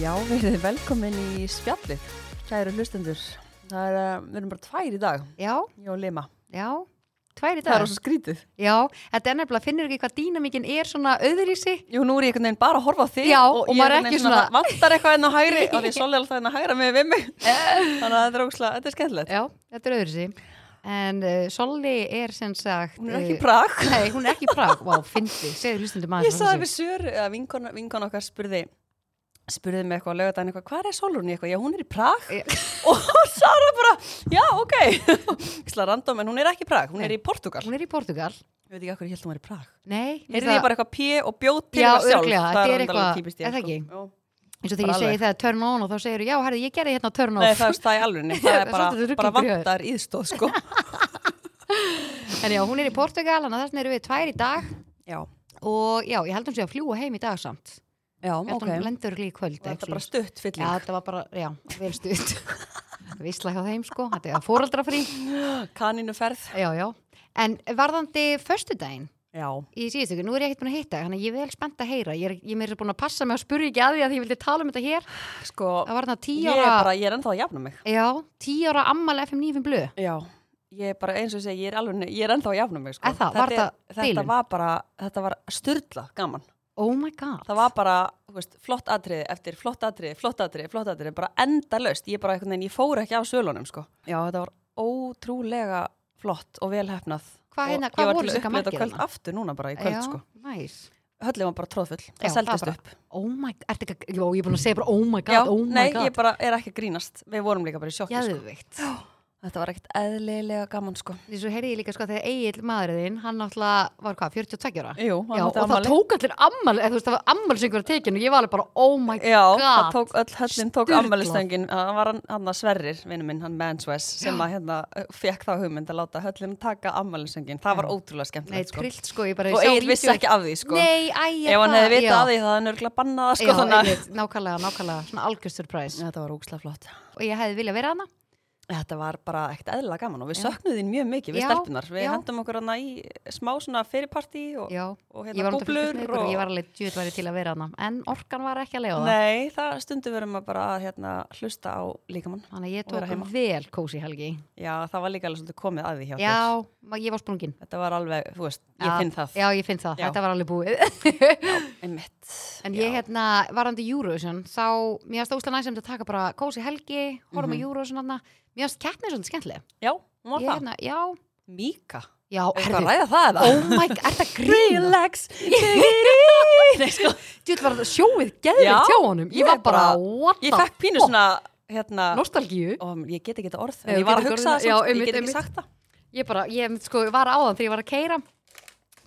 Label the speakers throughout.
Speaker 1: Já, við erum velkomin í spjallið, kæru hlustendur. Það er, eh, við erum bara tvær í dag,
Speaker 2: Já,
Speaker 1: ég og Lima.
Speaker 2: já, tvær í
Speaker 1: Það
Speaker 2: dag
Speaker 1: er rosa skrítið.
Speaker 2: Já, þetta er nefnilega, finnur ekki hvað dýnamíkin er svona öðrísi
Speaker 1: Jú, nú er ég einhvern veginn bara að horfa á þig
Speaker 2: Já, og
Speaker 1: ég
Speaker 2: maður er
Speaker 1: einhvern
Speaker 2: ekki
Speaker 1: veginn
Speaker 2: svona-
Speaker 1: vantar eitthvað enn á hægri og því er svolítið alltaf enn á hægra með við mig.
Speaker 2: Eh.
Speaker 1: Þannig að þetta er ógslag, þetta er skemmtilegt.
Speaker 2: Já, þetta er öðrísi En uh, Solli er sem sagt
Speaker 1: Hún er ekki
Speaker 2: eh,
Speaker 1: í Prag.
Speaker 2: Nei, hún er ekki í Prag, vá, fyndi, segðu hlustandi maður
Speaker 1: Ég saði við Söru, að vinkona, vinkona okkar spurði, spurði mig eitthvað á lögadaginn eitthvað, hvað er Solrún í eitthvað? Já, hún er í Prag.
Speaker 2: Já.
Speaker 1: og Sara bara, já, ok. Ísla random, en hún er ekki í Prag,
Speaker 2: Eh.
Speaker 1: hún er í Portugal.
Speaker 2: Hún er í Portugal
Speaker 1: Ég veit ekki hvað ég held hún var í Prag.
Speaker 2: Nei, mér
Speaker 1: Heyrði
Speaker 2: það-
Speaker 1: ég bara eitthvað P og bjóð til
Speaker 2: Já,
Speaker 1: það sjálf.
Speaker 2: örugglega,
Speaker 1: það
Speaker 2: þetta
Speaker 1: er sko.
Speaker 2: er
Speaker 1: eitthvað,
Speaker 2: eitthvað-
Speaker 1: típist
Speaker 2: er
Speaker 1: ég.
Speaker 2: það ekki?
Speaker 1: Jó.
Speaker 2: eins og þegar ég
Speaker 1: bara
Speaker 2: segi það er turn on og þá segir já, herði, ég gerði hérna turn
Speaker 1: Nei,
Speaker 2: off
Speaker 1: það er stæði alveg, það
Speaker 2: Það
Speaker 1: er
Speaker 2: er
Speaker 1: bara,
Speaker 2: svolítið
Speaker 1: bara
Speaker 2: ruglingur í höfuð.
Speaker 1: vantar íðstóð, sko.
Speaker 2: En já, hún er í Portugal, þannig að þess vegna erum við tvær í dag
Speaker 1: Já,
Speaker 2: og já, ég held hún sé að fljúa heim í dag samt
Speaker 1: já,
Speaker 2: Ég held
Speaker 1: ok.
Speaker 2: hún lendur líka í kvöld
Speaker 1: Og Þetta
Speaker 2: eitthvað
Speaker 1: er bara stutt
Speaker 2: Já,
Speaker 1: fylling.
Speaker 2: þetta var bara, já, vel stutt Vísla hjá þeim sko, þetta er fóraldrafrí
Speaker 1: Kaninu ferð.
Speaker 2: Já, já, en varðandi föstudaginn
Speaker 1: Já,
Speaker 2: í síðustu ykkur, nú er ég ekkert búin að hitta þannig að ég er vel spennt að heyra, ég er, ég er meira búin að passa mig að spurja ekki að því að því ég vildi tala um þetta hér
Speaker 1: sko,
Speaker 2: það var þarna
Speaker 1: ég
Speaker 2: tíu
Speaker 1: er
Speaker 2: ára
Speaker 1: bara, ég er ennþá að jafna mig.
Speaker 2: já, tíu ára ammali FM 9 blöð
Speaker 1: Já, ég er bara eins og segi, ég er alveg, ég er ennþá að jafna mig, sko.
Speaker 2: Er það?
Speaker 1: Þetta
Speaker 2: Var
Speaker 1: er-
Speaker 2: það
Speaker 1: Þetta
Speaker 2: bilun?
Speaker 1: var bara, þetta var styrla gaman.
Speaker 2: oh my god,
Speaker 1: Það var bara, þú veist, flott atriði eftir flott atriði, flott atriði, flott atriði, bara endalaust. Ég bara einhvern veginn, ég fór ekki af sölunum, sko. Já, þetta var ótrúlega flott og velhefnað.
Speaker 2: Hvað hérna-
Speaker 1: Og
Speaker 2: hvað
Speaker 1: ég var
Speaker 2: voru
Speaker 1: til að
Speaker 2: þetta
Speaker 1: upplifa þetta
Speaker 2: margir
Speaker 1: kvöld
Speaker 2: þarna?
Speaker 1: aftur núna bara í kvöld,
Speaker 2: já,
Speaker 1: sko.
Speaker 2: nice.
Speaker 1: Höllin var bara tróðfull,
Speaker 2: Já,
Speaker 1: það seldist
Speaker 2: það
Speaker 1: upp.
Speaker 2: oh my, ertu ekki, að- já, ég er búin að segja bara oh my god,
Speaker 1: Já,
Speaker 2: oh my
Speaker 1: nei, ég
Speaker 2: god
Speaker 1: bara er ekki að grínast. Við vorum líka bara í sjokki, sko.
Speaker 2: jæðvikt
Speaker 1: Þetta var ekkert eðlilega gaman, sko.
Speaker 2: eins og heyrði ég líka sko þegar Egil maðurinn hann náttúrulega var hvað, 42 ára
Speaker 1: Jú, hann
Speaker 2: Já, og
Speaker 1: átti
Speaker 2: það
Speaker 1: afmæli.
Speaker 2: tók allir ammal eða þú veist, það var ammalsöngur að tekinu og ég var alveg bara, oh my god
Speaker 1: Já, það tók öll, höllin tók
Speaker 2: Sturlað.
Speaker 1: ammælistöngin, það var hann, hann að Sverrir, vinnu minn, hann Manswes, sem að hérna fekk þá hugmynd að láta höllin taka ammælistöngin, það var ótrúlega
Speaker 2: Nei,
Speaker 1: skemmtilegt sko.
Speaker 2: trillt sko, ég bara
Speaker 1: Og
Speaker 2: sá
Speaker 1: Egil vissi
Speaker 2: vídeó-
Speaker 1: ekki af því sko,
Speaker 2: Nei, æja
Speaker 1: ef hann hefði vitað af því það er nörgulega bannað sko,
Speaker 2: Já,
Speaker 1: þannig að
Speaker 2: einmitt, nákvæmlega, nákvæmlega, svona algjör surprise
Speaker 1: Þetta var ógslag flott.
Speaker 2: Og ég hefði viljað vera hana
Speaker 1: Þetta var bara ekkert eðla gaman og við
Speaker 2: Já.
Speaker 1: söknuðum þín mjög mikið, við
Speaker 2: Já,
Speaker 1: stelpunar, við
Speaker 2: já.
Speaker 1: hendum okkur hana í smá svona fyrirparti og,
Speaker 2: Já,
Speaker 1: og
Speaker 2: ég
Speaker 1: hérna
Speaker 2: var
Speaker 1: búblur
Speaker 2: og...
Speaker 1: og...
Speaker 2: Ég var alveg djúið væri til að vera hana En orkan var ekki að leiða það
Speaker 1: Nei, það stundum verðum að bara hérna, hlusta á líkamann.
Speaker 2: Þannig að ég
Speaker 1: Og vera heima.
Speaker 2: tók vel kósi helgi
Speaker 1: Já, það var líka alveg svolítið komið að því hjá þér.
Speaker 2: Já, ma- ég var sprungin
Speaker 1: Þetta var alveg, þú veist, ég
Speaker 2: Já,
Speaker 1: finn það.
Speaker 2: Já, ég finn það,
Speaker 1: Já.
Speaker 2: þetta var alveg búið
Speaker 1: Einmitt.
Speaker 2: En ég hérna, varandi Eurovision, þá, mér finnst það úslega næsum að taka bara kósi helgi, horfum
Speaker 1: Mhm.
Speaker 2: mm á Eurovision hann, mér finnst keppnið svolítið skemmtileg.
Speaker 1: Já, hún var
Speaker 2: Ég
Speaker 1: það.
Speaker 2: hérna, já,
Speaker 1: Mika.
Speaker 2: já,
Speaker 1: Er það að
Speaker 2: herðu,
Speaker 1: ræða það eða?
Speaker 2: oh my god, er það grín?
Speaker 1: Relax. diggity. Nei, sko,
Speaker 2: Djútt var sjóið geðvikt
Speaker 1: Já,
Speaker 2: hjá honum,
Speaker 1: ég
Speaker 2: ég var
Speaker 1: er
Speaker 2: bara,
Speaker 1: bara-
Speaker 2: what
Speaker 1: ég
Speaker 2: the,
Speaker 1: fekk pínu svona, hérna,
Speaker 2: nostalgíu,
Speaker 1: ó, ég get ekki þetta orð,
Speaker 2: Nei,
Speaker 1: en
Speaker 2: þú
Speaker 1: ég var að
Speaker 2: getur
Speaker 1: hugsa
Speaker 2: ekki
Speaker 1: það,
Speaker 2: orðið- já,
Speaker 1: samt, ég
Speaker 2: einmitt,
Speaker 1: get ekki
Speaker 2: einmitt.
Speaker 1: sagt það.
Speaker 2: ég bara, ég sko, var áðan þegar ég var að keira,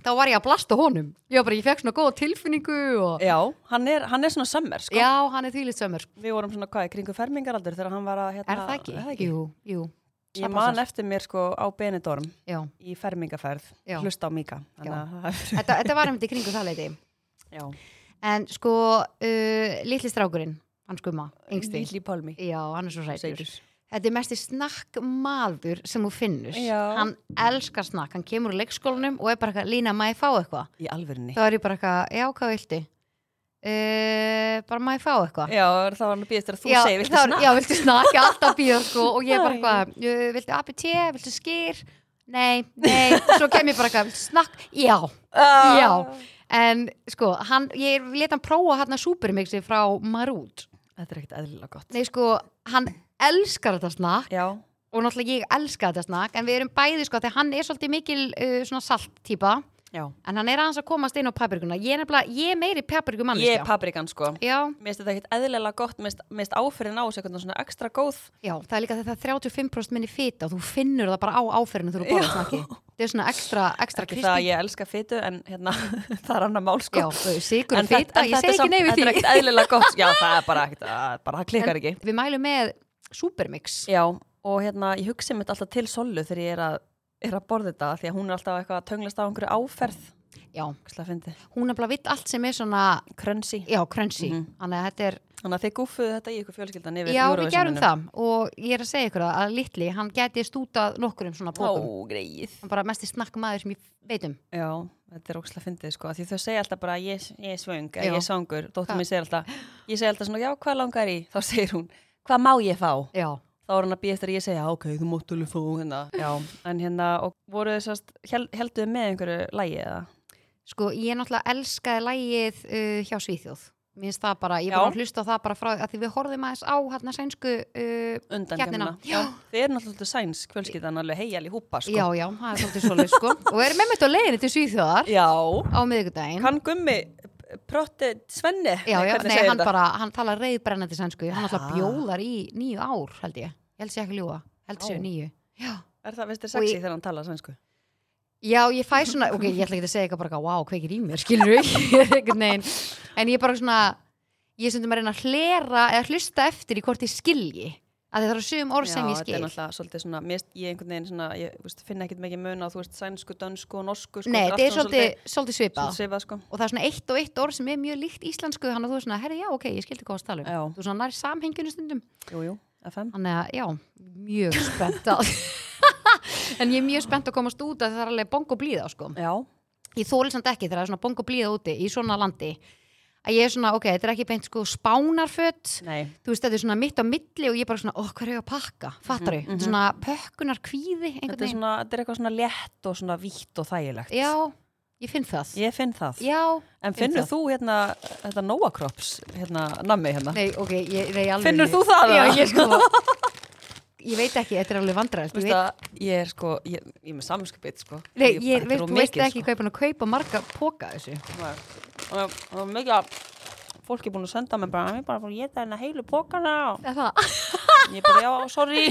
Speaker 2: þá var ég að blasta honum, ég var bara, ég fekk svona góða tilfinningu og,
Speaker 1: Já, hann er, hann er svona sömmer, sko.
Speaker 2: já, hann er þvílið sömur,
Speaker 1: Við vorum svona, hvað, í kringu fermingaraldur þegar hann var að, hérna,
Speaker 2: er það ekki? Jú, jú,
Speaker 1: Ég
Speaker 2: sama
Speaker 1: man
Speaker 2: þar.
Speaker 1: eftir mér, sko, á Benidorm
Speaker 2: já,
Speaker 1: í fermingarferð,
Speaker 2: Já.
Speaker 1: hlusta á Mika. Þannig að það
Speaker 2: þetta, þetta var um þetta í kringu það leiti.
Speaker 1: Já.
Speaker 2: En sko, uh, litli strákurinn, hann skumma, yngsti.
Speaker 1: Lili Pálmi.
Speaker 2: Já, hann er svo sætur.
Speaker 1: Sætur.
Speaker 2: Þetta er mesti snakkmaður sem þú finnur.
Speaker 1: Já.
Speaker 2: Hann elskar snakk, hann kemur úr leikskólanum og er bara eitthvað, Lína, maður fá eitthvað?
Speaker 1: Í alvörinni.
Speaker 2: Þá er ég bara eitthvað, já, hvað viltu? Uh, bara maður fá eitthvað?
Speaker 1: Já, það var hann að býðast þegar þú
Speaker 2: já,
Speaker 1: segir, viltu
Speaker 2: þá-
Speaker 1: snakk?
Speaker 2: Já, viltu snakk, ég er alltaf býða sko og ég er bara
Speaker 1: Æ.
Speaker 2: eitthvað, "Eh, viltu APT, viltu skýr? Nei, nei, svo kem ég bara eitthvað, viltu snakk? Já,
Speaker 1: Ah.
Speaker 2: Já. en sko, hann, ég let hann prófa hann að supermixi frá Marút
Speaker 1: Þetta er ekkert eðlilega gott.
Speaker 2: Nei, sko, hann elskar þetta snakk
Speaker 1: Já.
Speaker 2: og náttúrulega ég elska þetta snakk en við erum bæði, sko, þegar hann er svolítið mikil uh, svona salt-típa
Speaker 1: Já.
Speaker 2: en hann er aðeins að komast inn á paprikuna ég er nefnilega, ég er meiri
Speaker 1: Ég er
Speaker 2: paprikumanniska
Speaker 1: paprikan, sko.
Speaker 2: Já,
Speaker 1: Mér finnst þetta ekkert eðlilega gott, mér finnst- mér finnst áferðin á þessu eitthvað svona ekstra góð.
Speaker 2: já, það er líka þetta 35% minni fita og þú finnur það bara á áferðinu þegar þú borðar snakki þetta er svona ekstra, ekstra
Speaker 1: Ekki það að
Speaker 2: krispí
Speaker 1: ég elska fytu, en hérna, það er annar mál,
Speaker 2: Já,
Speaker 1: sko.
Speaker 2: sigur
Speaker 1: En
Speaker 2: og fita,
Speaker 1: en
Speaker 2: ég segi
Speaker 1: er
Speaker 2: ekki
Speaker 1: samt-
Speaker 2: neyfi
Speaker 1: Þetta er
Speaker 2: því
Speaker 1: ekkert eðlilega gott, já, það er bara ekkert, það, bara, það klikkar ekki.
Speaker 2: Við mælum með supermix
Speaker 1: Já, og hérna, ég hugsi mitt alltaf til Sollu þegar ég er að, er að borða þetta, því að hún er alltaf eitthvað að tönglast á einhverju áferð.
Speaker 2: Já,
Speaker 1: Hvað finnst þið?
Speaker 2: hún er bara vitt allt sem er svona,
Speaker 1: Krönsi.
Speaker 2: já, crunchy
Speaker 1: Mhm.
Speaker 2: Þannig að þetta er
Speaker 1: Þannig að þið gúfuðu þetta í ykkur fjölskyldan yfir
Speaker 2: Já, við gerum
Speaker 1: Eurovisioninu.
Speaker 2: það og ég er að segja ykkur að, að litli, hann geti stútað nokkur um svona bókum.
Speaker 1: Ó, greið.
Speaker 2: Hann bara mesti snakkmaður sem ég veit um.
Speaker 1: Já, Þetta er ókslega fyndið sko, af því þau segja alltaf bara ég, ég er svöng,
Speaker 2: Já.
Speaker 1: eða ég er svangur, dóttir
Speaker 2: Ha.
Speaker 1: mín segir alltaf, ég segir alltaf svona, já, hvað langar í? Þá segir hún, hvað má ég fá?
Speaker 2: Já,
Speaker 1: Þá er hann að býja eftir að ég segja, ok, þú mátt alveg fá hérna. Já, en hérna, og voru þau sérst, hel, helduðu með einhverju lægi eða?
Speaker 2: sko ég náttúrulega elskaði lægið uh, hjá Svíþjóð. Mér finnst það bara, ég
Speaker 1: Já.
Speaker 2: bara hlusta á það bara frá að því við horfðum aðeins á hérna sænsku, uh,
Speaker 1: Undan
Speaker 2: Keppnina.
Speaker 1: Já. Þau eru náttúrulega svolítið sæns, fjölskyldan alveg heial í húpa sko.
Speaker 2: já, já, það er svolítið svolítið sko. Og erum með mitt á leiðinni til Svíþjóðar
Speaker 1: Já.
Speaker 2: á miðvikudaginn.
Speaker 1: Kann gummi, eh, protti, svenni,
Speaker 2: Já, já,
Speaker 1: hvernig
Speaker 2: nei,
Speaker 1: segir
Speaker 2: hann
Speaker 1: þetta?
Speaker 2: bara, hann talar reyðbrennandi sænsku, hann alltaf
Speaker 1: Ah.
Speaker 2: bjólar í nýju ár, held ég. Ég held sér ekki að ljúa, held sér
Speaker 1: Vá.
Speaker 2: nýju. Já.
Speaker 1: Er það, veist þér
Speaker 2: Og
Speaker 1: sexy
Speaker 2: í-
Speaker 1: þegar hann talar sænsku?
Speaker 2: Já, ég fæ svona, ok, ég ætla ekki að segja eitthvað bara eitthvað, wow, kveikir í mér, skilur við, neginn, en ég er bara svona, ég er stundum að reyna að hlera eða hlusta eftir í hvort ég skilji, að það eru sögum orð sem ég
Speaker 1: þetta er
Speaker 2: skil.
Speaker 1: náttúrulega svolítið svona, mér, ég einhvern veginn svona, ég veist, finn ekkert mikið mun á, þú veist, sænsku, dönsku og norsku, sko,
Speaker 2: Nei,
Speaker 1: allt
Speaker 2: þetta er
Speaker 1: svona
Speaker 2: svolítið, svolítið
Speaker 1: svolítið
Speaker 2: svipað
Speaker 1: svipað, sko.
Speaker 2: og það er svona eitt og eitt orð sem er mjög líkt íslensku, þannig að þú er svona, herri, já, ok, ég skildi hvað það tala um.
Speaker 1: Já.
Speaker 2: Þú svona nær samhenginu stundum,
Speaker 1: Jú, jú, FM.
Speaker 2: þannig að, já, mjög spennt að, en ég er mjög spennt að komast út að það er alveg bong og blíða, sko.
Speaker 1: Já,
Speaker 2: ég þóli samt ekki þegar það er svona bong og blíða úti í svona landi að ég er svona, ok, þetta er ekki beint sko spánarföt
Speaker 1: nei,
Speaker 2: þú veist, þetta er svona mitt á milli og ég er bara svona, ó, hvað er ég að pakka, fattar ég
Speaker 1: Mhm, mhm.
Speaker 2: svona pökkunar kvíði,
Speaker 1: þetta
Speaker 2: einhvern
Speaker 1: er,
Speaker 2: veginn
Speaker 1: svona, þetta er eitthvað svona létt og svona vítt og þægilegt.
Speaker 2: já, ég finn það
Speaker 1: Ég finn það.
Speaker 2: já,
Speaker 1: en
Speaker 2: finn
Speaker 1: finnur
Speaker 2: það.
Speaker 1: þú hérna, þetta Noakrops, hérna, nammi hérna?
Speaker 2: nei, ok, ég, nei, alveg
Speaker 1: Finnur þú það,
Speaker 2: já,
Speaker 1: eða?
Speaker 2: ég sko ég veit ekki, þetta er alveg vandræðast
Speaker 1: Þú
Speaker 2: ég
Speaker 1: veist
Speaker 2: veit,
Speaker 1: að ég er sko, ég, ég er með samskipið, sko.
Speaker 2: nei,
Speaker 1: þetta
Speaker 2: ég
Speaker 1: er
Speaker 2: veit,
Speaker 1: of
Speaker 2: þú veist
Speaker 1: mikið, sko.
Speaker 2: ekki hvað ég er búin að kaupa marga póka af þessu
Speaker 1: Nei. Og það- og það er mikið að fólk er búin að senda mér bara, ég er bara búin að geta hérna heilu pókana og
Speaker 2: Er það?
Speaker 1: ég bara, já, sorry.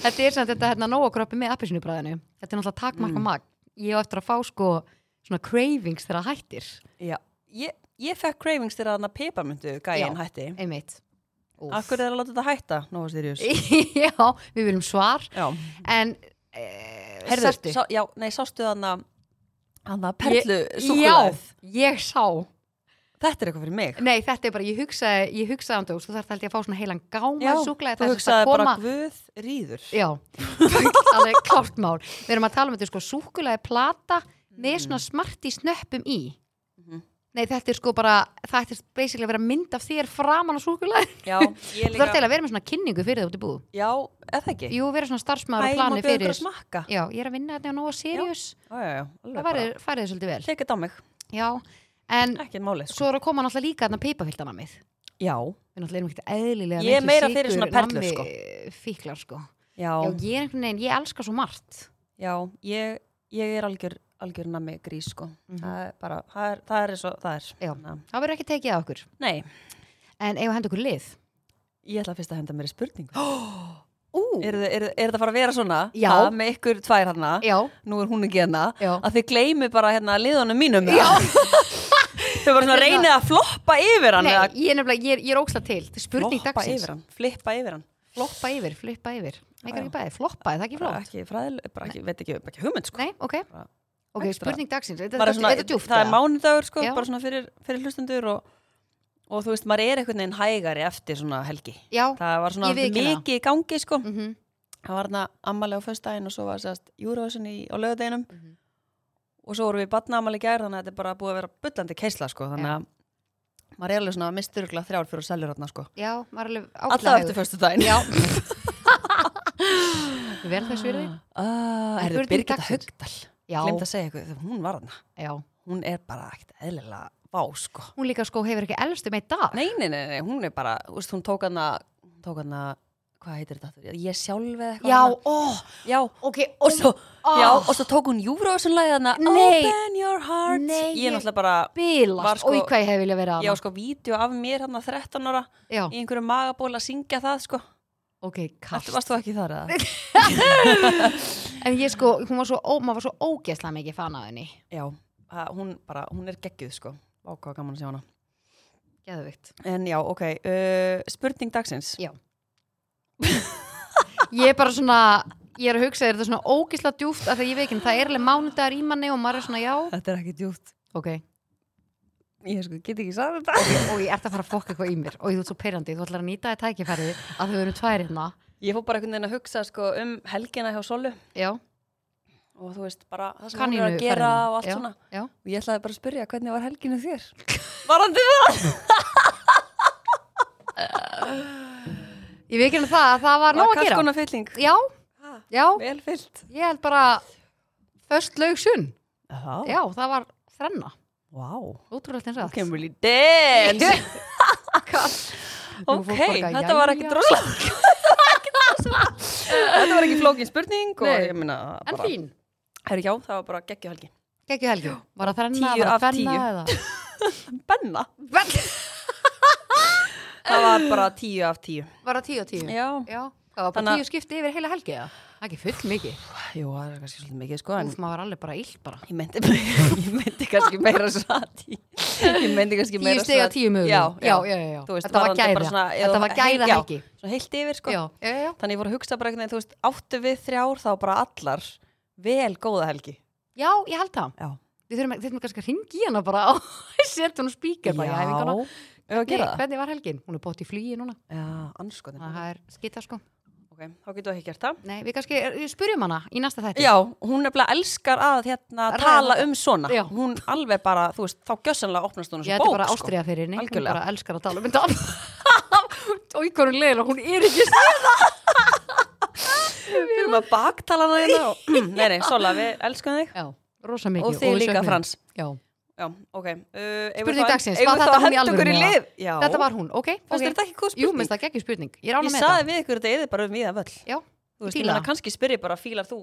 Speaker 2: Þetta er samt þetta hérna nógakroppi með appisnubræðinu. Þetta er náttúrulega takmarka mm. mag. Ég á eftir að fá sko svona cravings þegar það hættir.
Speaker 1: Já, ég, ég fekk cravings þegar þarna peiparmyndu gæin
Speaker 2: Já.
Speaker 1: hætti.
Speaker 2: Einmitt. Úff.
Speaker 1: Akkur er að láta þetta hætta, Nóa Sirius?
Speaker 2: Já, við viljum svar.
Speaker 1: Já.
Speaker 2: En, e,
Speaker 1: Herðu, Mhm. sá, já, nei, sástu þarna hana perlu súkulæð.
Speaker 2: Já, ég sá.
Speaker 1: Þetta er eitthvað fyrir mig.
Speaker 2: Nei, þetta er bara, ég hugsaði, ég hugsaði um þú, þú þarf held ég að fá svona heilan gáma súklaði.
Speaker 1: þú hugsaði bara guð rýður.
Speaker 2: Já, alveg klárt mál. Við erum að tala um þetta sko súkulæði plata með svona smart í snöppum í.
Speaker 1: Mm. Mhm.
Speaker 2: Nei, þetta er sko bara, það ættir basically að vera mynd af þér framan á súkulæði.
Speaker 1: Já, ég
Speaker 2: Þú þarf til
Speaker 1: líka.
Speaker 2: að vera með svona kynningu fyrir það út í búð.
Speaker 1: Já, eða ekki.
Speaker 2: Jú, vera svona
Speaker 1: Æ,
Speaker 2: starfsmaður á
Speaker 1: ég má
Speaker 2: plani
Speaker 1: bjóða ykkur
Speaker 2: fyrir.
Speaker 1: að smakka.
Speaker 2: Já, ég er að vinna þetta á Nóa Sirius.
Speaker 1: Já, já, já.
Speaker 2: Það væri- færið þér svolítið vel.
Speaker 1: Lekið á mig.
Speaker 2: Já, en
Speaker 1: Ekki máli. Sko.
Speaker 2: svo er að koma náttúrulega líka þarna peipafiltana mið.
Speaker 1: Já,
Speaker 2: Við náttúrulega erum ekkert eðlilega
Speaker 1: Ég er
Speaker 2: miklir
Speaker 1: meira fyrir
Speaker 2: sykur-
Speaker 1: svona perlur,
Speaker 2: nammi-
Speaker 1: sko.
Speaker 2: Fíklar sko.
Speaker 1: já,
Speaker 2: Já, ég er einhvern veginn, ég elska svo margt.
Speaker 1: já. Ég, ég er algjör, algjör nammi grís, sko.
Speaker 2: Mhm.
Speaker 1: Það er bara, það er, það er eins og það er.
Speaker 2: Já.
Speaker 1: Ná.
Speaker 2: Það verður ekki tekið af okkur.
Speaker 1: Nei,
Speaker 2: En eigum að henda okkur lið?
Speaker 1: ég ætla fyrst að henda mér í spurningu.
Speaker 2: Ú,
Speaker 1: Er, þið- er, er það fara að vera svona?
Speaker 2: Já.
Speaker 1: Ha, með ykkur tvær hana.
Speaker 2: já,
Speaker 1: Nú er hún ekki hana.
Speaker 2: já.
Speaker 1: Að þið gleymi bara hérna liðunum mínum. Já. þau bara svona reynið að floppa yfir hann.
Speaker 2: Nei,
Speaker 1: eða
Speaker 2: ég er nefnilega, ég er, ég er óksla til. Þetta er spurning
Speaker 1: floppa
Speaker 2: dagsins.
Speaker 1: yfir hann. Flippa yfir hann.
Speaker 2: Floppa yfir, flippa yfir. Nei,
Speaker 1: Já, já.
Speaker 2: ekki bæði, floppa, er það ekki
Speaker 1: Bara
Speaker 2: flott?
Speaker 1: ekki fræðileg, bara ekki, veit ekki, bara ekki hugmynd, sko.
Speaker 2: Nei, ok.
Speaker 1: Bara
Speaker 2: Ok,
Speaker 1: extra.
Speaker 2: spurning dagsins. Þetta
Speaker 1: Bara
Speaker 2: þetta-
Speaker 1: svona,
Speaker 2: þetta er djúpt.
Speaker 1: það er
Speaker 2: eða?
Speaker 1: mánudagur sko,
Speaker 2: Já.
Speaker 1: bara svona fyrir, fyrir hlustundur og, og þú veist, maður er einhvern veginn hægari eftir svona helgi.
Speaker 2: Já,
Speaker 1: Það var svona
Speaker 2: Ég viðurkenni það.
Speaker 1: mikið í gangi sko.
Speaker 2: mhm,
Speaker 1: Það var þarna ammali á föstudaginn og svo var sérst Eurovision í, á lögadeginum
Speaker 2: Mhm.
Speaker 1: og svo vorum við batna ammali gær þannig að þetta er bara búið að vera bullandi keisla sko, þannig
Speaker 2: Já.
Speaker 1: að maður er alveg svona misturuglega þrjár fyrir að selja rátna sko.
Speaker 2: já, maður er alveg ágætlega
Speaker 1: Alltaf eftir föstudaginn.
Speaker 2: Já. Vel þess verið.
Speaker 1: Ah,
Speaker 2: En
Speaker 1: er það
Speaker 2: spurning
Speaker 1: Birgitta
Speaker 2: dagsins?
Speaker 1: Haugdal?
Speaker 2: Já,
Speaker 1: Glimt að segja eitthvað, hún var þarna.
Speaker 2: já.
Speaker 1: Hún er bara ekkert eðlilega vá sko.
Speaker 2: Hún líka sko hefur ekki elst um eitt dag.
Speaker 1: Nei, nei, nei, nei, hún er bara, þú veist, hún tók hana, hún tók hana, hvað heitir þetta? aftur? Ég sjálf eða eitthvað.
Speaker 2: Já,
Speaker 1: hana.
Speaker 2: ó,
Speaker 1: já,
Speaker 2: ok.
Speaker 1: og svo,
Speaker 2: Ah.
Speaker 1: já, og svo tók hún Eurovision-lagið hana,
Speaker 2: Nei.
Speaker 1: Open Your Heart.
Speaker 2: Nei,
Speaker 1: ég
Speaker 2: ég-
Speaker 1: er náttúrulega bara, Var
Speaker 2: Bilast,
Speaker 1: sko-
Speaker 2: og í hvað ég hef vilja vera að
Speaker 1: ég á sko vídeo af mér hann 13 ára
Speaker 2: Já,
Speaker 1: sko, í einhverju magaból að syngja það, sko.
Speaker 2: ok, kall.
Speaker 1: Þetta varst þú ekki þar eða?
Speaker 2: En ég sko, hún var svo, ó, maður var svo ógeðslega mikið fan af henni.
Speaker 1: já, að, hún bara, hún er geggjuð, sko. Vá, hvað gaman að sjá hana.
Speaker 2: Geðvikt.
Speaker 1: En já, ok, uh, spurning dagsins.
Speaker 2: Já. Ég er bara svona, ég er að hugsa þér þetta er svona ógeðslega djúft af því að ég veit ekki, það er alveg mánudagar í manni og maður er svona já.
Speaker 1: Þetta er ekki djúpt.
Speaker 2: Ok.
Speaker 1: Ég sko, get ekki sagt þetta.
Speaker 2: Og ég ert að fara að fokka eitthvað í mér og þú ert svo peirandi, þú ætlar að nýta þetta tækifæri að þau eru tvær hérna.
Speaker 1: Ég fór bara einhvern veginn að hugsa, sko, um helgina hjá Solu.
Speaker 2: Já.
Speaker 1: og þú veist bara það sem hann er
Speaker 2: Kanínu
Speaker 1: að gera og allt
Speaker 2: já,
Speaker 1: svona
Speaker 2: já.
Speaker 1: og ég ætlaði bara að spyrja hvernig var helginu þér varandi það
Speaker 2: Ég veit ekki það, að það var nóg að
Speaker 1: Var
Speaker 2: gera
Speaker 1: konar fylling
Speaker 2: Já, já,
Speaker 1: vel fyllt
Speaker 2: ég held bara Föst laug sunn
Speaker 1: já,
Speaker 2: Já, það var þrenna,
Speaker 1: wow
Speaker 2: ótrúlegt eins að
Speaker 1: okay, really dance ok, þetta var ekki drosla þetta var ekki flókin spurning og
Speaker 2: Nei.
Speaker 1: ég meina
Speaker 2: En
Speaker 1: bara,
Speaker 2: þín,
Speaker 1: herri já, það var bara geggju helgi
Speaker 2: geggju helgi Var það þrenna,
Speaker 1: Tíu
Speaker 2: var
Speaker 1: af
Speaker 2: það fenna
Speaker 1: tíu.
Speaker 2: eða
Speaker 1: benna,
Speaker 2: Vel,
Speaker 1: það var bara tíu af tíu
Speaker 2: Var það tíu og tíu
Speaker 1: já,
Speaker 2: Já, það var bara
Speaker 1: Þannig að-
Speaker 2: tíu skipti yfir heila helgi eða? Það er ekki full mikið
Speaker 1: jú, það er kannski svolítið mikið sko en
Speaker 2: Úf, maður var alveg bara illt bara
Speaker 1: Ég meinti, ég meinti kannski meira svona tí- Ég meinti kannski meira
Speaker 2: Tíu steg
Speaker 1: svona
Speaker 2: að tíu mögum
Speaker 1: Já, já,
Speaker 2: já, já, já.
Speaker 1: Þú veist,
Speaker 2: Þetta var
Speaker 1: varðandi bara
Speaker 2: gæða,
Speaker 1: svona, ef
Speaker 2: þetta
Speaker 1: þú-
Speaker 2: var gæða
Speaker 1: já,
Speaker 2: helgi
Speaker 1: Svona heilt yfir sko
Speaker 2: Já, já, já
Speaker 1: Þannig ég fór að hugsa bara einhvern veginn, þú veist, áttu við þrjár þá bara allar vel góða helgi
Speaker 2: Já, ég held það
Speaker 1: Já,
Speaker 2: Við þurfum, við þurfum kannski að ringi hana bara á Sett hún á spíker bara, já, vinkona
Speaker 1: Ef að gera
Speaker 2: Nei,
Speaker 1: það?
Speaker 2: hvernig var helgin? Hún er bótt í flugi núna
Speaker 1: Já, anskotin
Speaker 2: Það er skita sko
Speaker 1: Ok, þá getur við ekki gert það
Speaker 2: Nei, við kannski við spurjum hana í næsta þætti
Speaker 1: Já, hún nefnilega elskar að hérna
Speaker 2: Ræða
Speaker 1: tala
Speaker 2: þetta.
Speaker 1: um svona
Speaker 2: Já.
Speaker 1: Hún alveg bara, þú veist, þá gjössanlega opnast hún
Speaker 2: Ég
Speaker 1: þessu
Speaker 2: ætti bara
Speaker 1: bók sko.
Speaker 2: ástriða fyrir henni Hún
Speaker 1: Algjörlega.
Speaker 2: bara elskar að tala um þetta Og í konum leiðilega, hún er ekki sér
Speaker 1: Við erum að baktala hana hérna og- Nei, nei, Sola, við elskum þig
Speaker 2: Já, rosa mikið
Speaker 1: Og þig
Speaker 2: við
Speaker 1: líka,
Speaker 2: söknum.
Speaker 1: Frans
Speaker 2: Já,
Speaker 1: Já, ok. Uh,
Speaker 2: Spurning dagsins, var þetta hún í alvörunni
Speaker 1: Eigum við þá að henda ykkur í
Speaker 2: eða?
Speaker 1: lið? Já.
Speaker 2: þetta var hún, ok
Speaker 1: Fannst
Speaker 2: ok.
Speaker 1: þér þetta ekki góð
Speaker 2: Jú, minnst
Speaker 1: spurning?
Speaker 2: það geggjum spurning Ég rána
Speaker 1: ég
Speaker 2: með
Speaker 1: saði
Speaker 2: þetta
Speaker 1: við ykkur þetta eða bara um viða völl.
Speaker 2: Já,
Speaker 1: Þú veist,
Speaker 2: fíla
Speaker 1: ég meina
Speaker 2: það.
Speaker 1: kannski spyrja bara fílar þú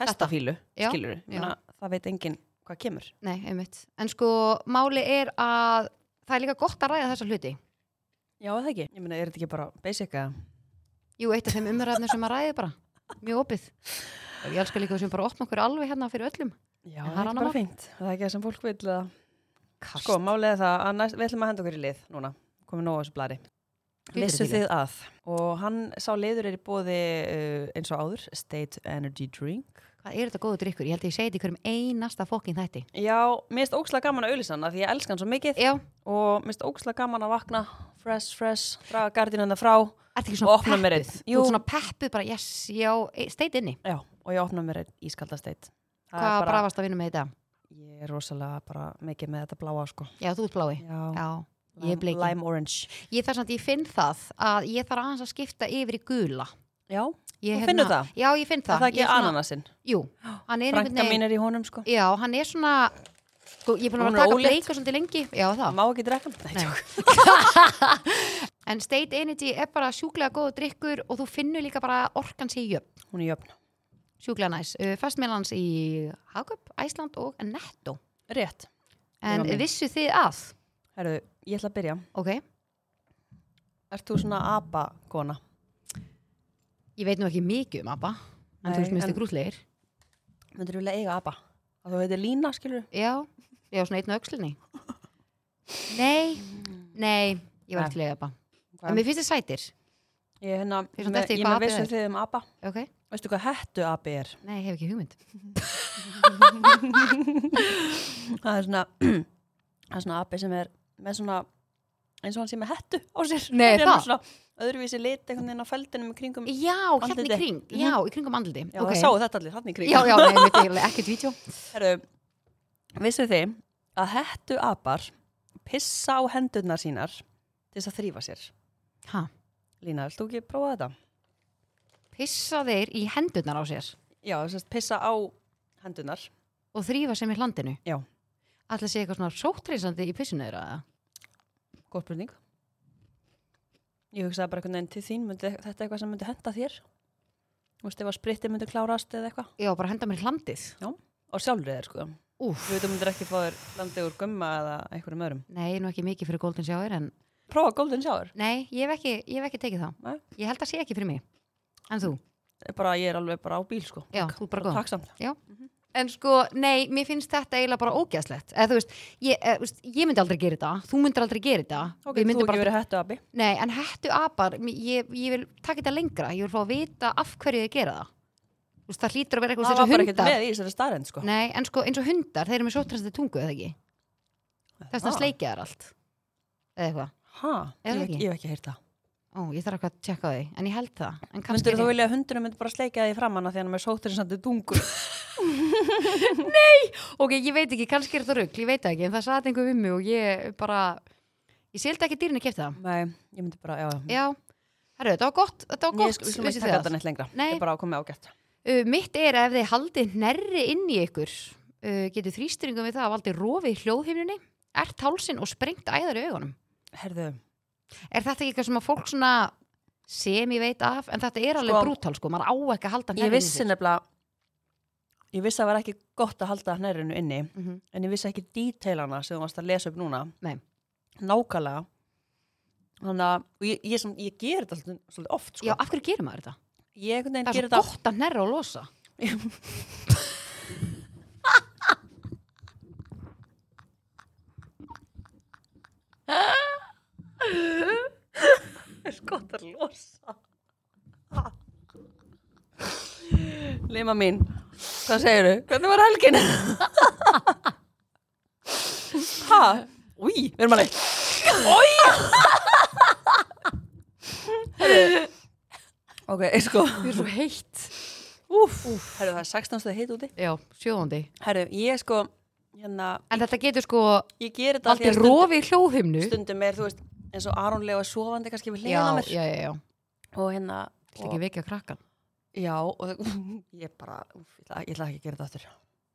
Speaker 1: hestafílu,
Speaker 2: Já,
Speaker 1: skilur við.
Speaker 2: já.
Speaker 1: Meina, það veit enginn hvað kemur.
Speaker 2: nei, einmitt En sko, máli er að það er líka gott að ræða þessa hluti
Speaker 1: Já, það ekki. Ég meina, er þetta ekki bara basic að...
Speaker 2: Jú, eitt af þeim umræðnum sem að ræði bara Mjög opið Ég elskar líka þessum bara að opna okkur alveg hérna fyrir öllum
Speaker 1: Já,
Speaker 2: En
Speaker 1: það
Speaker 2: það er
Speaker 1: er
Speaker 2: annað
Speaker 1: ekki bara
Speaker 2: mál.
Speaker 1: fínt. Það er ekki það sem fólk vil að...
Speaker 2: Kast
Speaker 1: Sko, málið er það að næst, við ætlum að henda okkur í lið núna. Komum nóg á þessu blari.
Speaker 2: Flytur
Speaker 1: Vissu
Speaker 2: þetta í
Speaker 1: þið að. Og hann sá liður er í bóði uh, eins og áður, State Energy Drink.
Speaker 2: Hvað er þetta góðu drikkur? Ég held að ég segi þetta í hverjum einasta fokkin þætti
Speaker 1: Já, mér finnst ógslag gaman að auðlýsa hana því ég elska hann svo mikið
Speaker 2: Já,
Speaker 1: og mér finnst ógslag gaman að vakna fresh, fresh, draga gardinuna frá og
Speaker 2: ertu ekki svona
Speaker 1: opna mér einn.
Speaker 2: peppuð? Þú
Speaker 1: Jú.
Speaker 2: ert svona peppuð bara, yes, já, steit inni
Speaker 1: já, og ég opna mér einn ískaldasteit
Speaker 2: Hvað brafast að vinna með þetta?
Speaker 1: Ég er rosalega bara mikið með þetta bláa sko
Speaker 2: Já, þú ert blái
Speaker 1: Já,
Speaker 2: Já, ég er
Speaker 1: lime,
Speaker 2: bleiki
Speaker 1: lime orange
Speaker 2: Ég þarf samt, ég finn það að ég þarf aðeins að skipta yfir í gula.
Speaker 1: Já,
Speaker 2: Ég,
Speaker 1: Þú
Speaker 2: hérna-
Speaker 1: finnur það?
Speaker 2: Já, ég finn það.
Speaker 1: það er það ekki
Speaker 2: Ég svona-
Speaker 1: ananasinn
Speaker 2: Jú, hann er
Speaker 1: Frænka
Speaker 2: einhvern
Speaker 1: mín
Speaker 2: veginn,
Speaker 1: er í honum sko
Speaker 2: já, hann er svona, sko, ég er búin að
Speaker 1: Hún
Speaker 2: vera að
Speaker 1: er
Speaker 2: taka
Speaker 1: ólétt.
Speaker 2: bleika svolítið lengi. Já, það.
Speaker 1: Má ekki drekka hann? Nei,
Speaker 2: Nei.
Speaker 1: tjók.
Speaker 2: En State Energy er bara sjúklega góð drikkur og þú finnur líka bara orkan sér í jöfn.
Speaker 1: hún er jöfn
Speaker 2: Sjúklega næs. Uh, Fastmélans í Hagöp, Æsland og Netto.
Speaker 1: Rétt
Speaker 2: En
Speaker 1: Jöfn.
Speaker 2: vissu þið að?
Speaker 1: Herru, ég ætla að byrja
Speaker 2: Ok,
Speaker 1: Ert þú svona apa-kona?
Speaker 2: ég veit nú ekki mikið um ABBA, en
Speaker 1: Nei,
Speaker 2: þú veist minnst
Speaker 1: en-
Speaker 2: þið grútlegir.
Speaker 1: Myndur þú vilja eiga apa? Að þú heitir Lína, skilur
Speaker 2: Já, ég var svona einn á öxlinni Nei, nei Ég var
Speaker 1: Nei.
Speaker 2: ekki til að eiga ABBA
Speaker 1: Ok.
Speaker 2: En mér finnst þið sætir
Speaker 1: Ég er hérna,
Speaker 2: Ég er samt
Speaker 1: með-
Speaker 2: eftir
Speaker 1: ég
Speaker 2: hvað
Speaker 1: með
Speaker 2: api
Speaker 1: vissu
Speaker 2: er.
Speaker 1: þið um apa
Speaker 2: Ok,
Speaker 1: Veistu hvað hættu api er?
Speaker 2: nei, ég hef ekki hugmynd
Speaker 1: Það er svona, það er svona api sem er með svona, eins og hann sé með hættu á sér.
Speaker 2: Nei,
Speaker 1: Hann er með
Speaker 2: það?
Speaker 1: Svona öðruvísi lit einhvern veginn á feldinum í kringum. Já,
Speaker 2: Já, hérna í
Speaker 1: Andliti.
Speaker 2: kring, já, í kringum andliti
Speaker 1: það sáu þetta allir, hann í kringum.
Speaker 2: Já, já, nei, veit ég ekki vídeo
Speaker 1: Herru, vissu þið að hættu apar pissa á hendurnar sínar til þess að þrýfa sér.
Speaker 2: Ha,
Speaker 1: Lína, vilt þú ekki prófa þetta?
Speaker 2: pissa þeir í hendurnar á sér
Speaker 1: Já, þess að pissa á hendurnar.
Speaker 2: og þrýfa sem í hlandinu
Speaker 1: Já.
Speaker 2: Ætli að sé eitthvað svona sóttreysandi í pissinu þeirra eða?
Speaker 1: Góð spurning. Ég hugsaði bara einhvern veginn til þín, myndi, þetta er eitthvað sem myndi henda þér. Þú veist, ef að spritti myndi klárast eða eitthvað.
Speaker 2: Já, bara henda mér í hlandið
Speaker 1: Og sjálfrið er sko.
Speaker 2: Úf,
Speaker 1: Þú veit, þú myndir ekki fá þér landið úr gumma eða einhverjum öðrum.
Speaker 2: nei, nú ekki mikið fyrir Golden Shower en
Speaker 1: Prófa golden shower.
Speaker 2: Nei, ég hef ekki, ég hef ekki tekið það
Speaker 1: Nei.
Speaker 2: Ég held að sé ekki fyrir mig En þú?
Speaker 1: Ég er Bara, ég er alveg bara á bíl, sko.
Speaker 2: Já, þú er bara góð
Speaker 1: Takk samt.
Speaker 2: En sko, nei, mér finnst þetta eiginlega bara ógæðslegt. Eða þú veist, ég, eða, þú veist, ég myndi aldrei gera þetta, þú myndir aldrei gera þetta.
Speaker 1: Ok,
Speaker 2: Við
Speaker 1: þú
Speaker 2: myndum
Speaker 1: ekki
Speaker 2: bara,
Speaker 1: verið hættu abi.
Speaker 2: nei, en hættu apar, mér- ég, ég vil taka þetta lengra, ég vil fá að vita af hverju þið gera það. Þú veist, það hlýtur að vera eitthvað
Speaker 1: Það
Speaker 2: eins
Speaker 1: var
Speaker 2: og
Speaker 1: bara ekkert
Speaker 2: hundar.
Speaker 1: með í þessari starrend, sko.
Speaker 2: Nei, en sko, eins og hundar, þeir eru með sótrænstu tungu, eða ekki? Þess að
Speaker 1: Ah.
Speaker 2: sleikja þær allt. Eða eitthvað.
Speaker 1: Ha,
Speaker 2: Er
Speaker 1: ég
Speaker 2: það
Speaker 1: hef ekki,
Speaker 2: ekki?
Speaker 1: ég hef ekki heyrt það.
Speaker 2: Ó, ég þarf eitthvað að tjekka á því, en ég held það. En kannski
Speaker 1: Myndur
Speaker 2: er
Speaker 1: þú
Speaker 2: ég...
Speaker 1: vilja að hundurinn myndi bara sleika því fram hana því hann er með sóturinsandi dungur?
Speaker 2: Ok, ég veit ekki, kannski er það rugl, ég veit það ekki, en það saði einhver við mig og ég bara, ég seldi ekki dýrinu að kefta það.
Speaker 1: Nei, ég myndi bara, já.
Speaker 2: Já, herru, þetta var gott, þetta var
Speaker 1: Ég
Speaker 2: gott,
Speaker 1: skal, Mm. sko, við skulum ekki
Speaker 2: vissuð
Speaker 1: taka
Speaker 2: þið
Speaker 1: þetta
Speaker 2: það.
Speaker 1: neitt lengra.
Speaker 2: Nei.
Speaker 1: Þetta er bara komið ágætt.
Speaker 2: Uh, mitt er að ef þið haldið nærri inn í ykkur, uh, getur þrýstyringum við það að valdi rofið í hljóðhimnunni, ert hálsin og sprengt æðar í augunum.
Speaker 1: Herðu,
Speaker 2: Er þetta ekki eitthvað sem að fólk svona sem ég veit af, en þetta er alveg
Speaker 1: Sko-
Speaker 2: sko, brútal sko, maður á ekki að halda
Speaker 1: ég
Speaker 2: nærri
Speaker 1: vissi nefnilega, ég vissi að það var ekki gott að halda hnerrinu inni,
Speaker 2: Mm -hmm.
Speaker 1: en ég vissi ekki dítelana sem þú varst að lesa upp núna.
Speaker 2: Nei.
Speaker 1: Nákvæmlega. Þannig að, og ég, ég, sem, ég ger þetta svolítið- svolítið oft, sko.
Speaker 2: Já, af hverju gerir maður þetta?
Speaker 1: Ég einhvern veginn
Speaker 2: Það
Speaker 1: ger
Speaker 2: er
Speaker 1: þetta
Speaker 2: svo gott að nærra og losa.
Speaker 1: er gott að losa Lima mín Hvað segiru? Hvernig var helgin? ha? Új, við erum alveg Új Ok, sko
Speaker 2: Það er svo heitt.
Speaker 1: Úf, herru það er 16 stöð heit úti
Speaker 2: Já, sjóðandi.
Speaker 1: Herru, ég sko hérna,
Speaker 2: En þetta getur sko
Speaker 1: ég ger þetta af því
Speaker 2: aldrei
Speaker 1: að stundum,
Speaker 2: rofið í hljóðhimnu.
Speaker 1: stundum er, þú veist, eins og Aron Leo er sofandi kannski við
Speaker 2: Já,
Speaker 1: hliðina á mér
Speaker 2: já, já, já.
Speaker 1: og hérna
Speaker 2: Þetta ekki vekja krakkan.
Speaker 1: Já, og það, ég bara, úf, ég, ætla, ég ætla ekki að gera þetta aftur.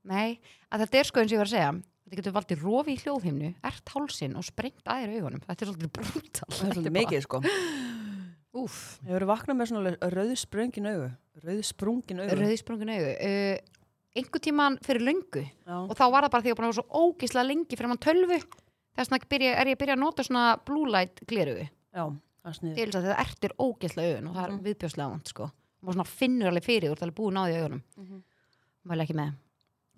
Speaker 2: Nei, að þetta er sko eins og ég var að segja. Þetta getur valdið rofið í hljóðhimnu, ert hálsin og sprengt aðeir augunum. Þetta er svolítið brúntal.
Speaker 1: Það er svolítið mikið, sko.
Speaker 2: Úf,
Speaker 1: Ég verið vaknað með svona rauðsprungin augu. Rauðsprungin augu.
Speaker 2: rauðisprungin augu. Uh, einhver tíman fyrir löngu
Speaker 1: Já.
Speaker 2: og þá var það bara því að ég var búin að vera svo ógislega lengi fyrir mann tölvu. Þess vegna byrja- er ég að byrja að nota svona blue light glerugu.
Speaker 1: Já, það er snið.
Speaker 2: til þess að þetta ertir ógeðslega augun og það er
Speaker 1: Mhm.
Speaker 2: viðbjóðslega vant sko og svona finnur alveg fyrir, þú ert alveg búin á því í augunum
Speaker 1: Mhm.
Speaker 2: maður er ekki með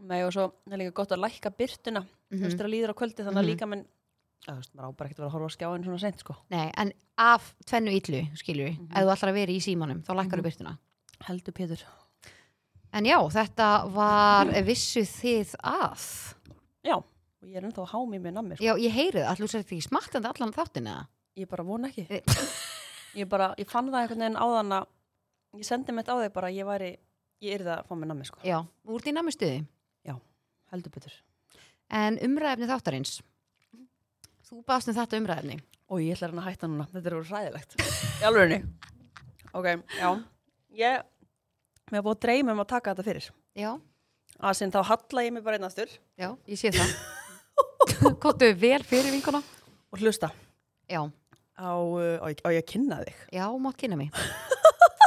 Speaker 1: Nei, og svo það er líka gott að lækka byrtuna. Þú veist,
Speaker 2: Mhm.
Speaker 1: það líður á kvöldi, þannig að
Speaker 2: Mhm.
Speaker 1: líka menn, að, þú veist, maður á bara ekkert að vera að horfa á skjáin svona sent, sko.
Speaker 2: Nei, en af tvennu yllu, skilur við
Speaker 1: Mhm.
Speaker 2: ef þú ætlar að vera í símanum, þá lækkar þú
Speaker 1: Mhm.
Speaker 2: byrtuna
Speaker 1: Heldur Pétur.
Speaker 2: en já, þetta var vissu þið að
Speaker 1: Já, og ég er ennþá að hámi með nammi, sko.
Speaker 2: já, ég heyri það, allir sér ekki smaktandi allan þáttin eða
Speaker 1: Ég bara vona ekki.
Speaker 2: Nei.
Speaker 1: Ég bara, ég fann það einhvern veginn áðan að, ég sendi mitt á þig bara, að ég væri, ég yrði að fá mér nammi, sko.
Speaker 2: já, úr því námi stuði
Speaker 1: Heldur Pétur.
Speaker 2: en umræðefni þáttarins þú baðst um þetta umræðefni
Speaker 1: og ég ætla hann að hætta núna, þetta er verið ræðilegt í alvegni ok, já ég, mér er búið að dreyma um að taka þetta fyrir
Speaker 2: já,
Speaker 1: að sinn þá halla ég mig bara einn aftur
Speaker 2: já, ég sé það kóttu vel fyrir vinkona
Speaker 1: og hlusta
Speaker 2: já,
Speaker 1: á, uh, á, ég- á ég að kynna þig
Speaker 2: Já, mátt kynna mig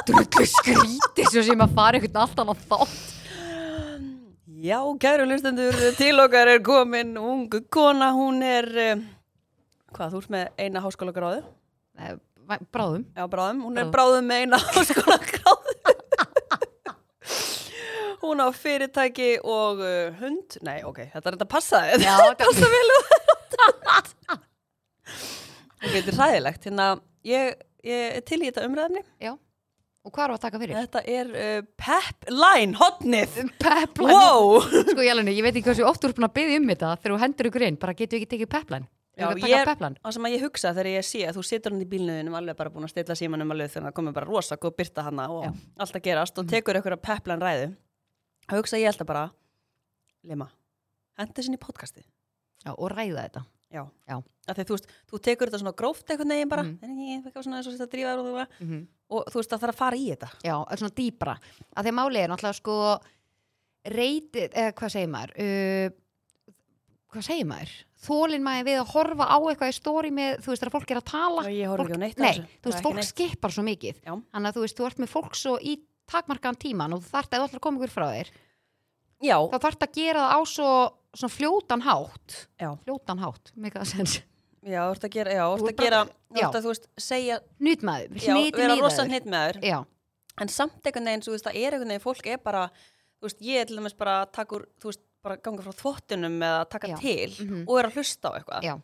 Speaker 2: Drullu skríti svo sem að fara einhvern allt annað þátt
Speaker 1: já, kæru hlustendur, til okkar er komin ungu kona, hún er uh, hvað, þú ert með eina háskóla gráðu
Speaker 2: Eh, væ- Bráðum
Speaker 1: já, bráðum, hún er
Speaker 2: Bráðum.
Speaker 1: bráðum með eina háskóla gráðu hún á fyrirtæki og uh, hund nei, ok, þetta er þetta passaði
Speaker 2: Já, þetta
Speaker 1: passa vel og þetta er ræðilegt hérna, ég, ég er til í þetta umræðinni
Speaker 2: Og hvað er að taka fyrir?
Speaker 1: þetta er uh, Pepline hotnið
Speaker 2: Um Pepline
Speaker 1: wow
Speaker 2: Sko Jælunni, ég veit ekki hversu oft þú ert búin að byggja um þetta þegar þú hendur ykkur inn, bara getur ekki tekið pepline
Speaker 1: Já,
Speaker 2: Erum við að
Speaker 1: ég-
Speaker 2: taka pepline
Speaker 1: það sem að ég hugsa þegar ég sé að þú situr hann í bílnöðinum alveg bara búin að stilla símanum alveg þegar það komið bara rosa góð byrta hana og
Speaker 2: Já.
Speaker 1: allt að gerast og tekur ykkur að Pepline ræðu þá hugsa ég alltaf bara Lema, hendi sinni í podcasti
Speaker 2: Já, og ræða þetta
Speaker 1: já,
Speaker 2: Já.
Speaker 1: Af Því, þú, veist, þú tekur þetta svona gróft einhvern veginn bara,
Speaker 2: Mhm.
Speaker 1: mm. en ég fekk svona eins og þetta drífaður og, þú- og þú veist það þarf að fara í þetta
Speaker 2: Já, öll svona dýpra að því að máli er náttúrulega sko reyti, eða hvað segir maður uh, hvað segir maður þólin maður við að horfa á eitthvað í stóri með, þú veist, þegar fólk er að tala
Speaker 1: og ég horf ekki á neitt af
Speaker 2: Nei,
Speaker 1: þessu.
Speaker 2: þú
Speaker 1: Það er
Speaker 2: veist,
Speaker 1: ekki
Speaker 2: fólk
Speaker 1: neitt.
Speaker 2: skipar svo mikið
Speaker 1: Já.
Speaker 2: Þannig að þú veist, þú ert með fólk svo í takmarkaðan tíman og þú þarft að ef þú ætlar að koma ykkur frá þér
Speaker 1: Já,
Speaker 2: þá þarft að gera það á svo svona fljótan hátt
Speaker 1: Já.
Speaker 2: fljótan hátt, mikið að sens
Speaker 1: já, þú ert að gera, já, þú ert
Speaker 2: Þú ert
Speaker 1: að gera,
Speaker 2: bara-
Speaker 1: þú ert að, þú veist, segja,
Speaker 2: nýtmaður,
Speaker 1: já,
Speaker 2: hnýtin
Speaker 1: vera
Speaker 2: í
Speaker 1: rosa
Speaker 2: þaður
Speaker 1: hnitt með þér,
Speaker 2: Já,
Speaker 1: en samt einhvern veginn, þú veist, það er einhvern veginn, fólk er bara, þú veist, ég er til dæmis bara að taka úr, þú veist, bara ganga frá þvottunum eða taka
Speaker 2: Já.
Speaker 1: til
Speaker 2: Mhm.
Speaker 1: og er að hlusta á eitthvað.
Speaker 2: Já.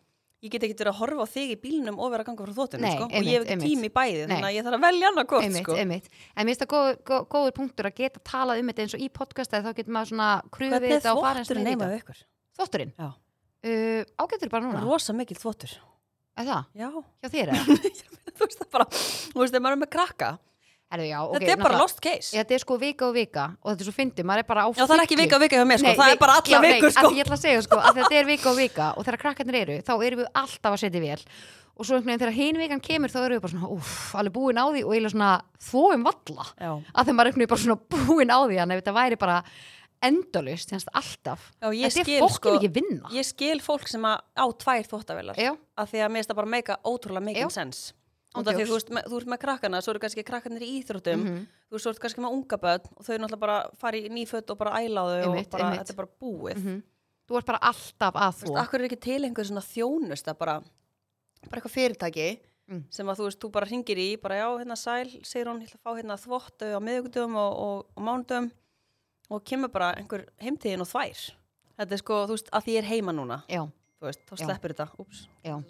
Speaker 1: Ég get ekki verið að horfa á þig í bílnum og vera að ganga frá þvottunum,
Speaker 2: Nei,
Speaker 1: sko, og
Speaker 2: einmitt,
Speaker 1: ég hef ekki
Speaker 2: einmitt.
Speaker 1: tími í bæði,
Speaker 2: Nei.
Speaker 1: þannig að ég þarf að velja annað gott,
Speaker 2: einmitt,
Speaker 1: sko.
Speaker 2: einmitt En mér finnst það góð, góð, góður punktur að geta talað um þetta eins og í podcast að þá getur maður svona krufið
Speaker 1: Hvernig er
Speaker 2: þetta og farið
Speaker 1: þvottur
Speaker 2: eins með
Speaker 1: neymað
Speaker 2: þetta
Speaker 1: ykkur?
Speaker 2: Þvotturinn
Speaker 1: Já.
Speaker 2: uh, Ágættur bara núna
Speaker 1: Rosa mikil þvottur.
Speaker 2: Er það?
Speaker 1: Já,
Speaker 2: Hjá þér eða?
Speaker 1: þú veist það bara, þú veist það maður er með krakka.
Speaker 2: Erðu, já, ok.
Speaker 1: þetta er bara
Speaker 2: náttúrulega-
Speaker 1: lost case.
Speaker 2: Þetta er sko vika og vika og þetta er svo fyndið, maður er bara á
Speaker 1: Já, það er ekki
Speaker 2: fullu.
Speaker 1: vika og vika hjá mér sko,
Speaker 2: Nei,
Speaker 1: það
Speaker 2: nei,
Speaker 1: er bara alla
Speaker 2: já, nei,
Speaker 1: vikur
Speaker 2: af
Speaker 1: sko.
Speaker 2: því ég ætla að segja sko, að þetta er vika og vika og þegar krakkarnir eru, þá erum við alltaf að setja í vél og svo einhvern veginn þegar hin vikan kemur þá erum við bara svona, uff, alveg búin á því og eiginlega svona þvóum valla
Speaker 1: Já.
Speaker 2: að þegar maður er einhvern veginn bara svona búin á því þannig að þetta væri bara endalust þannig að alltaf,
Speaker 1: Já, ég
Speaker 2: þetta
Speaker 1: skil,
Speaker 2: er fólk
Speaker 1: sko-
Speaker 2: ekki vinna
Speaker 1: Ég skil fólk sem að á tvær þvóttavélar
Speaker 2: Já,
Speaker 1: af því að mér finnst það bara meika ótrúlega
Speaker 2: Já.
Speaker 1: mikinn sens.
Speaker 2: Án
Speaker 1: Út af því
Speaker 2: djóks.
Speaker 1: þú veist, með- þú ert með krakkana, svo eru kannski krakkanir í íþróttum,
Speaker 2: Mhm.
Speaker 1: þú veist, svo ert kannski með unga börn og þau eru náttúrulega bara fara í nýfött og bara æla á þau
Speaker 2: Einmitt,
Speaker 1: og bara,
Speaker 2: einmitt.
Speaker 1: þetta er bara búið.
Speaker 2: Mhm. þú ert bara alltaf að
Speaker 1: Þú
Speaker 2: þú
Speaker 1: veist, akkur er ekki til einhver svona þjónusta bara, bara eitthvað fyrirtæki
Speaker 2: Mm.
Speaker 1: sem að þú veist, þú bara ringir í bara já, hérna sæl, segir hún, ég ætla að fá hérna þvottu á miðugdum og, og, og mánudum og kemur bara einhver heimtíðin og þvær. Þetta er sko, þú veist, að því ég er heima núna,
Speaker 2: Já,
Speaker 1: þú veist, þá
Speaker 2: Já.
Speaker 1: sleppur þetta, úps.
Speaker 2: Já.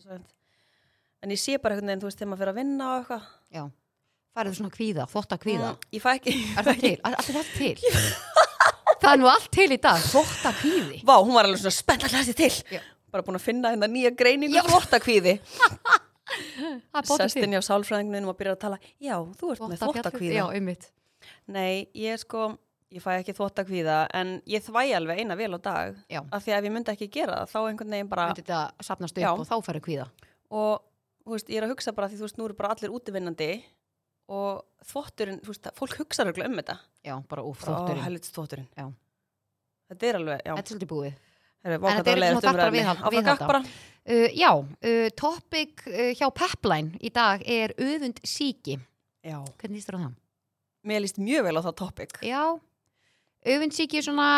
Speaker 1: En ég sé bara einhvern veginn, þú veist, þegar maður fyrir að vinna og eitthvað.
Speaker 2: já, farið svona kvíða, þvótt að kvíða
Speaker 1: Mm, Ég fæ ekki.
Speaker 2: Er það til? Er, er það til? það er nú allt til í dag, þvótt að kvíði
Speaker 1: Vá, hún var alveg svona spennt að hlæsti til.
Speaker 2: Já.
Speaker 1: Bara búin að finna hérna nýja greiningu
Speaker 2: Já.
Speaker 1: þvottakvíði.
Speaker 2: Það er bótið til.
Speaker 1: Sestin hjá sálfræðingunum og byrjar að tala, já, þú ert með þvottakvíða.
Speaker 2: Já, einmitt.
Speaker 1: Nei, ég sko, ég fæ ekki þvottakvíða en ég þvæ alveg eina vel á dag
Speaker 2: Já.
Speaker 1: af því að ef ég myndi ekki gera það, þá einhvern veginn bara
Speaker 2: Myndi þetta sapnast upp
Speaker 1: Já.
Speaker 2: og þá færi kvíða.
Speaker 1: og þú veist, ég er að hugsa bara því þú veist, nú eru bara allir útivinnandi og þvotturinn, þú veist, fólk hugsa röglega um þetta.
Speaker 2: Já, bara
Speaker 1: Ó,
Speaker 2: úf, þótturinn.
Speaker 1: helvits þvotturinn.
Speaker 2: Já.
Speaker 1: Þetta er alveg,
Speaker 2: Þetta
Speaker 1: já.
Speaker 2: er svolítið búið.
Speaker 1: Heru,
Speaker 2: en þetta er eitthvað sem þú þarft bara að viðhald-
Speaker 1: Áfram
Speaker 2: viðhalda.
Speaker 1: gakk bara.
Speaker 2: Uh, já, uh, topic uh, hjá Pepline í dag er öfund síki.
Speaker 1: Já.
Speaker 2: Hvernig líst þér á það?
Speaker 1: Mér líst mjög vel á það topic.
Speaker 2: Já, öfund síki er svona...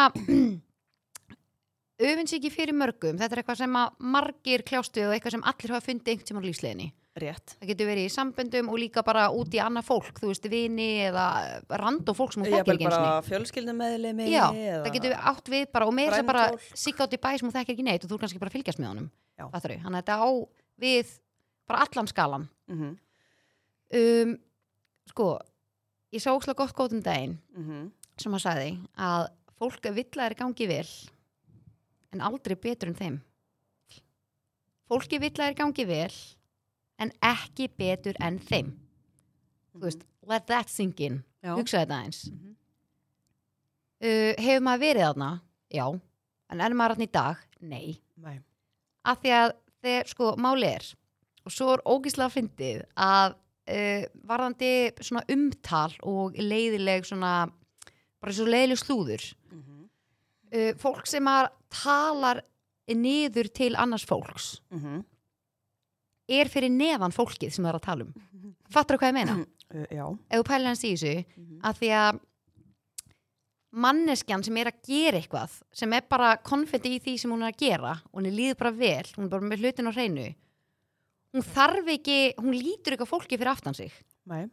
Speaker 2: öfund síki fyrir mörgum. Þetta er eitthvað sem að margir kljástu og eitthvað sem allir hafa fundið einhvern tímann á lífsleginni.
Speaker 1: Rétt.
Speaker 2: Það getur verið í samböndum og líka bara út í annað fólk, þú veist, vini eða rand fólk sem hún
Speaker 1: Ég er
Speaker 2: þekkir ekki eins og
Speaker 1: bara fjölskyldumeðlimi.
Speaker 2: Já, það getur við átt við bara og meira sem bara
Speaker 1: Frændfólk.
Speaker 2: sigga át í bæ sem þú þekkir ekki neitt og þú er kannski bara að fylgjast með honum
Speaker 1: Já.
Speaker 2: Fattarðu? þannig að þetta á við bara allan skalan
Speaker 1: Mm -hmm.
Speaker 2: um, sko, ég sá ókslega gott góðum daginn
Speaker 1: mhm,
Speaker 2: sem að sagði að fólk að villar gangi vel en aldrei betur en þeim fólki villar gangi vel en ekki betur en þeim þú veist, let that sink in
Speaker 1: Já.
Speaker 2: hugsaði þetta eins
Speaker 1: Mhm.
Speaker 2: uh, hefur maður verið þarna? já, en er maður þarna í dag? nei,
Speaker 1: Nei.
Speaker 2: af því að þegar sko máli er og svo er ógíslega fyndið að uh, varðandi svona umtal og leiðileg svona bara svo leiðileg slúður
Speaker 1: Mhm.
Speaker 2: uh, fólk sem að talar niður til annars fólks
Speaker 1: Mhm.
Speaker 2: er fyrir neðan fólkið sem það er að tala um fattur hvað ég meina?
Speaker 1: Uh, Já.
Speaker 2: ef þú pælir hans í þessu að því að manneskjan sem er að gera eitthvað sem er bara konfetti í því sem hún er að gera og hún líður bara vel, hún er bara með hlutin á hreinu hún þarf ekki hún lítur eitthvað fólki fyrir aftan sig
Speaker 1: Nei.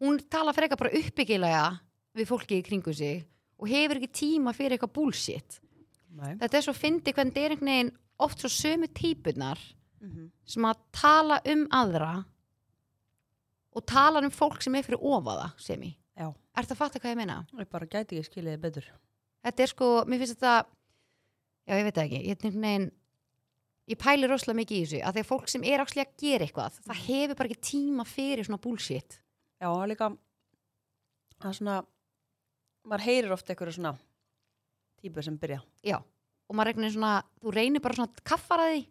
Speaker 2: hún tala frekar bara uppbyggilega við fólki í kringu sig og hefur ekki tíma fyrir eitthvað bullshit
Speaker 1: Nei.
Speaker 2: þetta er svo fyndi hvernig þetta er einhvern veginn oft svo sömu típunar
Speaker 1: Mhm.
Speaker 2: sem að tala um aðra og tala um fólk sem er fyrir ofaða sem í
Speaker 1: Já.
Speaker 2: Er það að fatta hvað ég meina?
Speaker 1: Ég bara gæti ekki skilja þið betur.
Speaker 2: Þetta er sko, mér finnst þetta Já, ég veit það ekki, ég er neginn Ég pæli rosalega mikið í þessu að þegar fólk sem er ákslega að gera eitthvað það hefur bara ekki tíma fyrir svona bullshit
Speaker 1: Já, það er líka, það er svona, maður heyrir ofta einhverju svona típur sem byrja.
Speaker 2: Já, og maður regnir svona þú reynir bara svona að kaffara því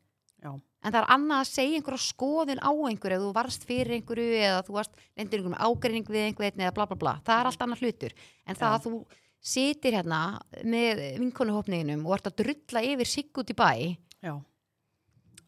Speaker 1: Já.
Speaker 2: en það er annað að segja einhverja skoðun á einhverju ef þú varst fyrir einhverju eða þú varst lendur einhverjum ágreining við einhvern eða bla bla bla, það er allt annað hlutur en það
Speaker 1: Mm. Já.
Speaker 2: að þú sitir hérna með vinkonuhopniðinum og ert að drulla yfir sigg út í bæ
Speaker 1: Já.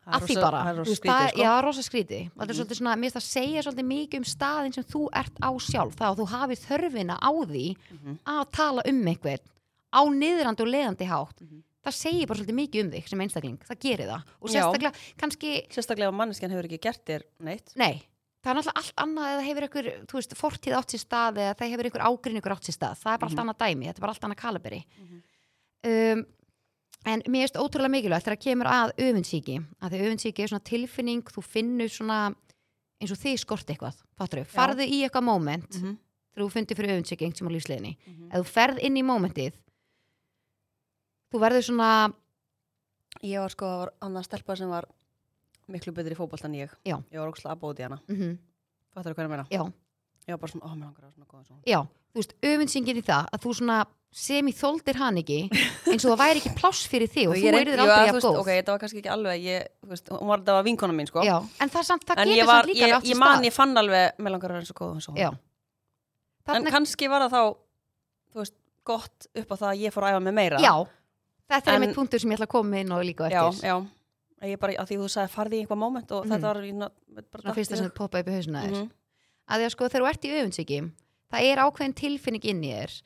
Speaker 1: Það er
Speaker 2: að því
Speaker 1: rosa-
Speaker 2: bara,
Speaker 1: Það er
Speaker 2: Þú
Speaker 1: rosa
Speaker 2: veist,
Speaker 1: spítið, sko.
Speaker 2: já, rosa skríti og þetta er
Speaker 1: Mhm.
Speaker 2: svolítið svona, mér finnst það segja svolítið mikið um staðin sem þú ert á sjálf þá að þú hafið þörfina á því
Speaker 1: Mhm.
Speaker 2: að tala um einhvern á niðrandi og leiðandi hátt
Speaker 1: Mhm.
Speaker 2: það segir bara svolítið mikið um þig sem einstakling það gerir það og
Speaker 1: Já.
Speaker 2: sérstaklega kannski
Speaker 1: Sérstaklega ef manneskjan hefur ekki gert þér neitt.
Speaker 2: nei, það er náttúrulega allt annað eða hefur einhver, þú veist, fortíð átt sér stað eða það hefur einhver ágrinningur átt sér stað það er bara
Speaker 1: Mhm.
Speaker 2: allt annað dæmi, þetta er bara allt annað kalaberi
Speaker 1: Mhm.
Speaker 2: um, en mér finnst ótrúlega mikilvægt þegar kemur að öfundsíki að því öfundsíki er svona tilfinning þú finnur svona eins og þið skort eitthvað, fattur við,
Speaker 1: Já.
Speaker 2: farðu í eitthvað moment
Speaker 1: Mhm.
Speaker 2: þegar þú fundir fyrir öfundsíki einhvern sem á lífsleginni
Speaker 1: Mhm.
Speaker 2: ef þú ferð inn í momentið þú verður svona
Speaker 1: Ég var sko, það var annað stelpa sem var miklu betur í fótbolt en ég
Speaker 2: Já.
Speaker 1: ég var ógslag að bóti hana
Speaker 2: mm
Speaker 1: fattar þú hvað ég meina
Speaker 2: já,
Speaker 1: ég var bara svona, ó, mér langar að vera svona góð eins og hún."
Speaker 2: já, þú veist, öfundsingin í það að þú svona sem í þóldir hann ekki eins og það væri ekki pláss fyrir þig og
Speaker 1: Ég
Speaker 2: þú
Speaker 1: reyndi- jú, að
Speaker 2: eruður aldrei
Speaker 1: þú
Speaker 2: að
Speaker 1: veist,
Speaker 2: góð
Speaker 1: ok, þetta var kannski ekki alveg ég, þú veist, hún var þetta var vinkona mín sko
Speaker 2: já, en það, samt, það
Speaker 1: en
Speaker 2: getur
Speaker 1: ég var,
Speaker 2: samt líka
Speaker 1: ég,
Speaker 2: alveg átt sér
Speaker 1: ég man,
Speaker 2: stað.
Speaker 1: ég fann alveg mér langar að vera eins og góð eins og hún
Speaker 2: já,
Speaker 1: en
Speaker 2: Þarna-
Speaker 1: kannski var það þá þú veist, gott upp á það að ég fór að æfa mig meira
Speaker 2: já þetta er
Speaker 1: En-
Speaker 2: mitt punktur sem ég ætla að koma inn og líka á
Speaker 1: já,
Speaker 2: eftir
Speaker 1: já. Að Ég bara, að því þú sagði farði í einhvað moment og
Speaker 2: Mhm.
Speaker 1: þetta var ég ná- bara
Speaker 2: svona fyrsta sem þú poppa upp í hausuna þér
Speaker 1: Mhm.
Speaker 2: að því að sko þegar þú ert í öfundsíki það er ákveðin tilfinning inn í þér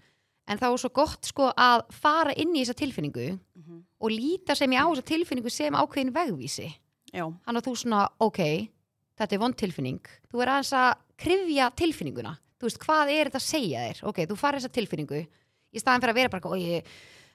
Speaker 2: en þá er svo gott sko að fara inn í þessa tilfinningu
Speaker 1: Mhm.
Speaker 2: og líta sem ég á þessa tilfinningu sem ákveðin vegvísi
Speaker 1: Já,
Speaker 2: hann að þú svona, ok, þetta er vond tilfinning þú er aðeins að krifja tilfinninguna þú veist, hvað er þetta að segja þér ok, þú farið þessa tilfinningu í staðan fyrir að vera bara, eitthvað, oi,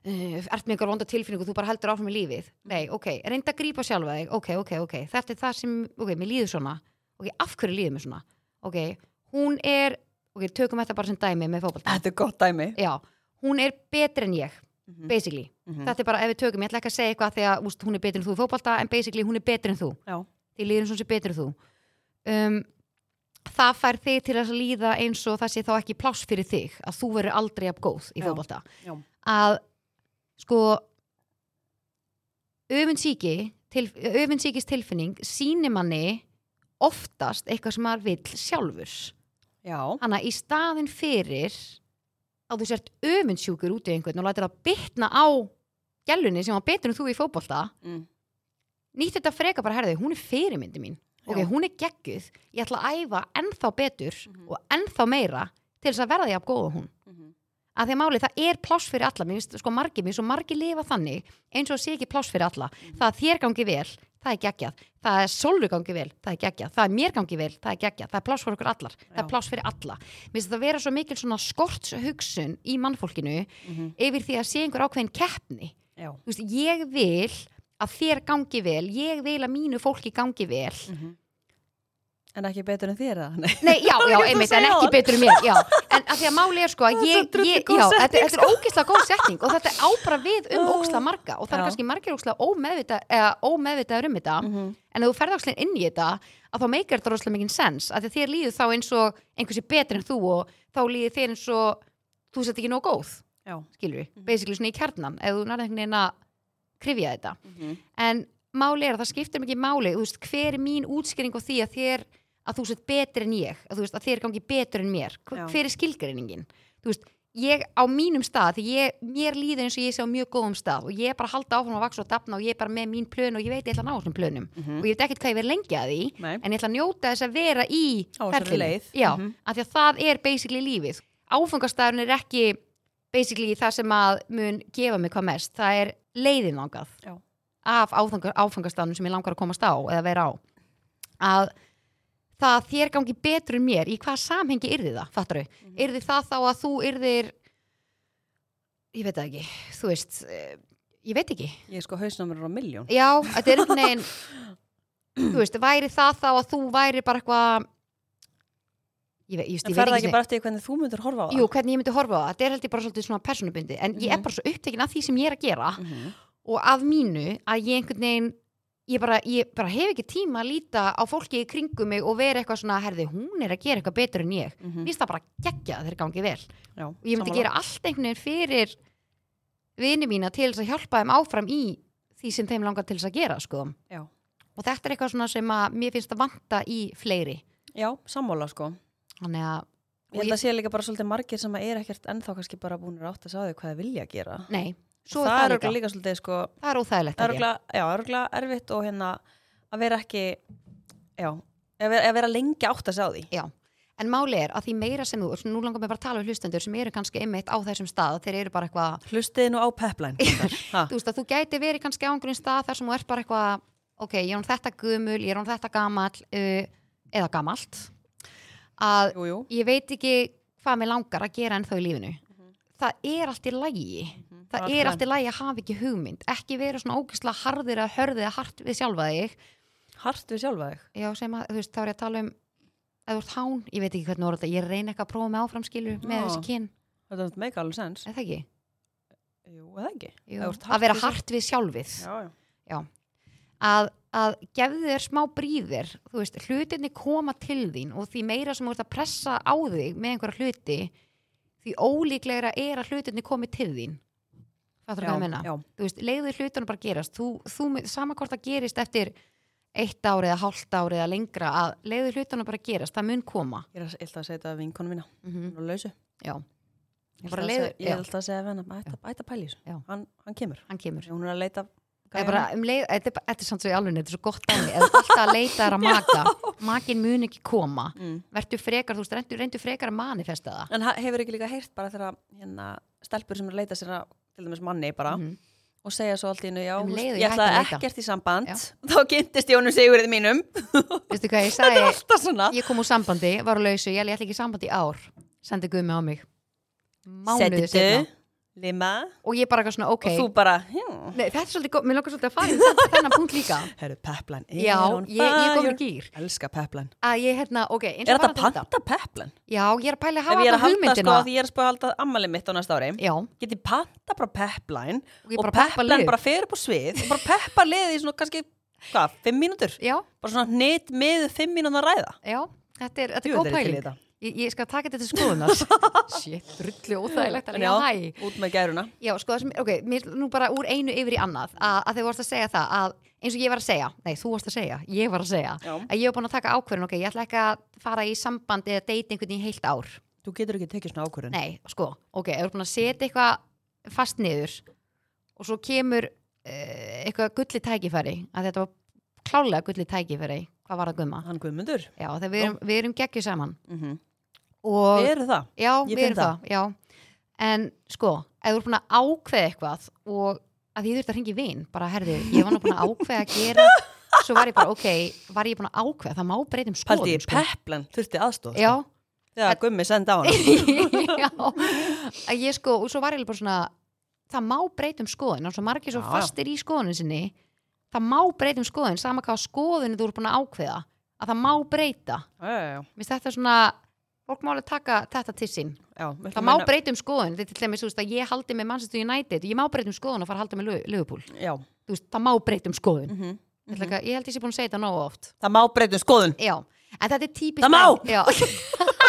Speaker 2: uh, ert með einhver vonda tilfinningu, þú bara heldur áfram í lífið nei, ok, reynda að grípa sjálfa þig ok, ok, ok, þetta er það sem, ok, mér líður svona ok, af hverju líður mér svona ok, hún er, ok, tökum þetta bara sem dæmi með fótbolta,
Speaker 1: þetta er gott dæmi
Speaker 2: já hún er betri en ég,
Speaker 1: Mhm.
Speaker 2: basically
Speaker 1: Mhm.
Speaker 2: þetta er bara, ef við tökum, ég ætla ekki að segja eitthvað þegar úst, hún er betri en þú í fótbolta, en basically hún er betri en þú
Speaker 1: Já.
Speaker 2: því líður eins og hún sé betri en þú um, það fær þig til að líða eins og það sé þá ekki pláss fyrir þig að þú verður aldrei af góð í
Speaker 1: Já.
Speaker 2: fótbolta
Speaker 1: Já.
Speaker 2: að sko öfundsíki til, öfundsíkis tilfinning sýnir manni oftast eitthvað sem maður vill sjálfur
Speaker 1: Já,
Speaker 2: Þannig að í staðin fyrir að þú sért öfundsjúkur út í einhvern og lætir það bitna á gælunni sem var betur en þú í fótbolta
Speaker 1: mm.
Speaker 2: nýtt þetta freka bara herði, hún er fyrirmyndi mín ok,
Speaker 1: Já.
Speaker 2: hún er gegguð, ég ætla að æfa ennþá betur
Speaker 1: Mhm.
Speaker 2: og ennþá meira til þess að verða ég af góða hún
Speaker 1: Mhm.
Speaker 2: að því að málið, það er pláss fyrir alla mér finnst sko margir, mér finnst svo margir lifa þannig eins og það sé ekki pláss fyrir alla það að þér gangi vel, það er geggjað það er sólu gangi vel, það er geggjað það er mér gangi vel, það er geggjað, það er pláss fyrir okkur allar það er
Speaker 1: Já.
Speaker 2: pláss fyrir alla mér finnst það vera svo mikil svona skortshugsun í mannfólkinu
Speaker 1: Mhm.
Speaker 2: yfir því að sé einhver ákveðin keppni
Speaker 1: já.
Speaker 2: Þú veist, ég vil að þér gangi vel ég vil að mínu fólki gangi vel
Speaker 1: Mhm. En ekki betur en þér það? Nei.
Speaker 2: Nei, já, já,
Speaker 1: ég ætla að
Speaker 2: einmitt,
Speaker 1: segja
Speaker 2: en ekki
Speaker 1: áðan.
Speaker 2: betur en mér já. En að því að máli er sko að
Speaker 1: Það er
Speaker 2: ég,
Speaker 1: svo drullu
Speaker 2: ég
Speaker 1: góð
Speaker 2: já, þetta,
Speaker 1: setning,
Speaker 2: þetta er ógeðslega góð setning og þetta á bara við um ógeðslega marga og það er
Speaker 1: Já.
Speaker 2: kannski margir ógeðslega ómeðvita, eða ómeðvitaður um þetta
Speaker 1: Mhm.
Speaker 2: en ef þú ferð ákslega inn í þetta að þá meikar þetta rosalega mikinn sens að því að þér líður þá eins og einhversi betri en þú og þá líður þér eins og þú sett ekki nóg góð,
Speaker 1: Já.
Speaker 2: skilur
Speaker 1: Mm.
Speaker 2: við basically svona í kjarnan, ef þú nærðið einhvern veginn að krifja þetta
Speaker 1: Mhm.
Speaker 2: en máli er að það skiptir mikið máli þú veist, hver er mín útskýring á því að þér að þú sett betri en ég að, þú veist, að þér gangi betur en mér Hver,
Speaker 1: Já.
Speaker 2: hver er skilgreiningin Þú veist, ég á mínum stað því ég, mér líður eins og ég sé á mjög góðum stað og ég er bara að halda áfram að vaksa og dafna og ég er bara með mín plön og ég veit ég ætla að ná þessum plönum
Speaker 1: Mhm.
Speaker 2: og ég veit ekkert hvað ég verð lengi að því
Speaker 1: Nei.
Speaker 2: en ég ætla að njóta þess að vera í
Speaker 1: Á þessari
Speaker 2: ferlinu.
Speaker 1: leið.
Speaker 2: Já,
Speaker 1: Mhm.
Speaker 2: af því að það er basically lífið áfangastæðurinn er ekki basically það sem að mun gefa mig hvað mest, það er leiðin langað
Speaker 1: Já.
Speaker 2: af áfanga, áfangastæðunum sem ég langar að komast á eða vera á að það að þér gangi betur en mér í hvaða samhengi yrði það, fattar þau
Speaker 1: Mhm.
Speaker 2: yrði það þá að þú yrðir ég veit það ekki, þú veist eh, ég veit ekki
Speaker 1: Ég er sko hausnumur á miljón.
Speaker 2: Já, þetta er einhvern veginn Þú veist, væri það þá að þú væri bara eitthvað Ég veit, just,
Speaker 1: En
Speaker 2: ég veit
Speaker 1: ferða
Speaker 2: ekki
Speaker 1: ekki
Speaker 2: sinni-
Speaker 1: bara eftir því hvernig þú myndir horfa á það?
Speaker 2: Jú, hvernig ég myndi horfa á það, þetta er heldur bara svolítið svona personubundi En ég er
Speaker 1: Mhm.
Speaker 2: bara svo upptekin af því sem ég er að gera
Speaker 1: Mhm.
Speaker 2: Og af mínu að ég einhvern veginn Ég bara, ég bara hef ekki tíma að líta á fólki í kringum mig og vera eitthvað svona, herði, hún er að gera eitthvað betur en ég.
Speaker 1: Mhm.
Speaker 2: Mér finnst það bara geggja að þeir gangi vel.
Speaker 1: Já,
Speaker 2: Og ég myndi
Speaker 1: sammála.
Speaker 2: gera allt einhvern veginn fyrir vini mína til þess að hjálpa þeim áfram í því sem þeim langar til þess að gera, sko.
Speaker 1: Já,
Speaker 2: og þetta er eitthvað svona sem að mér finnst að vanta í fleiri
Speaker 1: já sammála sko.
Speaker 2: þannig að,
Speaker 1: Ég held að sé líka bara svolítið margir sem að er ekkert ennþá kannski bara búinir átt að sjá þau hvað þau vilja gera.
Speaker 2: nei, Mm, svo
Speaker 1: það
Speaker 2: er það
Speaker 1: örugglega
Speaker 2: líka
Speaker 1: líka svolítið sko,
Speaker 2: það er óþægilegt
Speaker 1: það
Speaker 2: held
Speaker 1: er
Speaker 2: ég.
Speaker 1: örugglega- já, örgulega erfitt og hérna að vera ekki, já, að vera, að vera lengi átt að sjá því.
Speaker 2: Já, en máli er að því meira sem þú, og nú langar mér bara að tala um hlustendur sem eru kannski einmitt á þessum stað, þeir eru bara eitthvað
Speaker 1: Hlustiði nú á pepline.
Speaker 2: þú veist að þú gæti verið kannski á einhverjum stað þar sem þú ert bara eitthvað, ok, ég er hún þetta gumul ég er hún þetta gamall uh, eða gamalt að
Speaker 1: jú, jú.
Speaker 2: ég veit ekki hvað mér langar að gera ennþá í lífinu
Speaker 1: Mhm.
Speaker 2: það er allt í lægi það
Speaker 1: Það er allt í
Speaker 2: er allt í lægi að hafa ekki hugmynd ekki vera svona ógeðslega harðir að hörðið að hart við sjálfa þig
Speaker 1: Hart við sjálfa þig.
Speaker 2: já, sem að, þú veist, þá er ég að tala um að þú ert hán, ég veit ekki hvernig orða þetta ég reyna eitthvað að prófa með áframskilu með
Speaker 1: Já.
Speaker 2: þessi kyn,
Speaker 1: Þetta er meika alveg sens.
Speaker 2: er það ekki?
Speaker 1: Jú, eða ekki.
Speaker 2: Jú.
Speaker 1: Ef þú ert
Speaker 2: að vera
Speaker 1: við sjálf-
Speaker 2: hart við sjálfið
Speaker 1: Já, já.
Speaker 2: að, að gefðu þér smá bríðir þú veist, hlutinni koma til þín og því meira sem þú ert að pressa á þig með einhverja hluti því ólíklegra er að hlutinni komi til þín það þarf að menna
Speaker 1: já,
Speaker 2: þú veist, leiðu hlutunum bara gerast þú, þú mun- sama hvort það gerist eftir eitt ár eða hálft ár eða lengra að leiðu hlutunum bara gerast, það mun koma
Speaker 1: ég er að- ég ætla að segja þetta að vinkonu mína, hún
Speaker 2: mm
Speaker 1: er á lausu.
Speaker 2: já,
Speaker 1: Ég
Speaker 2: Bara
Speaker 1: ætla að
Speaker 2: leiður-
Speaker 1: segja- Mhm. ég
Speaker 2: já.
Speaker 1: ætla að segja við hennar, ætta, ætta pæli í
Speaker 2: Já.
Speaker 1: þessu, hann, hann kemur.
Speaker 2: hann kemur
Speaker 1: Hún er að leita
Speaker 2: Það er bara um leið, þetta er bara- þetta er samt svo í alveg þetta er svo gott dæmi, ef þú ert alltaf að leita þér að maka makin mun ekki koma
Speaker 1: Mm.
Speaker 2: verður frekar, þú veist, reyndu, reyndu frekar að manifesta það
Speaker 1: En ha- hefur ekki líka heyrt bara þegar að, hérna, stelpur sem er að leita sér að, til dæmis manni bara,
Speaker 2: Mhm.
Speaker 1: og segja svo allt í hennu, já,
Speaker 2: Um
Speaker 1: þú veist,
Speaker 2: leið
Speaker 1: ég
Speaker 2: og ég hætti
Speaker 1: ætlaði
Speaker 2: að leita.
Speaker 1: ekkert í samband,
Speaker 2: Já.
Speaker 1: þá kynntist Jónu Sigurði mínum.
Speaker 2: veistu hvað
Speaker 1: Þetta
Speaker 2: ég
Speaker 1: er
Speaker 2: sagði,
Speaker 1: alltaf svona.
Speaker 2: Eh, ég kom úr sambandi var á lausu, ég, ég ætla ekki í sambandi í ár sendi guðmi á mig mánuðu
Speaker 1: Settu,
Speaker 2: setna
Speaker 1: lima,
Speaker 2: og ég bara eitthvað svona, ok
Speaker 1: og þú bara, já,
Speaker 2: Nei, þetta er svolítið góð, mér langar svolítið að fara í þetta- þennan punkt líka
Speaker 1: herru, peplan,
Speaker 2: Já, ég, ég kom í gýr
Speaker 1: Elska peplan.
Speaker 2: að ég, hérna, ok, eins
Speaker 1: Er
Speaker 2: og
Speaker 1: þetta
Speaker 2: bara þetta
Speaker 1: panta peplan?
Speaker 2: Já, ég er að pæla að
Speaker 1: Ef
Speaker 2: hafa
Speaker 1: ég er
Speaker 2: alla
Speaker 1: að halda sko
Speaker 2: hugmyndina
Speaker 1: að ég er að spöða að halda ammali mitt á næsta ári
Speaker 2: Já,
Speaker 1: get ég panta bara pepline
Speaker 2: Og ég
Speaker 1: og
Speaker 2: bara peppa
Speaker 1: pepline
Speaker 2: lið.
Speaker 1: bara fer upp á svið og bara peppa liðið í svona kannski hvað, fimm mínútur
Speaker 2: já,
Speaker 1: bara svona nýtt með fimm mínútur að ræða
Speaker 2: já Þetta er, þetta er
Speaker 1: Jú,
Speaker 2: góð
Speaker 1: þetta er til í
Speaker 2: pæling
Speaker 1: þetta.
Speaker 2: ég, ég skal taka þetta til skoðunar Shit, drullu óþægilegt
Speaker 1: En
Speaker 2: að líka hæ
Speaker 1: út með gæruna
Speaker 2: Já, sko, það sem, ok, mér, nú bara úr einu yfir í annað að, að þau varst að segja það að eins og ég var að segja, nei, þú varst að segja, ég var að segja
Speaker 1: Já.
Speaker 2: að ég var búin að taka ákvörðin, ok, ég ætla ekki að fara í samband eða deyta einhvern í heilt ár
Speaker 1: þú getur ekki tekið svona ákvörðin
Speaker 2: Nei, sko, ok, ef þú er búin að setja eitthvað fast niður og svo kemur uh, eitthvað gulli tækifæri, að þetta var klálega gulli tækifæri, hvað var það gumma?
Speaker 1: hann guðmundur
Speaker 2: Já, þegar við erum, við erum geggju saman
Speaker 1: mm -hmm.
Speaker 2: og
Speaker 1: við erum það
Speaker 2: já,
Speaker 1: Ég
Speaker 2: við
Speaker 1: finn
Speaker 2: erum það, já en sko, ef þú er búin að ákveða eitthvað og að ég þurfti að ringi vin bara, herðu, ég var nú búin að ákveða að gera svo var ég bara, ok, var ég búin að ákveða það má breytum skoðum,
Speaker 1: paldi peplan þurfti aðstóð
Speaker 2: sko. já,
Speaker 1: þegar gummi senda á hann
Speaker 2: já, að ég sko og svo var ég alveg bara svona það má breytum skoðun, þannig að margir svo
Speaker 1: Já, já.
Speaker 2: fastir í skoðunin sinni það má breytum skoðun, sama hvað skoðun þú eru búin að ákveða, að það má breyta
Speaker 1: já, já, já.
Speaker 2: minnst þetta svona fólk má alveg taka þetta til sín
Speaker 1: Já, við ætlum
Speaker 2: það má
Speaker 1: að meina-
Speaker 2: breytum skoðun, þetta er til dæmis þú veist, að ég haldi með Manchester United, ég má breytum skoðun og fara að haldi með Liverpool,
Speaker 1: já.
Speaker 2: þú veist, það má breytum skoðun
Speaker 1: Mm -hmm.
Speaker 2: mm -hmm. ég held ég sé búin að segja þetta nógu oft
Speaker 1: það má breytum skoðun
Speaker 2: Já, en þetta er típist
Speaker 1: Það má!
Speaker 2: Já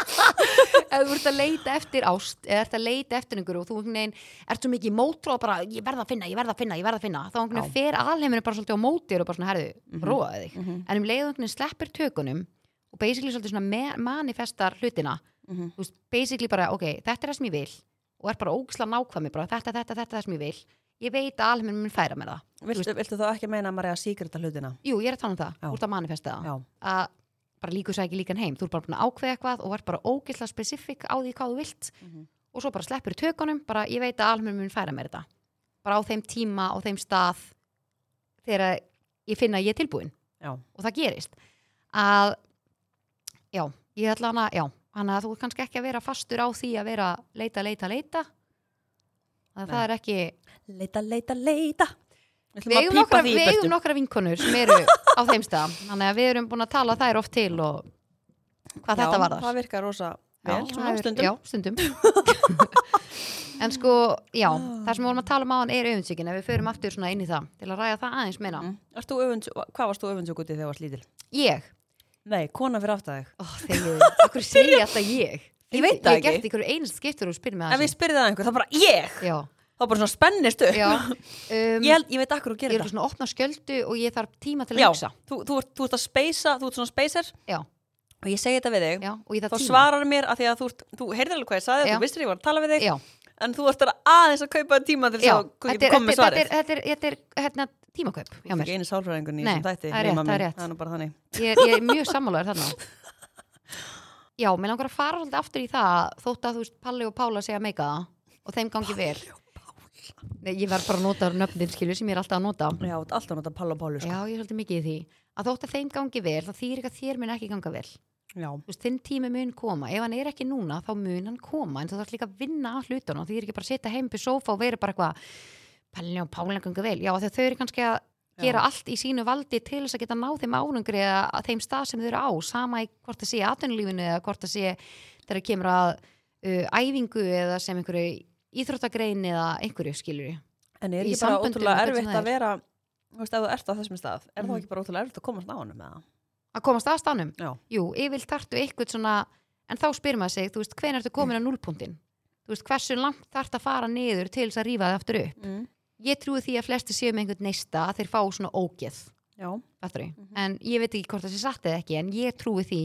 Speaker 2: Ef þú ert að leita eftir ást eða ert að leita eftir einhverju og þú einhvern veginn ert svo mikið í mótrú og bara ég verða að finna, ég verða að finna, ég verða að finna þá einhvern veginn fer alheiminu bara svolítið á mótir og bara svona herðu,
Speaker 1: Mhm.
Speaker 2: mm róaði þig en um leið og einhvern veginn sleppir tökunum og basically svolítið svona me- manifestar hlutina
Speaker 1: Mhm.
Speaker 2: þú veist, basically bara ok, þetta er það sem ég vil og er bara ógsla nákvæmi bara þetta, þetta, þetta, er það sem ég vil ég veit að alheiminu mun færa mér það
Speaker 1: viltu, viltu þá ekki meina að maður er að síkrita hlutina
Speaker 2: Jú, ég er að tala um það,
Speaker 1: Já.
Speaker 2: úr það manifesta það
Speaker 1: já,
Speaker 2: að bara líkur sæki líkan heim þú er bara búin að ákveða eitthvað og er bara ógislega spesifik á því hvað þú vilt
Speaker 1: Mhm.
Speaker 2: og svo bara sleppur í tökunum, bara ég veit að almenn mun færa mér þetta, bara á þeim tíma á þeim stað þegar ég finna að ég er tilbúin
Speaker 1: já,
Speaker 2: og það gerist að já, ég ætla hana já, hann að þú er kannski ekki að vera fastur á því að vera leita, leita, leita að það er ekki
Speaker 1: leita, leita, leita Við ætlum
Speaker 2: við
Speaker 1: að
Speaker 2: eigum,
Speaker 1: pípa
Speaker 2: nokkra,
Speaker 1: því í
Speaker 2: við
Speaker 1: burtu.
Speaker 2: eigum nokkra vinkonur sem eru á þeim stað þannig að við erum búin að tala þær oft til og hvað þetta var
Speaker 1: það virkar rosa vel, svona stundum
Speaker 2: já, stundum en sko, já, það sem við vorum að tala um á hann er auðvinsíkin, ef við förum aftur svona inn í það til að ræða það aðeins meina
Speaker 1: Mm. Varst þú öfunds- Hvað varst þú öfundsjúk úti þegar þú varst lítil?
Speaker 2: ég,
Speaker 1: Nei, kona fyrir aftar þig
Speaker 2: ó, þegar, okkur segja alltaf ég
Speaker 1: Ég veit það
Speaker 2: það
Speaker 1: ekki.
Speaker 2: ég gert ykkur einst skiptur og spyr mig
Speaker 1: Ef ég
Speaker 2: aðeins
Speaker 1: spyrði það einhver, þá bara ég
Speaker 2: já,
Speaker 1: Þá bara svona spennist upp
Speaker 2: já um,
Speaker 1: ég, held, ég veit akkur þú
Speaker 2: ég er
Speaker 1: gerir
Speaker 2: eitthvað
Speaker 1: þetta
Speaker 2: svona að opna skjöldu og ég þarf tíma til að
Speaker 1: Já,
Speaker 2: hugsa
Speaker 1: þú, þú, ert, þú ert að speysa, þú ert svona speyser
Speaker 2: já,
Speaker 1: og ég segi þetta við þig
Speaker 2: já, og ég
Speaker 1: Þá
Speaker 2: þarf tíma
Speaker 1: svarar mér að því að þú, ert, þú heyrðir alveg hvað ég saði,
Speaker 2: Já.
Speaker 1: þú vissir ég var að tala við þig
Speaker 2: já,
Speaker 1: En þú ert að aðeins að kaupa tíma til þess
Speaker 2: já,
Speaker 1: að
Speaker 2: þetta er-
Speaker 1: koma með
Speaker 2: þetta
Speaker 1: svarið
Speaker 2: er- þetta er- þetta er hérna tímakaup hjá
Speaker 1: Þú ert
Speaker 2: mér
Speaker 1: ekki einu sálfræðingunni í
Speaker 2: Nei,
Speaker 1: þessum þætti
Speaker 2: það er rétt,
Speaker 1: Hilma
Speaker 2: það er
Speaker 1: mín.
Speaker 2: rétt. Mm.
Speaker 1: Það er nú bara þannig
Speaker 2: ég, er- ég er mjög sammálaður þannig já, mér langar að fara svolítið aftur í það þótt að þú veist Palli og Pála segja meika það og þeim gangi vel Nei, ég verð bara að nota nöfnin skilju sem ég er alltaf að nota
Speaker 1: Já, þú ert alltaf að nota pall og pálu sko.
Speaker 2: já, ég er svolítið mikið í því að þótt að þeim gangi vel, þá þýr ekki að þér mun ekki ganga vel þú
Speaker 1: Já,
Speaker 2: veist, þinn tími mun koma, ef hann er ekki núna þá mun hann koma, en þú þarf líka að vinna að hlutunum, því er ekki bara að setja heim byrð sófa og vera bara eitthvað, Palli og Pála gangi vel já, þegar þau eru kannski að gera allt í sínu valdi til þess að geta náð þeim ánungri eða að þeim stað sem þau eru á sama í hvort það sé í atvinnulífinu eða hvort það sé þegar kemur að uh, æfingu eða sem einhverju íþróttagrein eða einhverju skilur
Speaker 1: En er
Speaker 2: í
Speaker 1: ekki bara
Speaker 2: samböndum,
Speaker 1: ótrúlega
Speaker 2: hvernig
Speaker 1: erfitt
Speaker 2: það
Speaker 1: að vera þú veist, ef þú ert á þessum stað, er
Speaker 2: Mhm.
Speaker 1: þá ekki bara ótrúlega erfitt að komast á honum með það?
Speaker 2: að komast að stánum
Speaker 1: Já.
Speaker 2: Jú, yfirvilt þartu eitthvað svona en þá spyr maður sig, þú veist, hvenær ertu komin að núlpuntin þú veist, hversu langt þartu að fara niður til þess að rífa það aftur upp
Speaker 1: Mm.
Speaker 2: ég trúi því að flesti séu með einhvern neista að þeir fá svona ógeð
Speaker 1: Já.
Speaker 2: aftur í, en ég veit ekki hvort það sé satt eða ekki, en ég trúi því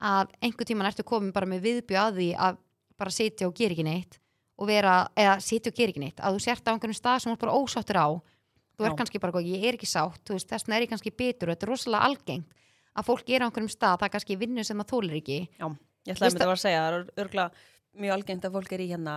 Speaker 2: að einhvern tíman ertu komin bara með viðbjöð að því að bara sitja og gera ekki neitt og vera, eða sitja og gera ekki neitt að þú sért á einhvern stað sem þú ert bara ósáttur á þú
Speaker 1: Já.
Speaker 2: er kannski bara, eitthvað, ég er ekki sátt þú veist, þessna er ég kannski bitur og þetta er rosalega algengt að fólk er á einhvernum stað, það er kannski vinnu sem það þólir ekki
Speaker 1: Ég ætlaði
Speaker 2: Veist
Speaker 1: mér að vera að segja, það er örgulega mjög algengt að fólk er í hérna,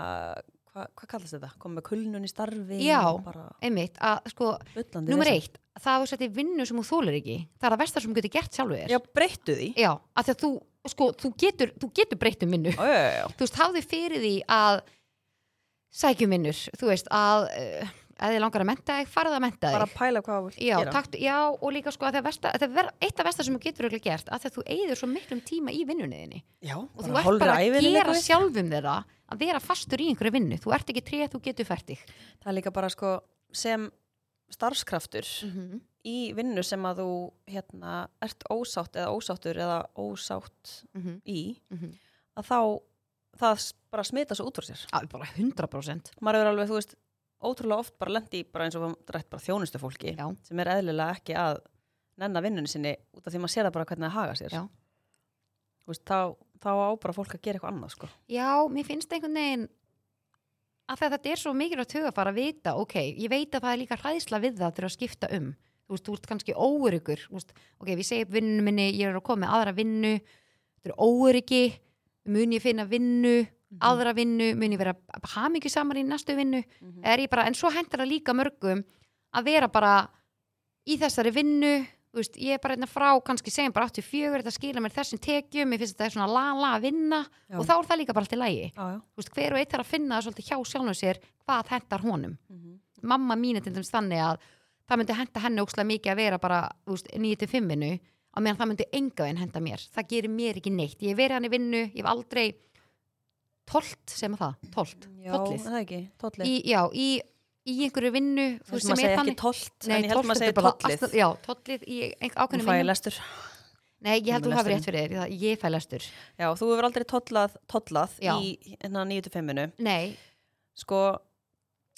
Speaker 1: hva, hvað kallast þetta? Komið með kulnun í starfi
Speaker 2: Já.
Speaker 1: og bara
Speaker 2: einmitt, að sko,
Speaker 1: bullandi.
Speaker 2: nummer
Speaker 1: vesen.
Speaker 2: eitt það að þú sett í vinnu sem þú þólir ekki það er að versta sem þú getur gert sjálfur þér
Speaker 1: Já, breyttu því.
Speaker 2: Já, af því að þú, sko, þú getur, þú getur breytt um vinnu
Speaker 1: Já, já, já, já.
Speaker 2: þú veist, hafðu fyrir því að sækjum vinnur, þú veist, að uh, að þið langar að menta þig, farðu að menta
Speaker 1: Bara
Speaker 2: þig
Speaker 1: pæla hvað þú vilt
Speaker 2: já,
Speaker 1: gera.
Speaker 2: takt, já, og líka sko að það, versta, að það ver, eitt af versta sem þú getur örugglega gert að þegar þú eigður svo miklum tíma í vinnunniðinni
Speaker 1: Já,
Speaker 2: og þú ert bara að gera sjálfum þeirra að vera fastur í einhverju vinnu, þú ert ekki treð, þú getur fært þig
Speaker 1: Það er líka bara sko sem starfskraftur
Speaker 2: Mm. Mhm,
Speaker 1: í vinnu sem að þú hérna, ert ósátt eða ósáttur eða ósátt í
Speaker 2: Mhm.
Speaker 1: að þá það s- bara smita svo út úr sér.
Speaker 2: Já, bara 100%
Speaker 1: Maður er alveg, þú veist, ótrúlega oft bara lendi í bara eins og við höfum rætt bara þjónustu fólki
Speaker 2: Já.
Speaker 1: sem er eðlilega ekki að nenna vinnunni sinni út af því maður sér það bara hvernig það haga sér.
Speaker 2: Já.
Speaker 1: Þú Veist, þá, þá á bara fólk að gera eitthvað annað sko.
Speaker 2: Já, mér finnst einhvern veginn að þegar þetta er svo mikilvægt hugafar að vita, ok, ég veit að það er líka hræðsla við það þegar að skipta um þú veist, þú ert kannski óöryggur þú veist, ok, við segjum upp vinnunum minni, ég er að koma með aðra vinnu þetta er óöryggi mun ég finna vinnu, aðra vinnu mun ég vera hamingi samar í næstu vinnu
Speaker 1: Mhm.
Speaker 2: er ég bara, en svo hendur það líka mörgum að vera bara í þessari vinnu þú veist, ég er bara einna frá, kannski segjum bara 84, þetta skila mér þessum tekjum, ég finnst þetta er svona la-la vinna
Speaker 1: Já.
Speaker 2: og þá er það líka bara allt í lagi
Speaker 1: Já, já.
Speaker 2: Þú veist, hver og eitt þarf að finna það svolítið hjá sjálfum sér hvað hendar honum mamma mín er til dæmis þannig að það myndi henda henni ókslega mikið að vera bara þú veist, 9-5-inu á meðan það myndi enga veginn henda mér það gerir mér ekki neitt, ég hef verið hann í vinnu ég hef aldrei tolt sem að það, tolt,
Speaker 1: Já,
Speaker 2: tollið
Speaker 1: er það ekki, tollið.
Speaker 2: í, já, í, í einhverju vinnu þú
Speaker 1: maður
Speaker 2: veist, sem
Speaker 1: segir
Speaker 2: er
Speaker 1: ekki
Speaker 2: þannig
Speaker 1: tollt,
Speaker 2: Nei,
Speaker 1: en ég held að maður
Speaker 2: tolt,
Speaker 1: segir
Speaker 2: þetta er bara
Speaker 1: tollið.
Speaker 2: allt- já, tollið í einhver
Speaker 1: Nú
Speaker 2: ákveðinu
Speaker 1: fæ ég
Speaker 2: vinnu
Speaker 1: lestur.
Speaker 2: nei, ég held
Speaker 1: með
Speaker 2: þú hafi
Speaker 1: lesturinn.
Speaker 2: rétt fyrir þér, ég- ég fæ lestur
Speaker 1: Já, þú hefur aldrei tollað, tollað
Speaker 2: Já.
Speaker 1: í hérna 9-5-inu.
Speaker 2: nei,
Speaker 1: Sko,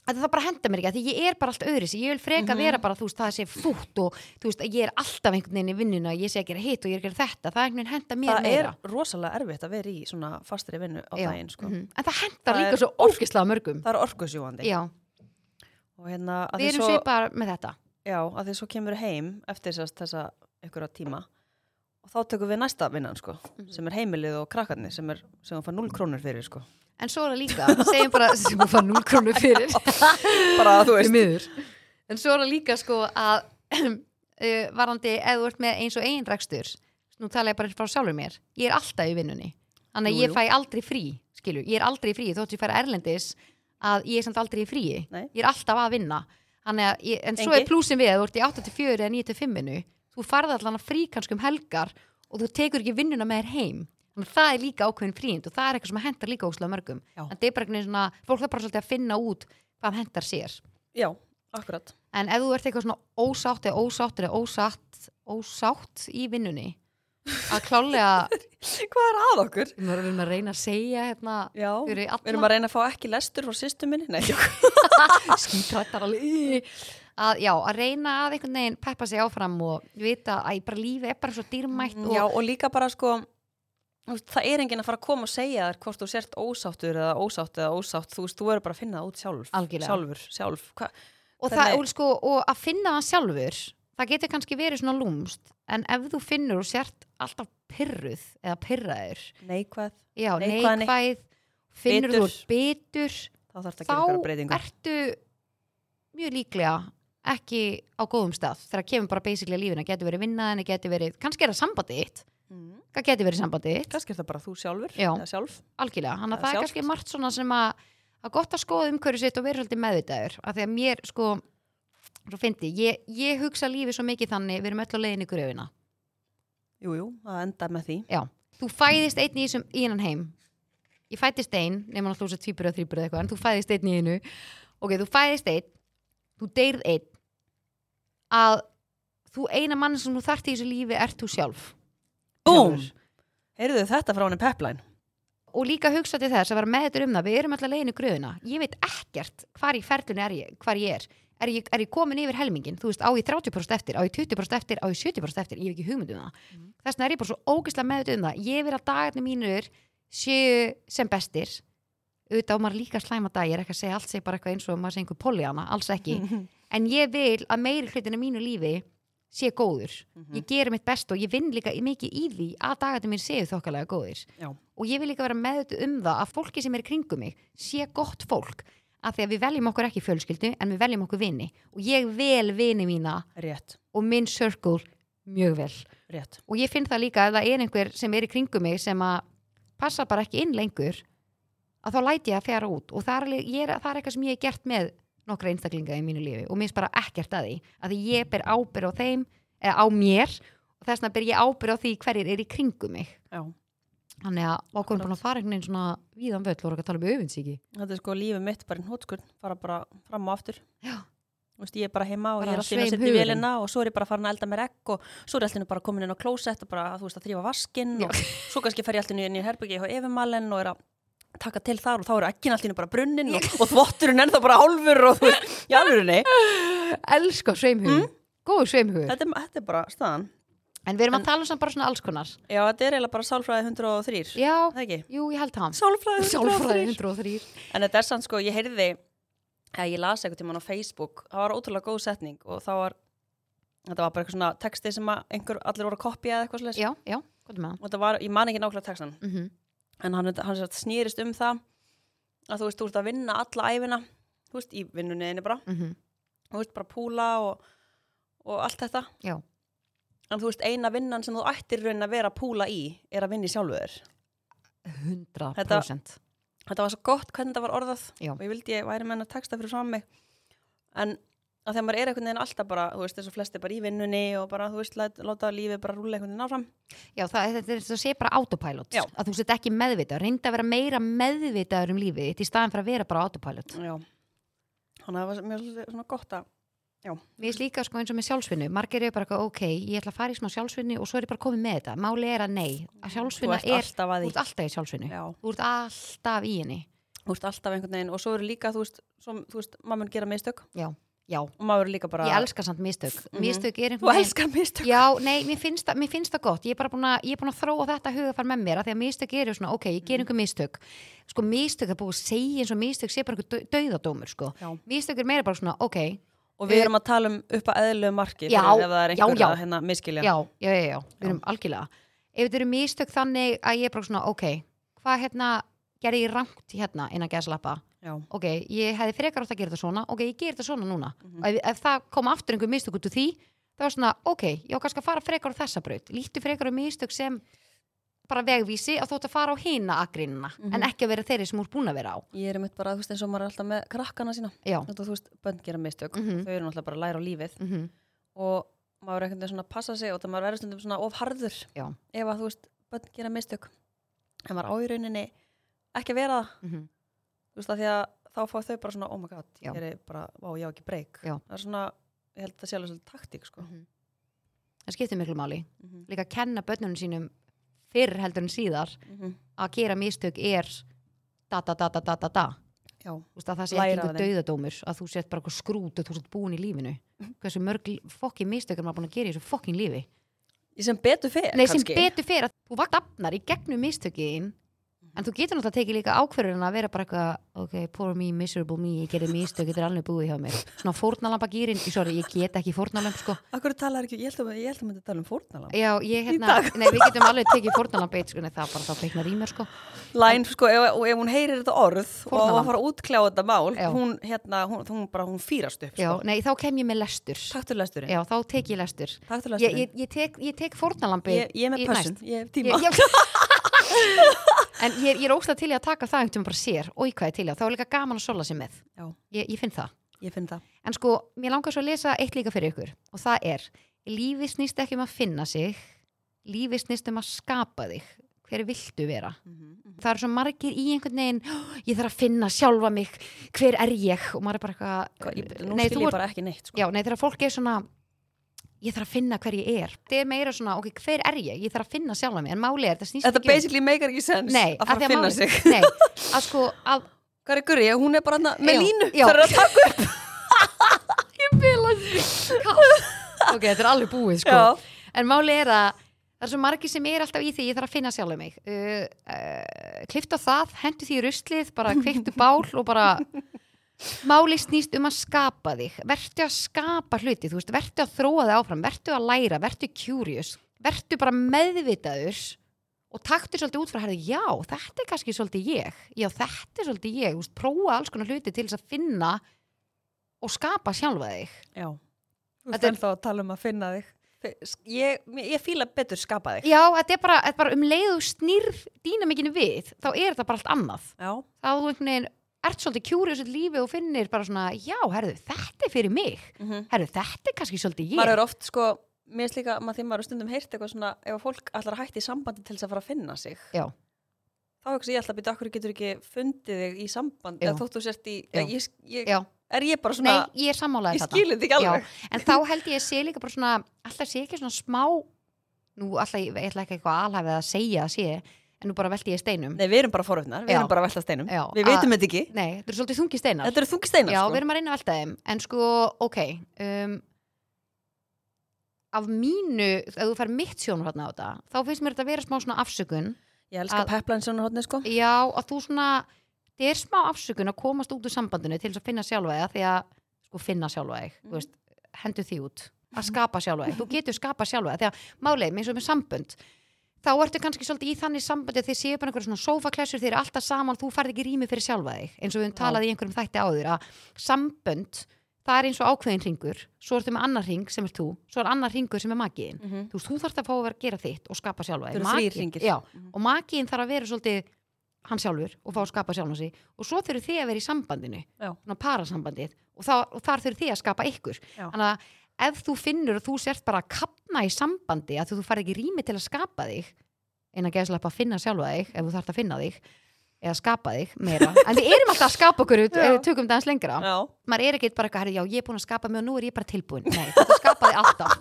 Speaker 2: að það bara henda mér ekki, að því ég er bara allt öðris ég vil freka
Speaker 1: Mhm.
Speaker 2: vera bara, þú veist, það sé fútt og þú veist, að ég er alltaf einhvern veginn í vinnuna ég sé að gera hitt og ég er að gera þetta, það er einhvern veginn henda mér
Speaker 1: það
Speaker 2: meira
Speaker 1: er rosalega erfitt að vera í svona fastri vinnu á
Speaker 2: Já,
Speaker 1: daginn, sko.
Speaker 2: mhm. en það hendar
Speaker 1: Það
Speaker 2: líka
Speaker 1: er
Speaker 2: svo ógislega mörgum
Speaker 1: Það er orkusjúandi.
Speaker 2: já,
Speaker 1: Og hérna, að
Speaker 2: við
Speaker 1: því
Speaker 2: erum
Speaker 1: svo,
Speaker 2: svipar með þetta
Speaker 1: já, að því svo kemur heim eftir þess, þessa einhverja tíma og þá tökum við næsta vinnan, sko,
Speaker 2: Mhm.
Speaker 1: sem er heimilið og krakkarnir sem, er, sem hún fær 0 krónur fyrir, sko.
Speaker 2: en svo er það líka, segjum bara sem hún fann 0 krónu fyrir
Speaker 1: Bara, þú
Speaker 2: Því
Speaker 1: veist,
Speaker 2: miður. en svo er það líka sko að uh, varandi ef þú ert með eins og einn rekstur nú tala ég bara frá sjálfur mér ég er alltaf í vinnunni þannig
Speaker 1: Jú,
Speaker 2: að ég
Speaker 1: jú.
Speaker 2: fæ aldrei frí skilu, ég er aldrei í frí þótt ég færa erlendis að ég er samt aldrei í fríi
Speaker 1: Nei.
Speaker 2: ég er alltaf að vinna Þannig að ég, en svo
Speaker 1: Engi.
Speaker 2: er plúsin við að þú ert í 8-4 eða 9-5 þú farði allan að frí kannski um helgar og þú tekur ekki vinnuna með þér heim þannig að það er líka ákveðin fríind og það er eitthvað sem hendar líka óslega mörgum
Speaker 1: Já.
Speaker 2: en það er bara einhvern veginn svona, fólk þarf bara svolítið að finna út hvað hendar sér
Speaker 1: já, akkurat.
Speaker 2: En ef þú ert eitthvað svona ósátt eða ósáttur eða ósatt, ósátt í vinnunni að klálega,
Speaker 1: Hvað er að okkur?
Speaker 2: við erum að reyna að segja hérna,
Speaker 1: Já, við
Speaker 2: fyrir alla
Speaker 1: erum að reyna að fá ekki lestur frá sýstu minni, nei, jú.
Speaker 2: skítrættar alveg í, að, já, að reyna að einhvern veginn peppa sig áfram og vita að bara lífi er bara svo dýrmætt og
Speaker 1: Mm, Já, og líka bara sko þú veist, það er enginn að fara að koma og segja þér hvort þú sért ósáttur eða ósátt eða ósátt, þú veist, þú er bara að finna það út sjálf
Speaker 2: Algjörlega.
Speaker 1: sjálfur, sjálf, hva,
Speaker 2: og,
Speaker 1: Þannig-
Speaker 2: það, og, sko, og að finna það sjálfur það getur kannski verið svona lúmst en ef þú finnur og sért alltaf pyrruð eða pyrraður
Speaker 1: neikvæð
Speaker 2: já,
Speaker 1: Neikvæðni.
Speaker 2: neikvæð, finnur þú
Speaker 1: Bitur.
Speaker 2: ert bitur
Speaker 1: þá þarf það að gera ykkur
Speaker 2: þá
Speaker 1: breytingu
Speaker 2: ertu mjög líklega ekki á góðum stað þegar kemur bara basically lífina, getur verið vinnaðin getur verið, kannski er það sambandið þitt
Speaker 1: mm.
Speaker 2: hvað getur verið sambandið þitt,
Speaker 1: kannski er það bara þú sjálfur
Speaker 2: Já.
Speaker 1: eða sjálf,
Speaker 2: algjörlega þannig
Speaker 1: Það
Speaker 2: að það
Speaker 1: er
Speaker 2: er kannski margt svona sem að að gott að skoða umhverju sitt og vera svolítið meðvitaður af því að mér sko svo fyndi, ég, ég hugsa lífið svo mikið þannig við erum öll á leiðin í gröfina
Speaker 1: jú, jú, það enda með því
Speaker 2: já, þú fæðist einn í þessum í hennan heim ég fættist einn, nema náttúrulega þú sér tvíbur eða þrýbur eða eitthvað, en þú fæðist einn í einu ok, þú fæðist einn þú deyrð einn að þú eina mann sem þú þarft í þessu lífi ert þú sjálf
Speaker 1: Búm!
Speaker 2: Sjálfur.
Speaker 1: Heyrðu þetta frá henni Pepline?
Speaker 2: og líka hugsa til þess að vera með þetta um það við erum alltaf legin í gröðuna, ég veit ekkert hvar í ferlunni er ég, hvar ég er er ég, er ég komin yfir helmingin, þú veist á ég 30% eftir, á ég 20% eftir, á ég 70% eftir ég hef ekki hugmynd um það, mm. þess vegna er ég bara svo ógeðslega með þetta um það, ég vil að dagarnir mínur séu sem bestir auðvitað og maður líka slæma dag ég er ekki að segja allt segja bara eitthvað eins og maður segja einhver polli hana, alls ekki, en ég vil að meiri hlutinu mínu lífi sé góður, ég geri mitt best og ég vinn líka mikið í því að dagarnir mín séu þokkalega góðir
Speaker 1: Já.
Speaker 2: og ég vil líka vera meðut um það að fólki sem er í kringum mig sé gott fólk af því að við veljum okkur ekki fjölskyldu en við veljum okkur vini og ég vel vini mína
Speaker 1: Rétt,
Speaker 2: og minn circle mjög vel
Speaker 1: rétt.
Speaker 2: og ég finn það líka að það er einhver sem er í kringum mig sem að passa bara ekki inn lengur að þá læti ég að fjara út og það er, alveg- ég er, það er eitthvað sem ég er gert með nokkra einstaklinga í mínu lífi og mér finnst bara ekkert að því að því ég ber ábyrð á þeim eða á mér og þess vegna ber ég ábyrð á því hverjir er í kringum mig
Speaker 1: Já.
Speaker 2: Þannig að okkur er búin að fara einhvern veginn svona víðan völl og voru ekki að tala um öfinsíki.
Speaker 1: Þetta er sko lífið mitt bara einn hótskurn, fara bara fram og aftur.
Speaker 2: Já.
Speaker 1: Þú Veist, ég er bara heima og
Speaker 2: Bara
Speaker 1: ég er alltaf að
Speaker 2: sveim
Speaker 1: setja í
Speaker 2: hugurinn.
Speaker 1: vélina og svo er ég bara farin að elda mér egg og svo er ég alltaf bara komin inn á klósett og bara þú veist að þrýfa vaskinn og svo kannski fer ég alltaf inn í herbyggi hjá Evimalen og er að taka til þar og þá eru egginn alltaf bara brunnin og, og þvotturinn ennþá bara hálfur og þú veist, já, alveg,
Speaker 2: Elskar sveimhugur. Mm? Góður sveimhugur.
Speaker 1: þetta, er- þetta er bara staðan.
Speaker 2: En við erum að tala um samt bara svona alls konar.
Speaker 1: Já, þetta er eiginlega bara sálfræði 103,
Speaker 2: Já,
Speaker 1: það ekki?
Speaker 2: jú, ég held það.
Speaker 1: Sálfræði 103.
Speaker 2: Sálfræði 103.
Speaker 1: En þetta er sann sko, ég heyrði að ég las eitthvað tímann á Facebook það var ótrúlega góð setning og það var þetta var bara eitthvað svona texti sem að einhver, allir voru að kopja eða eitthvað slags
Speaker 2: Já, já, gott með það.
Speaker 1: og það var, ég man ekki nákvæmlega textan
Speaker 2: Mm
Speaker 1: en hann, hann sagt, snýrist um það að þú veist, þú ert að vinna alla æfina þú veist, í vinnunniðinni bara
Speaker 2: mhm,
Speaker 1: þú veist, bara púla og, og allt þetta
Speaker 2: Já.
Speaker 1: en þú veist, eina vinnan sem þú ættir í rauninni að vera að púla í er að vinna í sjálfu þér
Speaker 2: 100%.
Speaker 1: þetta var svo gott hvernig þetta var orðað
Speaker 2: Já.
Speaker 1: og ég vildi ég væri með hennar texta fyrir fram mig en að þegar maður er einhvern veginn alltaf bara þú veist eins og flesti bara í vinnunni og bara þú veist lát, láta lífið bara rúla einhvern veginn áfram
Speaker 2: Já, það, þetta er þetta sé bara autopilot.
Speaker 1: Já.
Speaker 2: Að þú sett ekki meðvitað. Reynda að vera meira meðvitaður um lífið þitt í staðan fyrir að vera bara á autopilot.
Speaker 1: já þannig að það var mjög svolítið svona gott að
Speaker 2: Mér finnst líka sko eins og með sjálfsvinnu, margir eru bara eitthvað, ok, ég ætla að fara í smá sjálfsvinnu og svo er ég bara komið með þetta. Máli er að nei, að sjálfsvinna
Speaker 1: ert
Speaker 2: er,
Speaker 1: alltaf að því
Speaker 2: þú ert alltaf í sjálfsvinnu.
Speaker 1: já,
Speaker 2: Þú ert alltaf í henni.
Speaker 1: þú ert alltaf einhvern veginn og svo eru líka þú veist, svo, þú veist maður mun gera mistök
Speaker 2: Já,
Speaker 1: og maður eru líka bara
Speaker 2: ég elska samt mistök.
Speaker 1: Mhm.
Speaker 2: Mistök er
Speaker 1: þú
Speaker 2: einhvern
Speaker 1: elskar mistök
Speaker 2: Já, nei, mér finnst, það, mér finnst það gott. Ég er bara búin að, ég er búin að þróa þetta hugafar með mér að því að mistök eru svona, ok, ég ger einhver mistök. Sko, mistök er búið að segja eins og mistök sé bara einhver dauðadómur, sko.
Speaker 1: Já.
Speaker 2: Mistök er meira bara svona, ok,
Speaker 1: og við erum að tala um upp að eðlu marki
Speaker 2: Eh, Já,
Speaker 1: fyrir ef það er
Speaker 2: já,
Speaker 1: einhver
Speaker 2: já.
Speaker 1: að hérna miskilja
Speaker 2: já, já, já, já, við erum algjörlega ef þetta eru mistök þannig að ég er bara svona ok, hvað hérna gerði ég rangt hérna innan gæslappa
Speaker 1: já,
Speaker 2: ok, ég hefði frekar átt að gera þetta svona ok, ég ger þetta svona núna
Speaker 1: Mhm.
Speaker 2: og ef, ef það kom aftur einhver mistök út úr því það var svona, ok, ég á kannski að fara frekar á þessa braut líttu frekar á mistök sem bara vegvísi að þú ætti að fara á hina akrínina,
Speaker 1: Mhm.
Speaker 2: en ekki að vera þeirri sem úr búin að vera á
Speaker 1: ég er mitt bara þú veist eins og maður er alltaf með krakkana sína
Speaker 2: já,
Speaker 1: Þetta, þú veist, bönn gera mistök
Speaker 2: Mhm.
Speaker 1: þau eru náttúrulega bara að læra á lífið
Speaker 2: mm
Speaker 1: og maður er einhvern veginn svona að passa sig og það maður verður stundum svona of harður
Speaker 2: Já.
Speaker 1: ef að þú veist, bönn gera mistök en maður á í rauninni ekki að vera það þú veist, af því að þá fá þau bara svona oh my god,
Speaker 2: Já.
Speaker 1: ég geri bara, vá, ég á ekki breyk
Speaker 2: Já.
Speaker 1: það er svona, ég held að það sé alveg svolítið taktík sko.
Speaker 2: það skiptir miklu máli
Speaker 1: mm
Speaker 2: líka að kenna börnunum sínum fyrr heldur en síðar
Speaker 1: -hmm.
Speaker 2: að gera mistök er da da da da da da da
Speaker 1: Já,
Speaker 2: Þú veist, að það sé
Speaker 1: Læra
Speaker 2: ekki
Speaker 1: af
Speaker 2: einhver
Speaker 1: þeim.
Speaker 2: dauðadómur að þú sért bara eitthvað skrút og þú sért búin í lífinu hversu mörg fokkin mistök er maður búin að gera í þessu fokkin lífi
Speaker 1: ég sem betur fyrir
Speaker 2: Nei, sem
Speaker 1: kannski.
Speaker 2: betur fyrir að þú vagnar í gegnum mistökiðin
Speaker 1: Mhm.
Speaker 2: en þú getur náttúrulega tekið líka ákverðurinn að vera bara eitthvað ok, poor me, miserable me, ég gerði mistök þetta er alveg búið hjá mér svona fórnalampa gýrin, sorry, ég get ekki fórnalamp sko.
Speaker 1: Akkur talar ekki, ég held að ég held að myndi tala um fórnalamb
Speaker 2: já, ég hérna, nei, við getum alveg tekið fórnalamp eitt, sko, nei, það bara þá kveiknar í mér sko.
Speaker 1: Læn, sko, ef, og ef hún heyrir þetta orð og á að
Speaker 2: Fórnarlamb.
Speaker 1: fara að útkljá þetta mál
Speaker 2: Já.
Speaker 1: hún, hérna, hún, hún bara, hún fýrast upp
Speaker 2: já,
Speaker 1: sko.
Speaker 2: nei, þá kem ég með lestur
Speaker 1: Takturlæsturinn
Speaker 2: já, þá tek ég lestur ég,
Speaker 1: Takturlæsturinn
Speaker 2: ég, ég, tek, ég tek fórnalambi
Speaker 1: Ég, ég er með
Speaker 2: í-
Speaker 1: pössun,
Speaker 2: næst.
Speaker 1: ég hef
Speaker 2: Ég-
Speaker 1: tíma.
Speaker 2: ég- En ég, er- ég er óslega til í að taka það einhvern veginn bara sér, oi hvað ég til í að þá er líka gaman að sola sér með,
Speaker 1: Já,
Speaker 2: ég, ég finn það
Speaker 1: ég finn það.
Speaker 2: En sko, mér langar svo að lesa eitt líka fyrir ykkur og það er, lífið snýst ekki um að finna sig lífið snýst um að skapa þig hver viltu vera
Speaker 1: Mhm,
Speaker 2: það eru svo margir í einhvern veginn "Hó, ég þarf að finna sjálfa mig, hver er ég og maður er bara
Speaker 1: Hva, ég,
Speaker 2: eitthvað eh,
Speaker 1: nú
Speaker 2: Nei,
Speaker 1: skil
Speaker 2: þú
Speaker 1: ég
Speaker 2: ert-
Speaker 1: bara ekki neitt, sko.
Speaker 2: Já, nei, þegar fólk er svona ég þarf að finna hver ég er það er meira svona, ok, hver er ég? Ég þarf að finna sjálfa mig, en máli er, það snýst
Speaker 1: Þetta
Speaker 2: ekki um-
Speaker 1: basically meikar ekki sens
Speaker 2: Nei,
Speaker 1: að fara
Speaker 2: því
Speaker 1: að finna
Speaker 2: máli-
Speaker 1: sig.
Speaker 2: Nei, að sko, að
Speaker 1: Hvað er Guri? Hún er bara hana, með
Speaker 2: Já,
Speaker 1: línu.
Speaker 2: já.
Speaker 1: Það er að taka upp.
Speaker 2: Ok, þetta er alveg búið, sko
Speaker 1: Já.
Speaker 2: En máli er að það er svo margir sem er alltaf í því ég þarf að finna sjálfum mig uh, uh, klifta það, hendu því í ruslið bara kveiktu bál og bara máli snýst um að skapa þig vertu að skapa hluti, þú veist vertu að þróa þig áfram, vertu að læra vertu curious, vertu bara meðvitaður og taktu svolítið út frá herðu, já, þetta er kannski svolítið ég já, þetta er svolítið ég, þú veist prófa alls konar hluti til þess að finna og skapa sjálfa þig
Speaker 1: Já. Þú
Speaker 2: Þetta
Speaker 1: ert
Speaker 2: er-
Speaker 1: ennþá að tala um að finna þig. Ég, ég, ég fíla betur skapa þig.
Speaker 2: Já, þetta er bara, þetta er bara um leið og þú snýrð dýnamikinu við, þá er þetta bara allt annað.
Speaker 1: Já.
Speaker 2: Þá þú einhvern veginn ert svolítið curious í lífi og finnir bara svona, já, herðu, þetta er fyrir mig.
Speaker 1: Mm
Speaker 2: Herðu, þetta er kannski svolítið
Speaker 1: Maður
Speaker 2: ég.
Speaker 1: er oft sko, mér er líka, maður því maður er stundum heyrt eitthvað svona, ef að fólk ætlar að hætta í sambandi til þess að fara að finna sig.
Speaker 2: Já.
Speaker 1: Þá hugsa ég alltaf, býta, okkur getur ekki fundið þig í sambandi,
Speaker 2: Já.
Speaker 1: eða þóttu sért í,
Speaker 2: Já.
Speaker 1: ég, ég,
Speaker 2: Já,
Speaker 1: er ég bara svona,
Speaker 2: nei, ég er sammálaðið
Speaker 1: ég
Speaker 2: þetta.
Speaker 1: skil þetta ekki alveg.
Speaker 2: Já, en þá held ég að sé líka bara svona, alltaf sé ekki svona smá, nú alltaf, ég ég ætla ekki eitthvað alhæfið að segja að sé, en nú bara velti ég steinum.
Speaker 1: Nei, við erum bara foröfnar, við
Speaker 2: Já.
Speaker 1: erum bara að velta steinum.
Speaker 2: Já,
Speaker 1: Við
Speaker 2: að-
Speaker 1: veitum þetta ekki.
Speaker 2: Nei, þetta eru svolítið þungi steinar.
Speaker 1: Þetta eru þungi steinar, sko.
Speaker 2: Já, við erum að reyna að velta þeim En sko, ok um, Af mínu, ef þú fær mitt sjónur á þetta Þá finnst mér þetta að vera smá svona afsökun
Speaker 1: Ég elska
Speaker 2: að-
Speaker 1: peplæn sjónarhóttni, sko.
Speaker 2: Já, að þú svona Þetta er smá afsökun að komast út úr sambandinu Til þess að finna sjálfa þig af Því að sko, finna sjálfa þig
Speaker 1: Mhm.
Speaker 2: mm. veist, Hendu því út Að skapa sjálfa þig Þú getur skapa sjálfa þig Því að málið, eins og með sambönd Þá ertu kannski svolítið í þannig sambandi að þið séu bara einhverjum svona sofaklessur, þið eru alltaf saman, þú færð ekki rými fyrir sjálfa þig, eins og við höfum
Speaker 1: Já.
Speaker 2: talað í einhverjum þætti áður, að sambönd, það er eins og ákveðin ringur, svo ertu með annar ring sem er þú, svo er annar ringur sem er makiðin.
Speaker 1: Mm -hmm.
Speaker 2: Þú, veist, þú þarft að fá að vera að gera þitt og skapa sjálfa
Speaker 1: Þau
Speaker 2: þig.
Speaker 1: eru þrír
Speaker 2: Maki-
Speaker 1: hringir.
Speaker 2: Já,
Speaker 1: Mhm.
Speaker 2: og makiðin þarf að vera svolítið hann sjálfur og fá að skapa sjálfan sig og svo þurfið þið að vera í sambandinu,
Speaker 1: Já.
Speaker 2: svona parasambandið og, þá, og þar þurfið þið að skapa ykkur.
Speaker 1: Já.
Speaker 2: Þannig að ef þú finnur að þú sért bara að kapna í sambandi að þú farið ekki rými til að skapa þig, eina geðslega að finna sjálfa þig, ef þú þarft að finna þig, eða skapa þig meira. en við erum alltaf að skapa okkur, ef við tökum þetta aðeins lengra
Speaker 1: Já.
Speaker 2: maður er ekki bara eitthvað, herri, já, ég er búin að skapa mig og nú er ég bara tilbúin. Nei, þetta skapaði alltaf.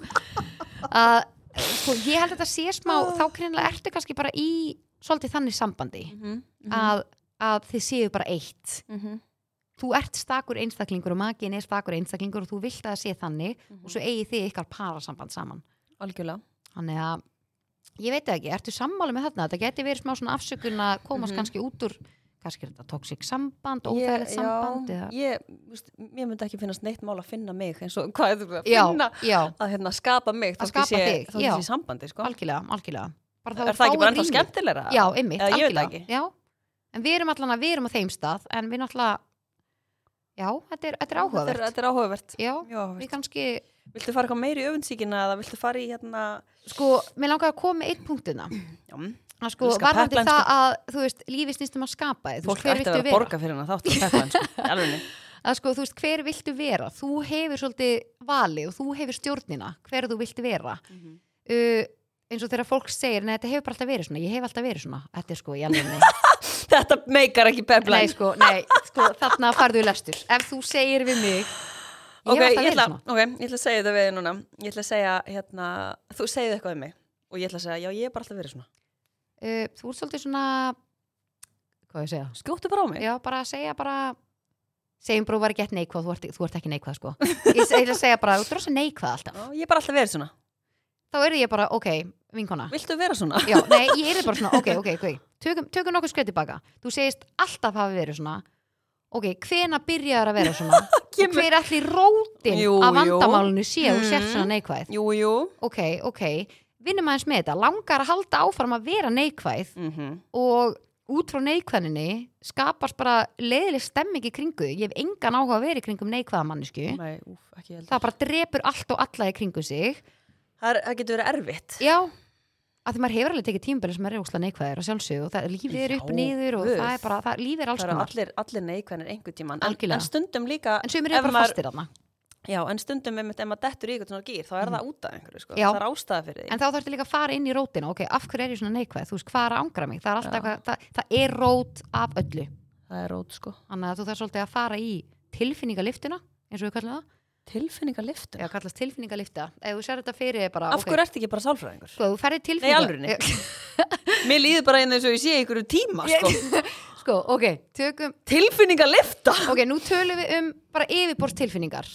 Speaker 2: Uh, sko, ég held að þetta sé smá,
Speaker 1: Ah.
Speaker 2: þá kynlega ertu kannski bara í svolítið þannig sambandi
Speaker 1: Mhm,
Speaker 2: að, að þið séu bara eitt. Þú ert stakur einstaklingur og makin er stakur einstaklingur og þú vilt að það sé þannig og svo eigi þið ykkar parasamband saman.
Speaker 1: mhm. Algjörlega.
Speaker 2: Þannig að ég veit það ekki, ertu sammála með þarna? Þetta geti verið smá svona afsökun að komast
Speaker 1: Mhm.
Speaker 2: kannski út úr kannski er þetta toxic samband,
Speaker 1: Ég-
Speaker 2: óþægilegt samband
Speaker 1: já,
Speaker 2: eða...
Speaker 1: ég, veist, ég myndi ekki finnast neitt mál að finna mig eins og hvað er þetta að
Speaker 2: Já,
Speaker 1: finna
Speaker 2: já,
Speaker 1: að hérna, skapa mig þótt ég
Speaker 2: Að skapa
Speaker 1: sé-
Speaker 2: þig,
Speaker 1: þótt ég
Speaker 2: já.
Speaker 1: sé í sambandi sko.
Speaker 2: algjörlega, algjörlega bara
Speaker 1: er það ekki bara ennþá
Speaker 2: skemmt?
Speaker 1: skemmtilegra?
Speaker 2: Já, einmitt,
Speaker 1: Eða ég veit það
Speaker 2: algjörlega já. en við erum allan að við erum á þeim stað en við náttúrulega já, þetta er, þetta er
Speaker 1: Þetta er,
Speaker 2: áhugavert
Speaker 1: þetta er áhugavert.
Speaker 2: já,
Speaker 1: Mjög áhugavert.
Speaker 2: við kannski
Speaker 1: Viltu fara eitthvað meiri í öfundsíkina eða viltu fara í hérna
Speaker 2: sko, mér langar að koma með eitt punktina
Speaker 1: já, mm,
Speaker 2: að sko,
Speaker 1: Elska
Speaker 2: varðandi
Speaker 1: pepline,
Speaker 2: það að þú veist, lífi snýstum að skapa þig, þú veist,
Speaker 1: fólk
Speaker 2: hver
Speaker 1: ætti að vera að
Speaker 2: viltu vera
Speaker 1: borga fyrir hana þátt sko, að peppa hans alveg
Speaker 2: að sko, þú veist, hver viltu vera þú hefur svolítið vali og þú hefur stjórnina hver þú vilt vera
Speaker 1: Mhm.
Speaker 2: uh, eins og þegar fólk segir, nei, þetta hefur bara alltaf verið svona ég hef alltaf verið svona, þetta er sko, ég alveg
Speaker 1: Þetta meikar ekki peppa
Speaker 2: Nei, sko, nei, sko, þarna farðu í lestur. Ef þú segir við mig, ég
Speaker 1: Ok, ég
Speaker 2: hef alltaf verið hérna.
Speaker 1: ætla,
Speaker 2: svona.
Speaker 1: ok, ég ætla að segja þetta við þig núna Ég ætla að segja, hérna, þú segið eitthvað um mig og ég ætla að segja, já, ég er bara alltaf verið svona
Speaker 2: Uh, þú ert svolítið svona, hvað á ég að segja?
Speaker 1: Skjóttu bara á mig
Speaker 2: Já, bara að segja bara, segjum bara, þú var ekki eitt neikvað, þú ert, þú ert ekki neikvað, sko. Ég s- ætla að segja bara, þú ert rosa neikvað alltaf.
Speaker 1: Já, ég er bara alltaf verið svona.
Speaker 2: Þá er ég bara, ok, vinkona.
Speaker 1: Viltu vera svona?
Speaker 2: Já, nei, ég er bara svona, ok, ok, ok. Tökum, tökum nokkuð skröð tilbaka. Þú segist alltaf hafi verið svona. Ok, hvena byrjaður að vera svona? Og
Speaker 1: Kemur-
Speaker 2: hver allir rótin
Speaker 1: Jú,
Speaker 2: af
Speaker 1: jú.
Speaker 2: vandamálinu sé að þú sért
Speaker 1: Mm.
Speaker 2: svona neikvæð?
Speaker 1: Jú, jú.
Speaker 2: ok, ok, vinnum aðeins með þetta langar að halda áfram að vera neikvæð
Speaker 1: Mhm.
Speaker 2: og út frá neikvæðinni skapast bara leiðileg stemming í kringu, þig. ég hef engan áhuga að vera í kringum neikvæða mannesku,
Speaker 1: Nei, úf, ekki heldur.
Speaker 2: það bara drepur allt og alla í kringu sig,
Speaker 1: Það, er, það getur verið erfitt.
Speaker 2: já að því maður hefur alveg tekið tímabili sem er ósla neikvæður og sjálfsög og það lífið er upp
Speaker 1: Já,
Speaker 2: og niður og
Speaker 1: guð.
Speaker 2: það er bara, það, lífið er alls
Speaker 1: Það eru
Speaker 2: konar
Speaker 1: allir, allir neikvænir einhvern tíman. En,
Speaker 2: Algjörlega.
Speaker 1: en stundum líka...
Speaker 2: en sumir
Speaker 1: ef
Speaker 2: eru bara
Speaker 1: maður-
Speaker 2: fastir þarna
Speaker 1: Já, en stundum einmitt, ef maður dettur í eitthvað svona gýr, þá er það út af einhverju, sko.
Speaker 2: Mm. Já.
Speaker 1: Það er ástæða fyrir því.
Speaker 2: en þá þarftu líka að fara inn í rótina, ok, af hverju er ég svona neikvæð þú veist, hvað er að angra mig, það er alltaf
Speaker 1: Já.
Speaker 2: eitthvað, það, það er rót af öllu
Speaker 1: það er rót, sko.
Speaker 2: Þannig að þú þarf svolítið að fara í tilfinningaliftina, eins og við kallum það,
Speaker 1: Tilfinningaliftum?
Speaker 2: Já, kallast tilfinningalifta. Ef þú sér þetta fyrir þér bara,
Speaker 1: Af hverju ertu ekki bara sálfræðingur?
Speaker 2: Sko, þú ferði tilfinninga...
Speaker 1: alvörunni? Mér líður bara eins og ég sé ykkur um tíma, sko.
Speaker 2: Sko, ok, tökum...
Speaker 1: Tilfinningalifta?
Speaker 2: Ok, nú tölum við um bara yfirborst tilfinningar.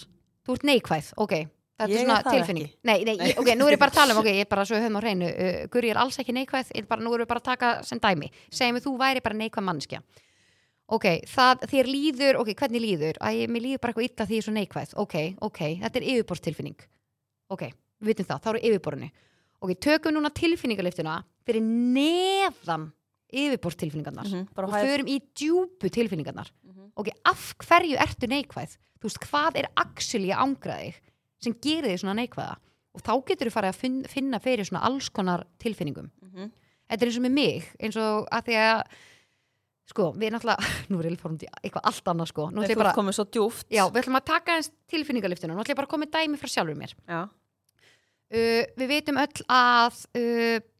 Speaker 2: Þú ert neikvæð, ok. Þetta
Speaker 1: Ég
Speaker 2: er
Speaker 1: er
Speaker 2: svona
Speaker 1: það
Speaker 2: tilfinning.
Speaker 1: ekki.
Speaker 2: Nei, nei, ég- ok, nú er ég bara að tala um, ok, ég er bara svo við höfum á hreinu. Uh, Guri er alls ekki neikvæð, ég er bara, nú erum við bara að taka sem dæmi. Segjum við, þú væri bara neikvæð mannskja. Ok, það, þér líður, ok, hvernig líður? Æ, mér líður bara eitthvað illa því ég er svo neikvæð. Ok, ok, þetta er yfirborst tilfinning. Ok, við vitum það, þá eru yfirborðinu. Ok, tökum núna tilfinningaliftuna fyrir neðan yfirborst
Speaker 1: Mhm, bara
Speaker 2: og
Speaker 1: hæð.
Speaker 2: förum í djúpu tilfinningarnar
Speaker 1: Mhm.
Speaker 2: ok, af hverju ertu neikvæð þú veist, hvað er actually að angra þig sem gerir þig svona neikvæða og þá getur þú farið að fin- finna fyrir svona alls konar tilfinningum
Speaker 1: Mhm.
Speaker 2: þetta er eins og með mig, eins og að því að sko, við náttúrulega nú er ég fórum til eitthvað allt annað sko
Speaker 1: Nei,
Speaker 2: nú ætlum
Speaker 1: Þú ert
Speaker 2: ég bara,
Speaker 1: komið svo djúft.
Speaker 2: já, við ætlum að taka eins tilfinningaliftuna nú ætlum ég bara að koma með dæmi frá sjálfur mér
Speaker 1: Já.
Speaker 2: uh, við veitum öll að uh,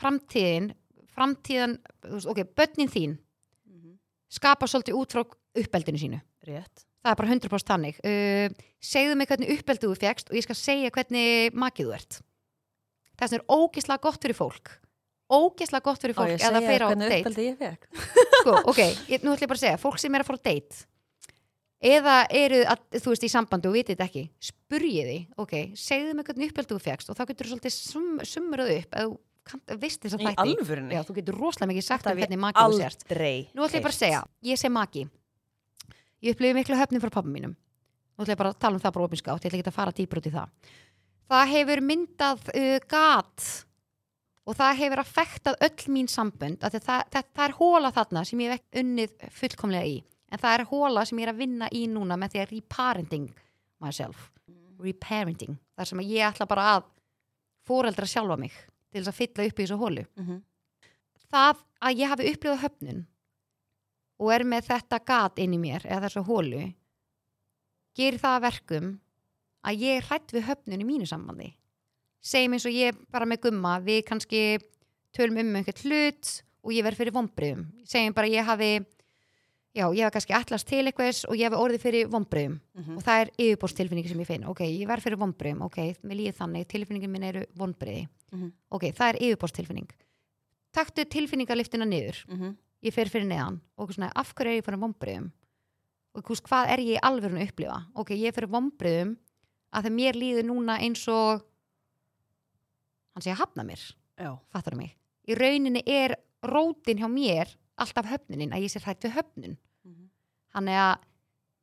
Speaker 2: framtíðin framtíðan, þú veist, ok, börnin þín skapa svolítið út frá uppeldinu sínu
Speaker 1: Mhm, Rétt.
Speaker 2: það er bara 100% þannig uh, segðu mig hvernig uppeldu þú fegst og ég skal segja hvernig makið þú ert þess vegna er ógislega gott fyrir fólk ógislega gott fyrir
Speaker 1: Á,
Speaker 2: fólk
Speaker 1: ég
Speaker 2: ef það
Speaker 1: segja
Speaker 2: fer á
Speaker 1: hvernig
Speaker 2: date
Speaker 1: uppeldi ég fekk.
Speaker 2: sko, ok, ég, nú ætlum ég bara að segja fólk sem er að fara á date eða eru, að, þú veist, í sambandi og vitið þetta ekki spurjið því, ok, segðu mig hvernig uppeldu þú fegst og þá getur þú svolítið sum, sumrað upp að þú kannt, veist þess að
Speaker 1: Í
Speaker 2: þætti
Speaker 1: alvörinni.
Speaker 2: Já, þú getur rosalega mikið sagt
Speaker 1: Þetta
Speaker 2: um
Speaker 1: hef ég
Speaker 2: hvernig makið þú sért
Speaker 1: aldrei.
Speaker 2: Nú ætlum ég bara að segja, ég seg maki Ég upplifi miklu höfnum frá pappa mínum Nú ætlum ég bara að tala um það bara opinskátt Ég ætlum ekki að fara dýpr út í það Það hefur myndað uh, gat og það hefur affektað öll mín sambönd af því að það, það, það er hóla þarna sem ég hef ekki unnið fullkomlega í en það er hóla sem ég er að vinna í núna með því að reparenting myself reparenting, þar sem að ég ætla bara að fóreldra sjálfa mig til þess að fylla upp í þessu hólu
Speaker 1: Mhm.
Speaker 2: það að ég hafi upplifað höfnun og er með þetta gat inn í mér eða þessa hólu gerir það að verkum að ég er hrætt við höfnun í mínu sambandi segjum eins og ég bara með gumma við kannski tölum um einhvern hlut og ég verð fyrir vombriðum segjum bara ég hafi já, ég hafi kannski allast til eitthvers og ég hafi orðið fyrir vombriðum
Speaker 1: Mhm.
Speaker 2: og það er yfirbórstilfinningi sem ég finn ok, ég verð fyrir vombriðum, ok, mér líði þannig tilfinningin minn eru vombriði
Speaker 1: Mhm.
Speaker 2: ok, það er yfirbórstilfinning taktu tilfinningaliftuna niður
Speaker 1: Mhm.
Speaker 2: ég fer fyrir neðan og svona, af hverju er ég fyrir vombriðum og kús, hvað er ég alveg að upplifa ok, ég er fyrir vombriðum að það mér líður núna eins og hann sé að hafna mér
Speaker 1: Já.
Speaker 2: fattar mig í rauninni er rótin hjá mér alltaf höfnunin að ég sé hrætt við höfnun
Speaker 1: Mhm.
Speaker 2: þannig að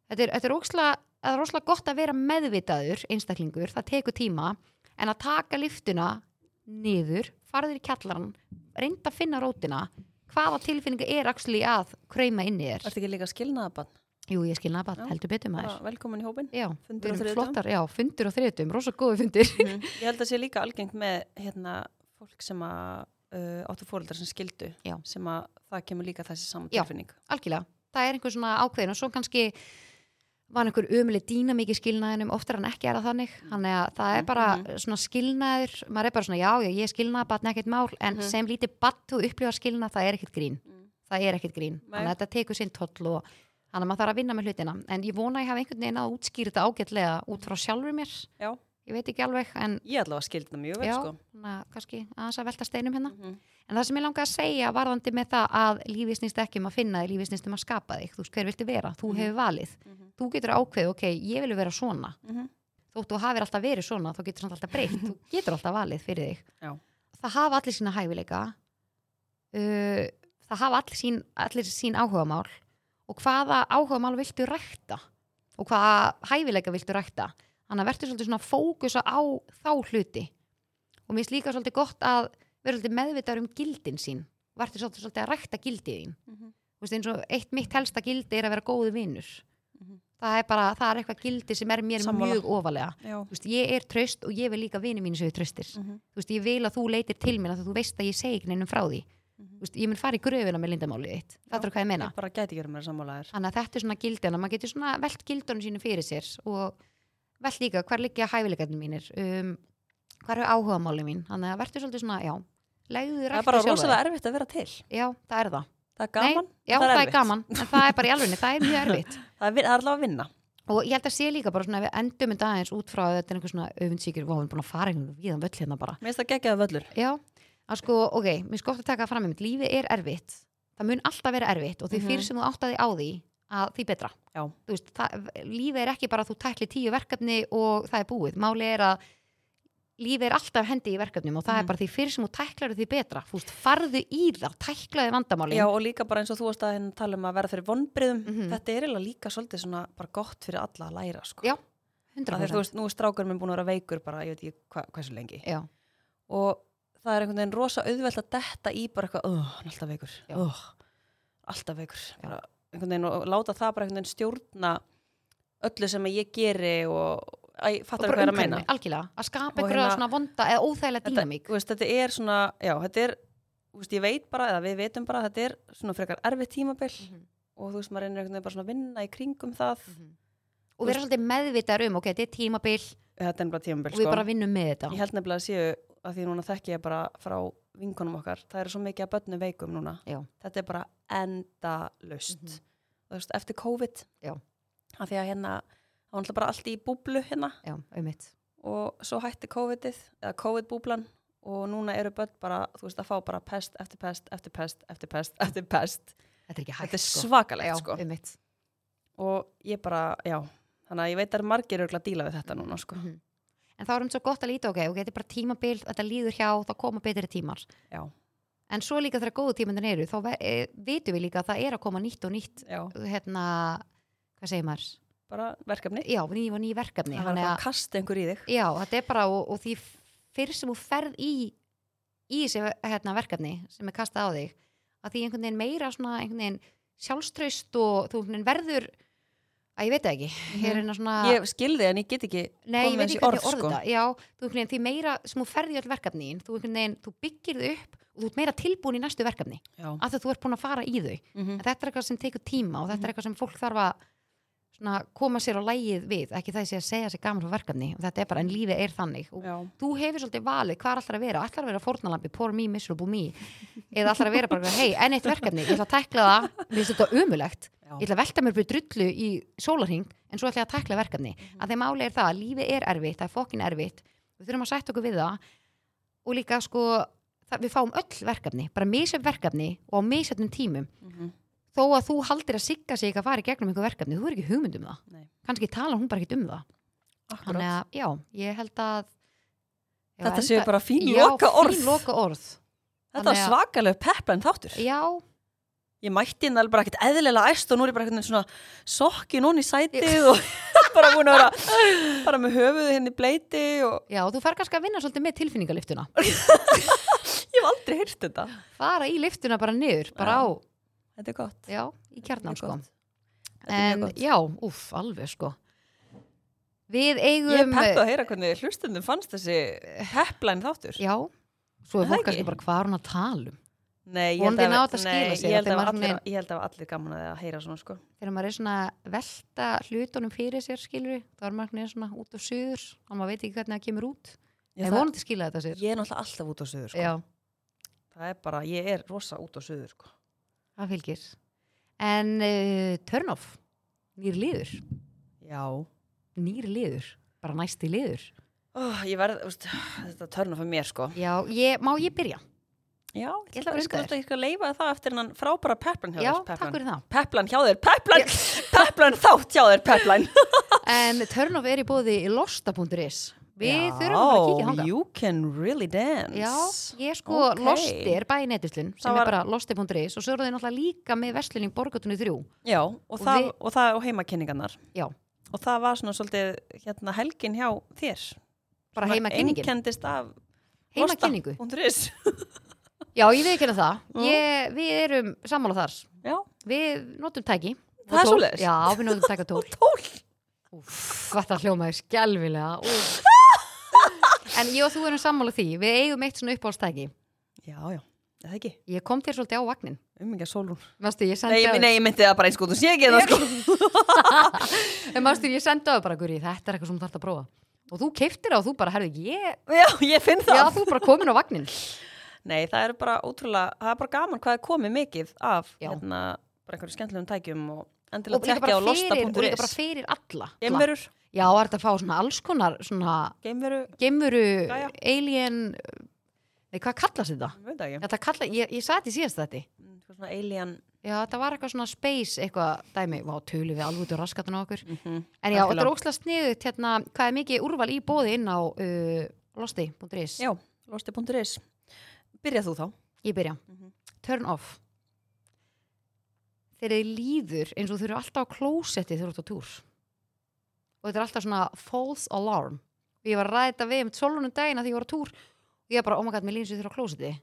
Speaker 2: þetta er, þetta er óksla það er óslega gott að vera meðvitaður einstaklingur, það tekur tíma en að taka liftuna niður, farður í kjallaran reynda að finna rótina hvaða tilfinninga er axli að kreima inn í þér
Speaker 1: Ertu ekki líka skilnaðabann?
Speaker 2: Jú, ég skilna bara,
Speaker 1: Já.
Speaker 2: heldur betur maður
Speaker 1: Bara Velkomin í hópin.
Speaker 2: Já,
Speaker 1: Fundur á
Speaker 2: við erum
Speaker 1: þriðjudögum.
Speaker 2: flottar, já, fundur og þriðutum, rosa góði fundir
Speaker 1: Mhm. Ég held að sé líka algengt með hérna, fólk sem að uh, áttu fóreldrar sem skildu
Speaker 2: Já.
Speaker 1: sem að það kemur líka þessi saman
Speaker 2: Já.
Speaker 1: tilfinning.
Speaker 2: algjörlega, það er einhver svona ákveðin og svo kannski var einhver umlið dýna mikið skilnaðinum, oftar en ekki er það þannig þannig að það er bara
Speaker 1: Mhm.
Speaker 2: svona skilnaður maður er bara svona já, já, ég er skilnað, batn ekkert mál en
Speaker 1: Mhm.
Speaker 2: sem lítið batn og upplifa skilnað það er ekkert grín, það er ekkert grín
Speaker 1: Mm. Nei.
Speaker 2: þannig að þetta tekur sinn toll og þannig að maður þarf að vinna með hlutina, en ég vona að ég hafa einhvern veginn að útskýra þetta ágætlega út frá sjálfur mér
Speaker 1: Já.
Speaker 2: ég veit ekki alveg, en
Speaker 1: Ég allavega skildi það mjög vel,
Speaker 2: já,
Speaker 1: sko.
Speaker 2: svona, kannski aðeins að velta steinum hérna
Speaker 1: Mhm.
Speaker 2: En það sem ég langa að segja varðandi með það að lífið snýst ekki um að finna þig, lífið snýst um að skapa þig. Þú veist hver viltu vera, þú hefur valið.
Speaker 1: Mhm.
Speaker 2: Þú getur ákveðið, ok, ég vil vera svona.
Speaker 1: Mhm.
Speaker 2: Þótt þú hafir alltaf verið svona, þá getur þú samt alltaf breytt. þú getur alltaf valið fyrir þig.
Speaker 1: Já.
Speaker 2: Það hafa allir sína hæfileika, uh, það hafa allir sín, allir sín áhugamál og hvaða áhugamál viltu rækta og hvaða hæfileika viltu rækta. Þannig að verður svolítið svona að fókusa á þá hluti og mér finnst líka svolítið gott að vera svolítið meðvitaður um gildin sín verður svolítið, svolítið að rækta gildið þín
Speaker 1: Mhm.
Speaker 2: þú veist eins og eitt mitt helsta gildi er að vera góðu vinnur
Speaker 1: Mhm.
Speaker 2: það er bara, það er eitthvað gildi sem er mér
Speaker 1: Sammála.
Speaker 2: mjög ofalega
Speaker 1: Já.
Speaker 2: þú veist, ég er tröst og ég vil líka vinni mínu sem við tröstir
Speaker 1: Mhm.
Speaker 2: þú veist, ég vil að þú leitir til mér að þú veist að ég segi ekki neinum frá því þú veist, ég mun fara í gröfuna með lindamálið þitt það er hvað ég meina
Speaker 1: Mhm. Ég bara gæti ekki verið meira sammálaðir.
Speaker 2: þannig að þetta er svona gildina, maður getur svona velt gildunum sínu fyrir sér og velt líka hver liggja hæfileikarnir mínir um, hver er áhugamálið mín þannig að verður svolítið svona, já, legðu
Speaker 1: Það er
Speaker 2: rækta
Speaker 1: bara
Speaker 2: sjálfa þig.
Speaker 1: rosalega erfitt að vera til.
Speaker 2: já, það er það,
Speaker 1: Það er gaman, það
Speaker 2: já, það,
Speaker 1: er
Speaker 2: er
Speaker 1: erfitt.
Speaker 2: gaman en það er bara í alvegni, það er mjög erfitt
Speaker 1: Það er, vin- það er allavega að vinna.
Speaker 2: og ég held að sé líka bara svona ef við endum þetta aðeins út frá að þetta er einhver svona öfundsíkir og við erum búin að fara einhvern viðan völl hérna bara
Speaker 1: Mér finnst það geggjaði völlur.
Speaker 2: já, að sko, ok, mér sko gott að taka fram einmitt lífið er erfitt, það mun alltaf vera erfitt og því
Speaker 1: Mhm.
Speaker 2: fyrir sem þú áttaði á því að því betra
Speaker 1: Já.
Speaker 2: Þú veist, það, lífið er ekki bara að þú tækli tíu verkefni og það er búið, máli er að lífið er alltaf hendi í verkefnum og það
Speaker 1: Mhm.
Speaker 2: er bara því fyrir sem þú tæklar því betra þú veist, farðu í það, tæklaði vandamáli
Speaker 1: Já og líka bara eins og þú varst að hérna tala um að vera fyrir vonbriðum,
Speaker 2: Mhm.
Speaker 1: þetta er eiginlega líka svolítið svona bara gott fyrir alla að læra sko.
Speaker 2: Já,
Speaker 1: Af því að þú veist, nú er strákur minn búin að vera veikur bara, ég veit ekki hva, hversu lengi.
Speaker 2: já,
Speaker 1: Og það er einhvern veginn rosa auðvelt að detta í bara eitthvað, oh, hann er alltaf veikur,
Speaker 2: Já.
Speaker 1: oh, alltaf veikur. Bara, einhvern veginn og láta það bara einhvern veginn stjórna öllu sem að ég geri og, æ,
Speaker 2: og
Speaker 1: fattar hvað
Speaker 2: bara
Speaker 1: ég er að
Speaker 2: umhverfni,
Speaker 1: meina.
Speaker 2: algjörlega að skapa
Speaker 1: Og
Speaker 2: einhverja
Speaker 1: hérna-
Speaker 2: svona vonda eða óþægilega
Speaker 1: þetta,
Speaker 2: dýnamík
Speaker 1: þú veist, þetta er svona, já, þetta er þú veist, ég veit bara, eða við veitum bara að þetta er svona frekar erfið tímabil
Speaker 2: Mhm.
Speaker 1: og þú veist, maður reynir einhvern veginn bara svona að vinna í kringum það
Speaker 2: og vera svolítið meðvitaðar um, ok, þetta er tímabil
Speaker 1: þetta er nefnilega tímabil,
Speaker 2: og við
Speaker 1: sko
Speaker 2: bara vinnum með þetta
Speaker 1: ég held nefnilega að séu, að því núna þekki ég bara frá vinkonum okkar, það eru svo mikið að börnum veikum núna,
Speaker 2: Já.
Speaker 1: þetta er bara endalaust
Speaker 2: Mhm.
Speaker 1: þú veist, eftir COVID
Speaker 2: Já.
Speaker 1: af því að hérna, það var náttúrulega bara allt í búblu hérna
Speaker 2: já, um mitt
Speaker 1: og svo hætti COVID-ið, eða COVID-búblan og núna eru börn bara, þú veist, að fá bara pest eftir pest, eftir pest, eftir pest, eftir pest.
Speaker 2: þetta er ekki hægt
Speaker 1: Þetta er
Speaker 2: sko.
Speaker 1: svakalegt,
Speaker 2: já,
Speaker 1: sko.
Speaker 2: um mitt
Speaker 1: Og ég bara, já, þannig að ég veit að margir eru að díla við þetta núna,
Speaker 2: Mhm.
Speaker 1: sko.
Speaker 2: en þá erum svo gott að líta, ok, ok, þetta er bara tímabil þetta líður hjá, þá koma betri tímar
Speaker 1: Já,
Speaker 2: en svo líka þegar góðu tímandin eru þá ve- eh, vitum við líka að það er að koma nýtt og nýtt
Speaker 1: já,
Speaker 2: hérna, hvað segir maður
Speaker 1: bara verkefni.
Speaker 2: já, ný og ný verkefni
Speaker 1: Það var
Speaker 2: þannig
Speaker 1: bara
Speaker 2: að-
Speaker 1: að kasta einhver í þig.
Speaker 2: Já, þetta er bara og, og því fyrir sem þú ferð í í þessi hérna, verkefni sem er kastað á þig að því einhvern veginn meira svona einhvern veginn sjálfströst og þú einhvern veginn verður að ég veit það ekki ég er hérna svona
Speaker 1: Mhm. Ég skilði en ég get ekki
Speaker 2: Nei, ég
Speaker 1: komið
Speaker 2: veit
Speaker 1: þessi
Speaker 2: ekki hvernig
Speaker 1: orð,
Speaker 2: orð,
Speaker 1: sko.
Speaker 2: orða Já, þú einhvern veginn, því meira sem þú ferði í öll verkefnin þú einhvern veginn, þú byggir þau upp og þú ert meira tilbúin í næstu verkefni
Speaker 1: Já.
Speaker 2: af því að þú ert búin að fara í þau
Speaker 1: Mhm.
Speaker 2: en þetta er eitthvað sem tekur tíma og þetta er eitthvað sem fólk þarf að svona, koma sér á lægið við ekki það sé að segja sér gaman frá verkefni og þetta er bara en lífið er þannig og
Speaker 1: Já.
Speaker 2: þú hefur svolítið valið hvað ætlar að vera ætlar að vera fórnalambi, poor me, miserable me eða ætlar að vera bara, hei, enn eitt verkefni ég ætla að tækla það, mér finnst þetta umulegt
Speaker 1: Já.
Speaker 2: ég ætla að velta mér fyrir drullu í sólarhing en svo ætla ég að tækla verkefni
Speaker 1: Mhm.
Speaker 2: að þeim álega er það að lífið er erfitt, það er fokkin erfitt við þurfum að sætta okkur við það og líka sko, það, við fáum öll verkefni bara misjöfn verkefni og á misjöfnum tímum
Speaker 1: Mhm.
Speaker 2: þó að þú haldir að sigga sig að fara í gegnum einhver verkefni, þú er ekki hugmynd um það
Speaker 1: Nei.
Speaker 2: kannski tala hún bara ekki um það
Speaker 1: Akkurat.
Speaker 2: Þannig að, já, ég held að Já,
Speaker 1: Þetta
Speaker 2: enda-
Speaker 1: séu bara fín
Speaker 2: Já,
Speaker 1: loka orð.
Speaker 2: Fín loka orð,
Speaker 1: Þetta var
Speaker 2: þannig að-
Speaker 1: svakaleg peppen þáttur.
Speaker 2: já
Speaker 1: Ég mætti inn alveg bara ekkert eðlilega æst og nú er ég bara ekkert svona sokkin hún í sætið og bara búin að vera bara með höfuðu henni bleiti og
Speaker 2: Já, og þú fer kannski að vinna svolítið með tilfinningaliftuna
Speaker 1: ég hef aldrei heyrt þetta.
Speaker 2: Fara í liftuna bara niður, bara
Speaker 1: Já.
Speaker 2: á
Speaker 1: Þetta er gott.
Speaker 2: Já, í kjarnan sko
Speaker 1: Þetta er mjög
Speaker 2: En,
Speaker 1: gott.
Speaker 2: já, úff, alveg sko Við
Speaker 1: Ég er
Speaker 2: eigum
Speaker 1: peppuð að heyra hvernig hlustundum fannst þessi heplæn þáttur.
Speaker 2: eh, Já, svo er
Speaker 1: Það
Speaker 2: fólk
Speaker 1: ekki.
Speaker 2: kannski bara hvað er hún að tala um
Speaker 1: Nei, ég held
Speaker 2: Vonandi
Speaker 1: að,
Speaker 2: ná þetta að skila
Speaker 1: nei,
Speaker 2: sér,
Speaker 1: ég held að
Speaker 2: þetta er maður
Speaker 1: allir,
Speaker 2: svona-
Speaker 1: ég held að allir gaman að heyra svona sko.
Speaker 2: Þegar maður er svona að velta hlutunum fyrir sér skilur þá er maður einhvern veginn svona út og suður og maður veit ekki hvernig það kemur út
Speaker 1: Ég,
Speaker 2: En
Speaker 1: það,
Speaker 2: vonandi skila þetta sér
Speaker 1: ég er náttúrulega alltaf út á söður sko.
Speaker 2: Já
Speaker 1: Það er bara, ég er rosa út á söður sko.
Speaker 2: Það fylgir. En uh, turn off, nýr liður,
Speaker 1: Já.
Speaker 2: nýr liður, bara næsti liður.
Speaker 1: Ó, ég verð, úst, þetta törna fyrir mér sko.
Speaker 2: Já, ég, má ég byrja?
Speaker 1: Já,
Speaker 2: Ég
Speaker 1: ég ætla
Speaker 2: ætla að
Speaker 1: bara
Speaker 2: unga
Speaker 1: að ég skal leifa það eftir hennan frábæra peplan hjá
Speaker 2: Já,
Speaker 1: þér,
Speaker 2: takk
Speaker 1: peplan.
Speaker 2: fyrir það.
Speaker 1: Peplan hjá þér, peplan, peplan þátt hjá þér, peplan.
Speaker 2: En turn off er í bóði losta.is. Við
Speaker 1: Já,
Speaker 2: þurfum að fara að kíkja hanga.
Speaker 1: You can really dance.
Speaker 2: Já, ég sko
Speaker 1: Ókei.
Speaker 2: losti er bæði netuslun sem
Speaker 1: Það
Speaker 2: er
Speaker 1: var-
Speaker 2: bara losti.is og svo eru þeir náttúrulega líka með versluning borgatunni þrjú.
Speaker 1: Já, og, það,
Speaker 2: við-
Speaker 1: og það og heimakenningarnar.
Speaker 2: Já.
Speaker 1: Og það var svona svolítið hérna, helgin hjá þér.
Speaker 2: Bara heima kynningin.
Speaker 1: Einkendist af
Speaker 2: Heima kynningu.
Speaker 1: Losta.is.
Speaker 2: Já, ég veit ekki það.
Speaker 1: Já.
Speaker 2: Ég, við erum sammála þar.
Speaker 1: Já,
Speaker 2: Við notum tæki. og
Speaker 1: Það er
Speaker 2: tól.
Speaker 1: svoleiðis?
Speaker 2: Já, við notum tæki og tól.
Speaker 1: tól.
Speaker 2: Úff, Hvað það hljómaði skjálfilega úff. En ég og þú erum sammála því Við eigum eitt svona uppáhaldstæki
Speaker 1: Já, já, eða ekki.
Speaker 2: Ég kom þér svolítið á vagnin
Speaker 1: Ummingar sólun.
Speaker 2: Mastu,
Speaker 1: Nei,
Speaker 2: ég sendi
Speaker 1: ég-
Speaker 2: á
Speaker 1: nei, ég myndi það bara eins og þú sé ekki það sko.
Speaker 2: En mastu, ég sendi á þau bara Guri, þetta er eitthvað sem þú þarf að prófa Og þú keiftir það og þú bara, herðu, ég
Speaker 1: Já, ég finn það.
Speaker 2: Já, þú er bara komin á vagnin
Speaker 1: Nei, það er bara ótrúlega, það er bara gaman hvað er komið mikið af
Speaker 2: Já.
Speaker 1: hérna, bara einhverju skemmtilegum tækjum og en til
Speaker 2: og
Speaker 1: að
Speaker 2: líka, bara
Speaker 1: tekja á
Speaker 2: fyrir, og líka bara
Speaker 1: losta.is
Speaker 2: fyrir alla alla.
Speaker 1: Geimverur,
Speaker 2: já, það er þetta að fá svona alls konar svona
Speaker 1: geimveru,
Speaker 2: gemuru,
Speaker 1: Jæja.
Speaker 2: alien nei, hvað kallast þetta?
Speaker 1: ég veit það ekki
Speaker 2: þetta kalla, ég, ég sat í síðast þetta
Speaker 1: Mm, eitthvað svona alien
Speaker 2: já, þetta var eitthvað svona space eitthvað dæmi, vá, tölu við alveg út og raskatun á okkur
Speaker 1: Mhm.
Speaker 2: en já,
Speaker 1: Algjörlega.
Speaker 2: þetta er ókslega sniðut hérna, hvað er mikið úrval í bóði inn á uh, losti.is,
Speaker 1: Já, losti.is Byrja þú þá
Speaker 2: ég byrja
Speaker 1: Mhm.
Speaker 2: turn off þegar þið líður eins og þau eru alltaf á klósetti þegar þú ert á túr og þetta er alltaf svona false alarm og ég var að ræða þetta við um solunum dagina þegar ég var á túr og ég var bara, oh my god, mér líður eins og þau eru á klósetti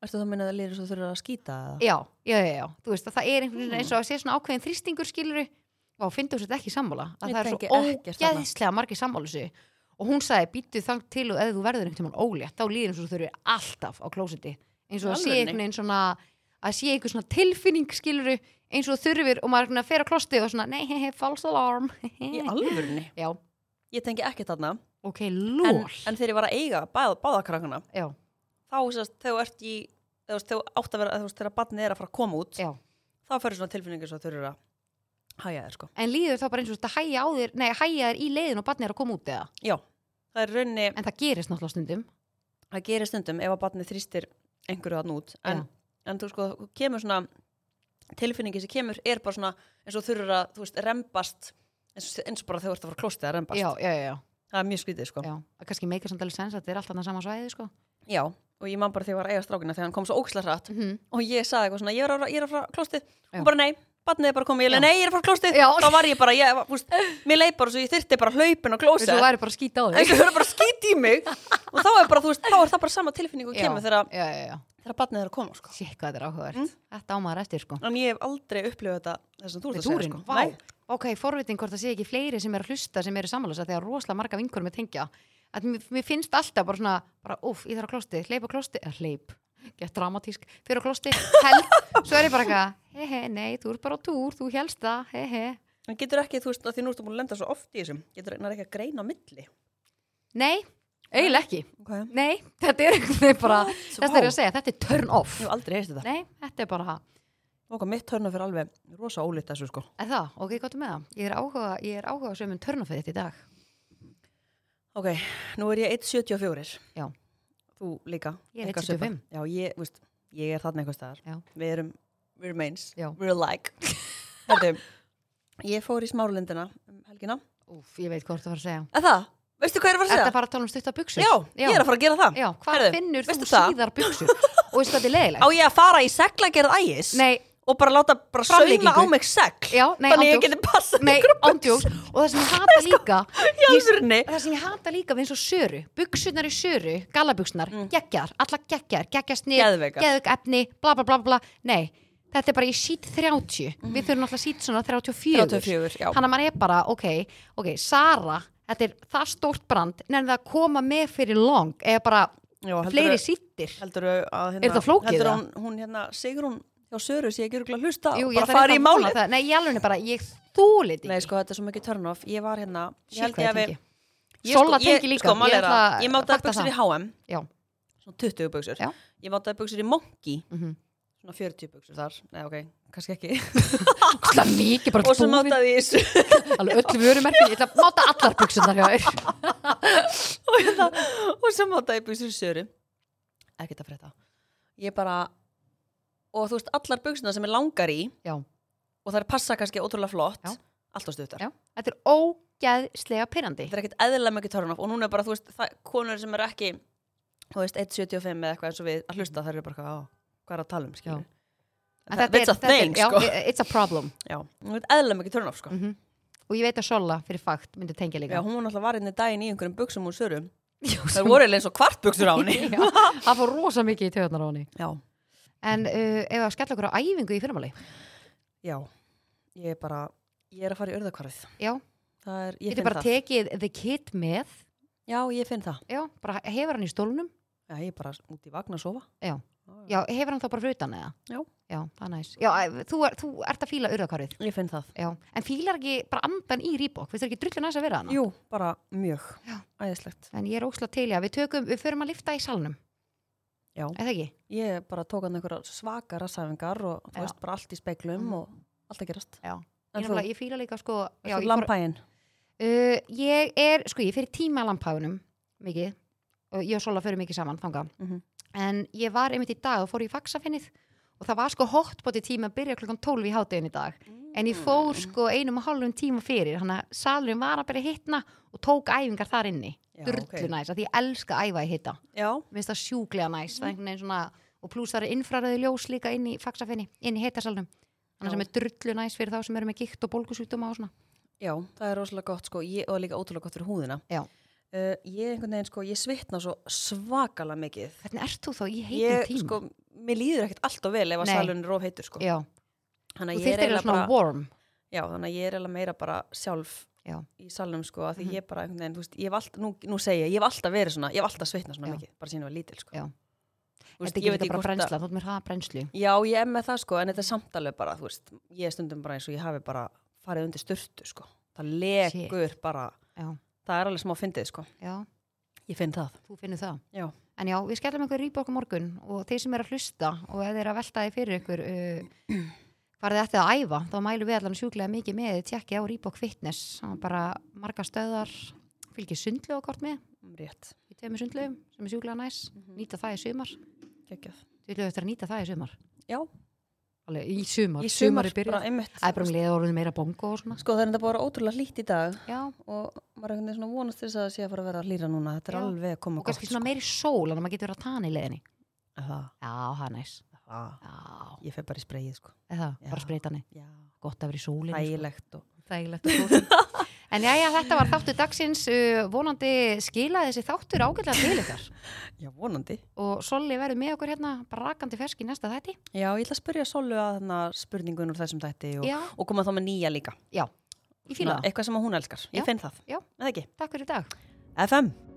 Speaker 1: Ertu þá að minna að það lýður svo þurfa að skýta eða?
Speaker 2: já, já, já, já, þú veist að það er einhvern veginn eins og að sé svona ákveðin þrýstingur skiluru og finnst þú sér ekki sammála að
Speaker 1: Ég
Speaker 2: það er
Speaker 1: tengi
Speaker 2: svo
Speaker 1: ekkert þarna.
Speaker 2: ógeðslega margir sammála þessu og hún sagði býttu þang til og ef þú verður einhvern tímann ólétt þá líður eins og þau eru alltaf á klósiti eins og að sé
Speaker 1: Alvörunni?
Speaker 2: einhvern veginn svona að sé einhvern svona tilfinning skiluru eins og þú þurfir og maður er einhvern veginn að fer á klósti og svona nei, he, he, false alarm
Speaker 1: Í alvörunni
Speaker 2: já,
Speaker 1: Ég tengi ekkert þarna
Speaker 2: ok,
Speaker 1: en,
Speaker 2: lól
Speaker 1: en þegar ég var að eiga báð, báðakrakkana
Speaker 2: já,
Speaker 1: þá sérst, þegar þú ert í þegar þú veist, þegar átt að vera, þegar, þegar barnið er að fara að koma út
Speaker 2: já
Speaker 1: þá fyrir svona tilfinningur svo þurfa að hæja þér sko
Speaker 2: en líður þá bara eins og þetta hæja á þér nei, hæja þér í leiðin og barnið er að koma út eða
Speaker 1: Já, það er raunni,
Speaker 2: en það gerist náttúrulega stundum
Speaker 1: það gerir stundum ef að barnið þrýstir einhverju þarna út en,
Speaker 2: Já.
Speaker 1: en þú sko, þú kemur svona tilfinningi sem kemur er bara svona eins og þurfa að, þú veist, rembast eins og, eins og bara þegar þú ert að fara klostið að rembast
Speaker 2: já, já, já, já.
Speaker 1: það er mjög skrítið sko
Speaker 2: Já, að kannski meikar samt alveg sens að þetta er alltaf það sama svæði, sko.
Speaker 1: Já, og ég man bara þegar ég var að eiga strákina þegar hann kom svo óksla hratt
Speaker 2: -hmm.
Speaker 1: og ég saði eitthvað svona, ég er að, ég er að fara klostið
Speaker 2: Já.
Speaker 1: og bara nei, barnið er bara komið, ég leið,
Speaker 2: Já.
Speaker 1: nei, ég er að fara klostið
Speaker 2: Já.
Speaker 1: þá var ég bara, ég, var- þú veist, mér leið bara svo ég þyrti bara hlaupin og klósið
Speaker 2: Þú væri bara að skýta á
Speaker 1: eins og það er bara skýt í mig og þá er bara, þú veist, þá er það bara sama tilfinning og kemur þegar,
Speaker 2: Já, já, já.
Speaker 1: þegar barnið er að koma sko.
Speaker 2: Sér hvað þetta er áhugavert. Þetta ámaður eftir, sko.
Speaker 1: en ég hef aldrei upplifað þetta þessum þú ert
Speaker 2: Með
Speaker 1: að segja
Speaker 2: túrin,
Speaker 1: sko.
Speaker 2: vá.
Speaker 1: Nei.
Speaker 2: Ok, forvitin hvort það sé ekki fleiri sem eru að hlusta sem eru samanlösa þegar rosalega marga vinkur með tengja. Að mér, mér finnst alltaf bara svona, bara, úf, ég þarf að klósti, hleyp á klósti, eða hleyp, gett dramatísk, fyrir á klósti, held, svo er ég bara eitthvað, he he, nei, þú ert bara á túr, þú helst það, he he.
Speaker 1: en getur ekki, þú veist, að því nú ertu búin að lenda svo oft í þessum getur nær ekki að greina á milli
Speaker 2: Nei, eiginlega ekki.
Speaker 1: okay.
Speaker 2: Nei, þetta er einhvern veginn bara, þetta er ég að segja, þetta er turn off.
Speaker 1: ég hef aldrei heist þetta
Speaker 2: Nei, þetta er bara,
Speaker 1: og mitt hörna fyrir alveg rosa ólít þessu sko.
Speaker 2: Er það? Ok, gott með það. Ég er áhuga, ég er áhuga sem um törnafið þitt í dag.
Speaker 1: ok, nú er ég 1.74
Speaker 2: Já.
Speaker 1: þú líka
Speaker 2: Ég er
Speaker 1: Eitthvað svipað.
Speaker 2: 1.75.
Speaker 1: já, ég, þú veist, ég er þarna einhvers staðar
Speaker 2: Já.
Speaker 1: við erum, við erum eins,
Speaker 2: Já.
Speaker 1: we're alike Herðu, ég fór í smárlindina um helgina
Speaker 2: Úf, ég veit hvort þú var að segja.
Speaker 1: Er það? Veistu hvað ég er að fara
Speaker 2: Er
Speaker 1: að
Speaker 2: það
Speaker 1: segja?
Speaker 2: bara að tala um stutta buksur?
Speaker 1: Já, ég er að fara að gera það.
Speaker 2: Já, hvað
Speaker 1: Herðu,
Speaker 2: finnur þú
Speaker 1: veistu það?
Speaker 2: síðar buksur? Og veistu hvað þetta er
Speaker 1: Á
Speaker 2: leiðilegt?
Speaker 1: ég að fara í seglagerð ægis
Speaker 2: Nei,
Speaker 1: og bara láta bara sauma á
Speaker 2: Framlengingu.
Speaker 1: mig segl
Speaker 2: Já, nei,
Speaker 1: þannig ég
Speaker 2: ándjóks.
Speaker 1: geti passað
Speaker 2: nei,
Speaker 1: ykkur
Speaker 2: ándjóks. Og það sem ég hata líka,
Speaker 1: í alvörunni.
Speaker 2: það sem ég hata líka við eins og söru, buksurnar í söru, galabuksnar, geggjar, alla geggjar, geggjarsnið,
Speaker 1: Mm. Geðveikar.
Speaker 2: geðug efni, bla bla bla bla, nei. Þetta er bara í sít 30,
Speaker 1: Mhm.
Speaker 2: við þurfum alltaf sít svona 34.
Speaker 1: 34, já.
Speaker 2: þannig að maður er bara, ok, ok, Sara þetta er það stórt brand nefnir það að koma með fyrir long eða bara
Speaker 1: Já, heldurðu-
Speaker 2: fleiri sittir
Speaker 1: Heldurðu að hérna,
Speaker 2: Er þetta flókið
Speaker 1: heldurðu hún,
Speaker 2: það?
Speaker 1: hún hérna, Sigrún hjá Söru sé ekki örgulega hlusta
Speaker 2: Jú,
Speaker 1: og
Speaker 2: ég
Speaker 1: bara
Speaker 2: ætla rétt
Speaker 1: fara í
Speaker 2: að vona
Speaker 1: málið
Speaker 2: það. Nei, ég alveg er bara, ég þúli þetta
Speaker 1: Nei,
Speaker 2: ekki.
Speaker 1: sko, þetta er svo mikið turn off Ég var hérna
Speaker 2: Shit, hvað ég tengi.
Speaker 1: ég,
Speaker 2: Solla
Speaker 1: sko, ég,
Speaker 2: tengi líka.
Speaker 1: Sko,
Speaker 2: Ég
Speaker 1: málið er
Speaker 2: ætla
Speaker 1: að
Speaker 2: að
Speaker 1: ég mátaði
Speaker 2: fatta
Speaker 1: buksur
Speaker 2: það.
Speaker 1: í HM
Speaker 2: Já,
Speaker 1: svona 20 buksur
Speaker 2: Já.
Speaker 1: Ég mátaði buksur í Monkey
Speaker 2: mhm.
Speaker 1: svona 40 buksur þar Nei, ok, kannski ekki
Speaker 2: Ókslega mikið bara
Speaker 1: Og svo
Speaker 2: búin,
Speaker 1: mátaði ég í Söru
Speaker 2: alveg öllu vörumerkin, ég ætla að máta allar buksunar hjá þér.
Speaker 1: og, hérna, og sem átta í buksur söru ekkert að frétta ég bara og þú veist allar buksuna sem er langar í
Speaker 2: Já,
Speaker 1: og það er passa kannski ótrúlega flott
Speaker 2: Já.
Speaker 1: allt á stuttar
Speaker 2: já, þetta er ógeðslega pyrrandi.
Speaker 1: þetta er ekkert eðlilega mikið törnaf og núna er bara þú veist það, konur sem er ekki þú veist 1.75 eða eitthvað eins og við að hlusta það eru bara eitthvað, "Á, hvað er að tala um skilur
Speaker 2: Já. En
Speaker 1: það, it's a thing
Speaker 2: já,
Speaker 1: sko
Speaker 2: i- It's a problem.
Speaker 1: já, hún veit eðlilega mikið törnaf sko
Speaker 2: Mhm. Og ég veit að Sola fyrir fakt myndi tengja
Speaker 1: já,
Speaker 2: líka.
Speaker 1: hún var náttúrulega varinni daginn í einhverjum buksum úr söru
Speaker 2: Já,
Speaker 1: það voru eiginlega eins og kvartbuksur á henni
Speaker 2: Já, það fór rosa mikið í töðunar á henni.
Speaker 1: já,
Speaker 2: En uh, ef að skella okkur á æfingu í fyrramáli?
Speaker 1: já, ég er bara ég er að fara í örðakvarð
Speaker 2: Já,
Speaker 1: það er, ég
Speaker 2: getur
Speaker 1: finn
Speaker 2: bara
Speaker 1: það
Speaker 2: tekið the kid með,
Speaker 1: Já, ég finn það.
Speaker 2: já, bara hefur hann í stólunum,
Speaker 1: Já, ég er bara út í vagn að sofa.
Speaker 2: já, já, hefur hann þá bara frutan eða?
Speaker 1: Já.
Speaker 2: Já, það er næs. Já, æ, þú, er, þú ert að fíla urðakarið,
Speaker 1: Ég finn það.
Speaker 2: já, en fílar ekki bara andan í rýbók, finnst þér ekki drullu næs að vera hann?
Speaker 1: Jú, bara mjög.
Speaker 2: Já.
Speaker 1: Æðislegt.
Speaker 2: En ég er ósla til, já, við tökum, við förum að lifta í salnum,
Speaker 1: Já.
Speaker 2: eða ekki?
Speaker 1: Ég bara tók hann einhverja svaka rassæfingar og þú
Speaker 2: Já.
Speaker 1: veist bara allt í speglum
Speaker 2: Mhm.
Speaker 1: og allt að gerast.
Speaker 2: Já. ég,
Speaker 1: En þú?
Speaker 2: nefnilega- ég fíla líka sko já,
Speaker 1: Þú
Speaker 2: ég, fór,
Speaker 1: lampæin.
Speaker 2: uh, ég er, sko ég fyrir tíma að lampæðunum mikið og ég og Sola fyrir mikið saman þanga
Speaker 1: Mhm.
Speaker 2: en ég var einmitt í dag og fór í vaksafinnið og það var sko hotboti tíma að byrja klukkan 12 í háttegin í dag en ég fór
Speaker 1: Mm.
Speaker 2: sko einum og hálfum tíma fyrir þannig að salurinn var að byrja að hitna og tók æfingar þar inni
Speaker 1: Já,
Speaker 2: durlu
Speaker 1: ok.
Speaker 2: næs, af því ég elska að æfa í hitta
Speaker 1: Já,
Speaker 2: minnst það sjúklega næs það er einhvern veginn svona, og pluss það eru infraröðu ljós líka inn í faksafinni, inn í heitasalnum þannig
Speaker 1: Já.
Speaker 2: sem er drullu næs fyrir þá sem eru með gikt og bólgusjúkdóma og svona
Speaker 1: já, það er rosalega gott sko ég, og líka ótrúlega gott fyrir húðina.
Speaker 2: Já.
Speaker 1: Uh, ég einhvern veginn sko, ég svitna svo svakalega mikið.
Speaker 2: hvernig ert þú þá í heitum
Speaker 1: Ég,
Speaker 2: tíma?
Speaker 1: sko, mér líður ekkert alltaf vel ef að
Speaker 2: Nei.
Speaker 1: salun er of heitur sko.
Speaker 2: já,
Speaker 1: Þannig
Speaker 2: þú
Speaker 1: að ég
Speaker 2: þyrftir
Speaker 1: er
Speaker 2: eða
Speaker 1: eiginlega
Speaker 2: svona
Speaker 1: bara,
Speaker 2: warm
Speaker 1: já, þannig að ég er eiginlega meira bara sjálf
Speaker 2: Já. Mhm.
Speaker 1: í salunum sko, að því ég bara einhvern veginn, þú veist, ég hef alltaf, nú, nú segja, ég hef alltaf verið svona, ég hef alltaf svitna svona
Speaker 2: Já.
Speaker 1: mikið, bara síðan ég var lítil sko.
Speaker 2: Já.
Speaker 1: Þú veist,
Speaker 2: þetta
Speaker 1: ég
Speaker 2: er
Speaker 1: veit
Speaker 2: ekki
Speaker 1: ekki
Speaker 2: bara
Speaker 1: hvort að-
Speaker 2: brennsla, þú ert mér að hafa brennslu
Speaker 1: Já, ég er með það sko, en þetta er samtalið bara, þú veist, ég er stundum bara eins og ég hafi bara farið undir styrtu sko. Það lekur bara,
Speaker 2: já,
Speaker 1: það er alveg smá fyndið sko.
Speaker 2: já,
Speaker 1: Ég finn það.
Speaker 2: þú finnur það
Speaker 1: Já,
Speaker 2: En já, við skellum einhver rýpa okkur morgun og þeir sem eru að hlusta og ef þeir eru að velta því fyrir ykkur uh, farið eftir að æfa, þá mælum við allan sjúklega mikið með því tjekki á Reebok Fitness og bara marga stöðar fylgir sundlu og kort með
Speaker 1: rétt.
Speaker 2: í tveimur sundlugum sem er sjúklega næs
Speaker 1: Mhm.
Speaker 2: nýta það í sumar,
Speaker 1: Kekjað.
Speaker 2: við höfum eftir að nýta það í sumar
Speaker 1: Já,
Speaker 2: alveg í sumar,
Speaker 1: í sumar
Speaker 2: er byrjað
Speaker 1: bara einmitt.
Speaker 2: Það er bara um leiða orðin meira bongo og svona
Speaker 1: Sko það er þetta bara ótrúlega hlýtt í dag
Speaker 2: Já,
Speaker 1: og maður er einhvern veginn svona vonast til þess að það sé að fara að vera að hlýra núna. Þetta er
Speaker 2: Já.
Speaker 1: alveg að koma
Speaker 2: og kannski svona meiri sól en að maður getur verið að tana í leiðinni
Speaker 1: Það,
Speaker 2: Já, það er næs
Speaker 1: það,
Speaker 2: Já,
Speaker 1: ég fer bara í spreyið sko.
Speaker 2: eða,
Speaker 1: Já.
Speaker 2: bara spreytani,
Speaker 1: Já.
Speaker 2: gott að vera í sólinni sko.
Speaker 1: Ægilegt og...
Speaker 2: Þægilegt og góð En já, já, þetta var þáttu dagsins uh, vonandi skilaði þessi þáttur ágætlega til ykkar
Speaker 1: Já, vonandi.
Speaker 2: og Solli verður með okkur hérna bara rakandi fersk í næsta þætti
Speaker 1: Já, ég ætla að spyrja Solu að þarna spurningun úr þessum þætti og,
Speaker 2: Já,
Speaker 1: og koma þá með nýja líka.
Speaker 2: já, ég fíla
Speaker 1: Svona
Speaker 2: það
Speaker 1: Eitthvað sem að hún elskar,
Speaker 2: Já.
Speaker 1: ég finn það
Speaker 2: Já.
Speaker 1: Eða ekki?
Speaker 2: Takk fyrir í dag
Speaker 1: FM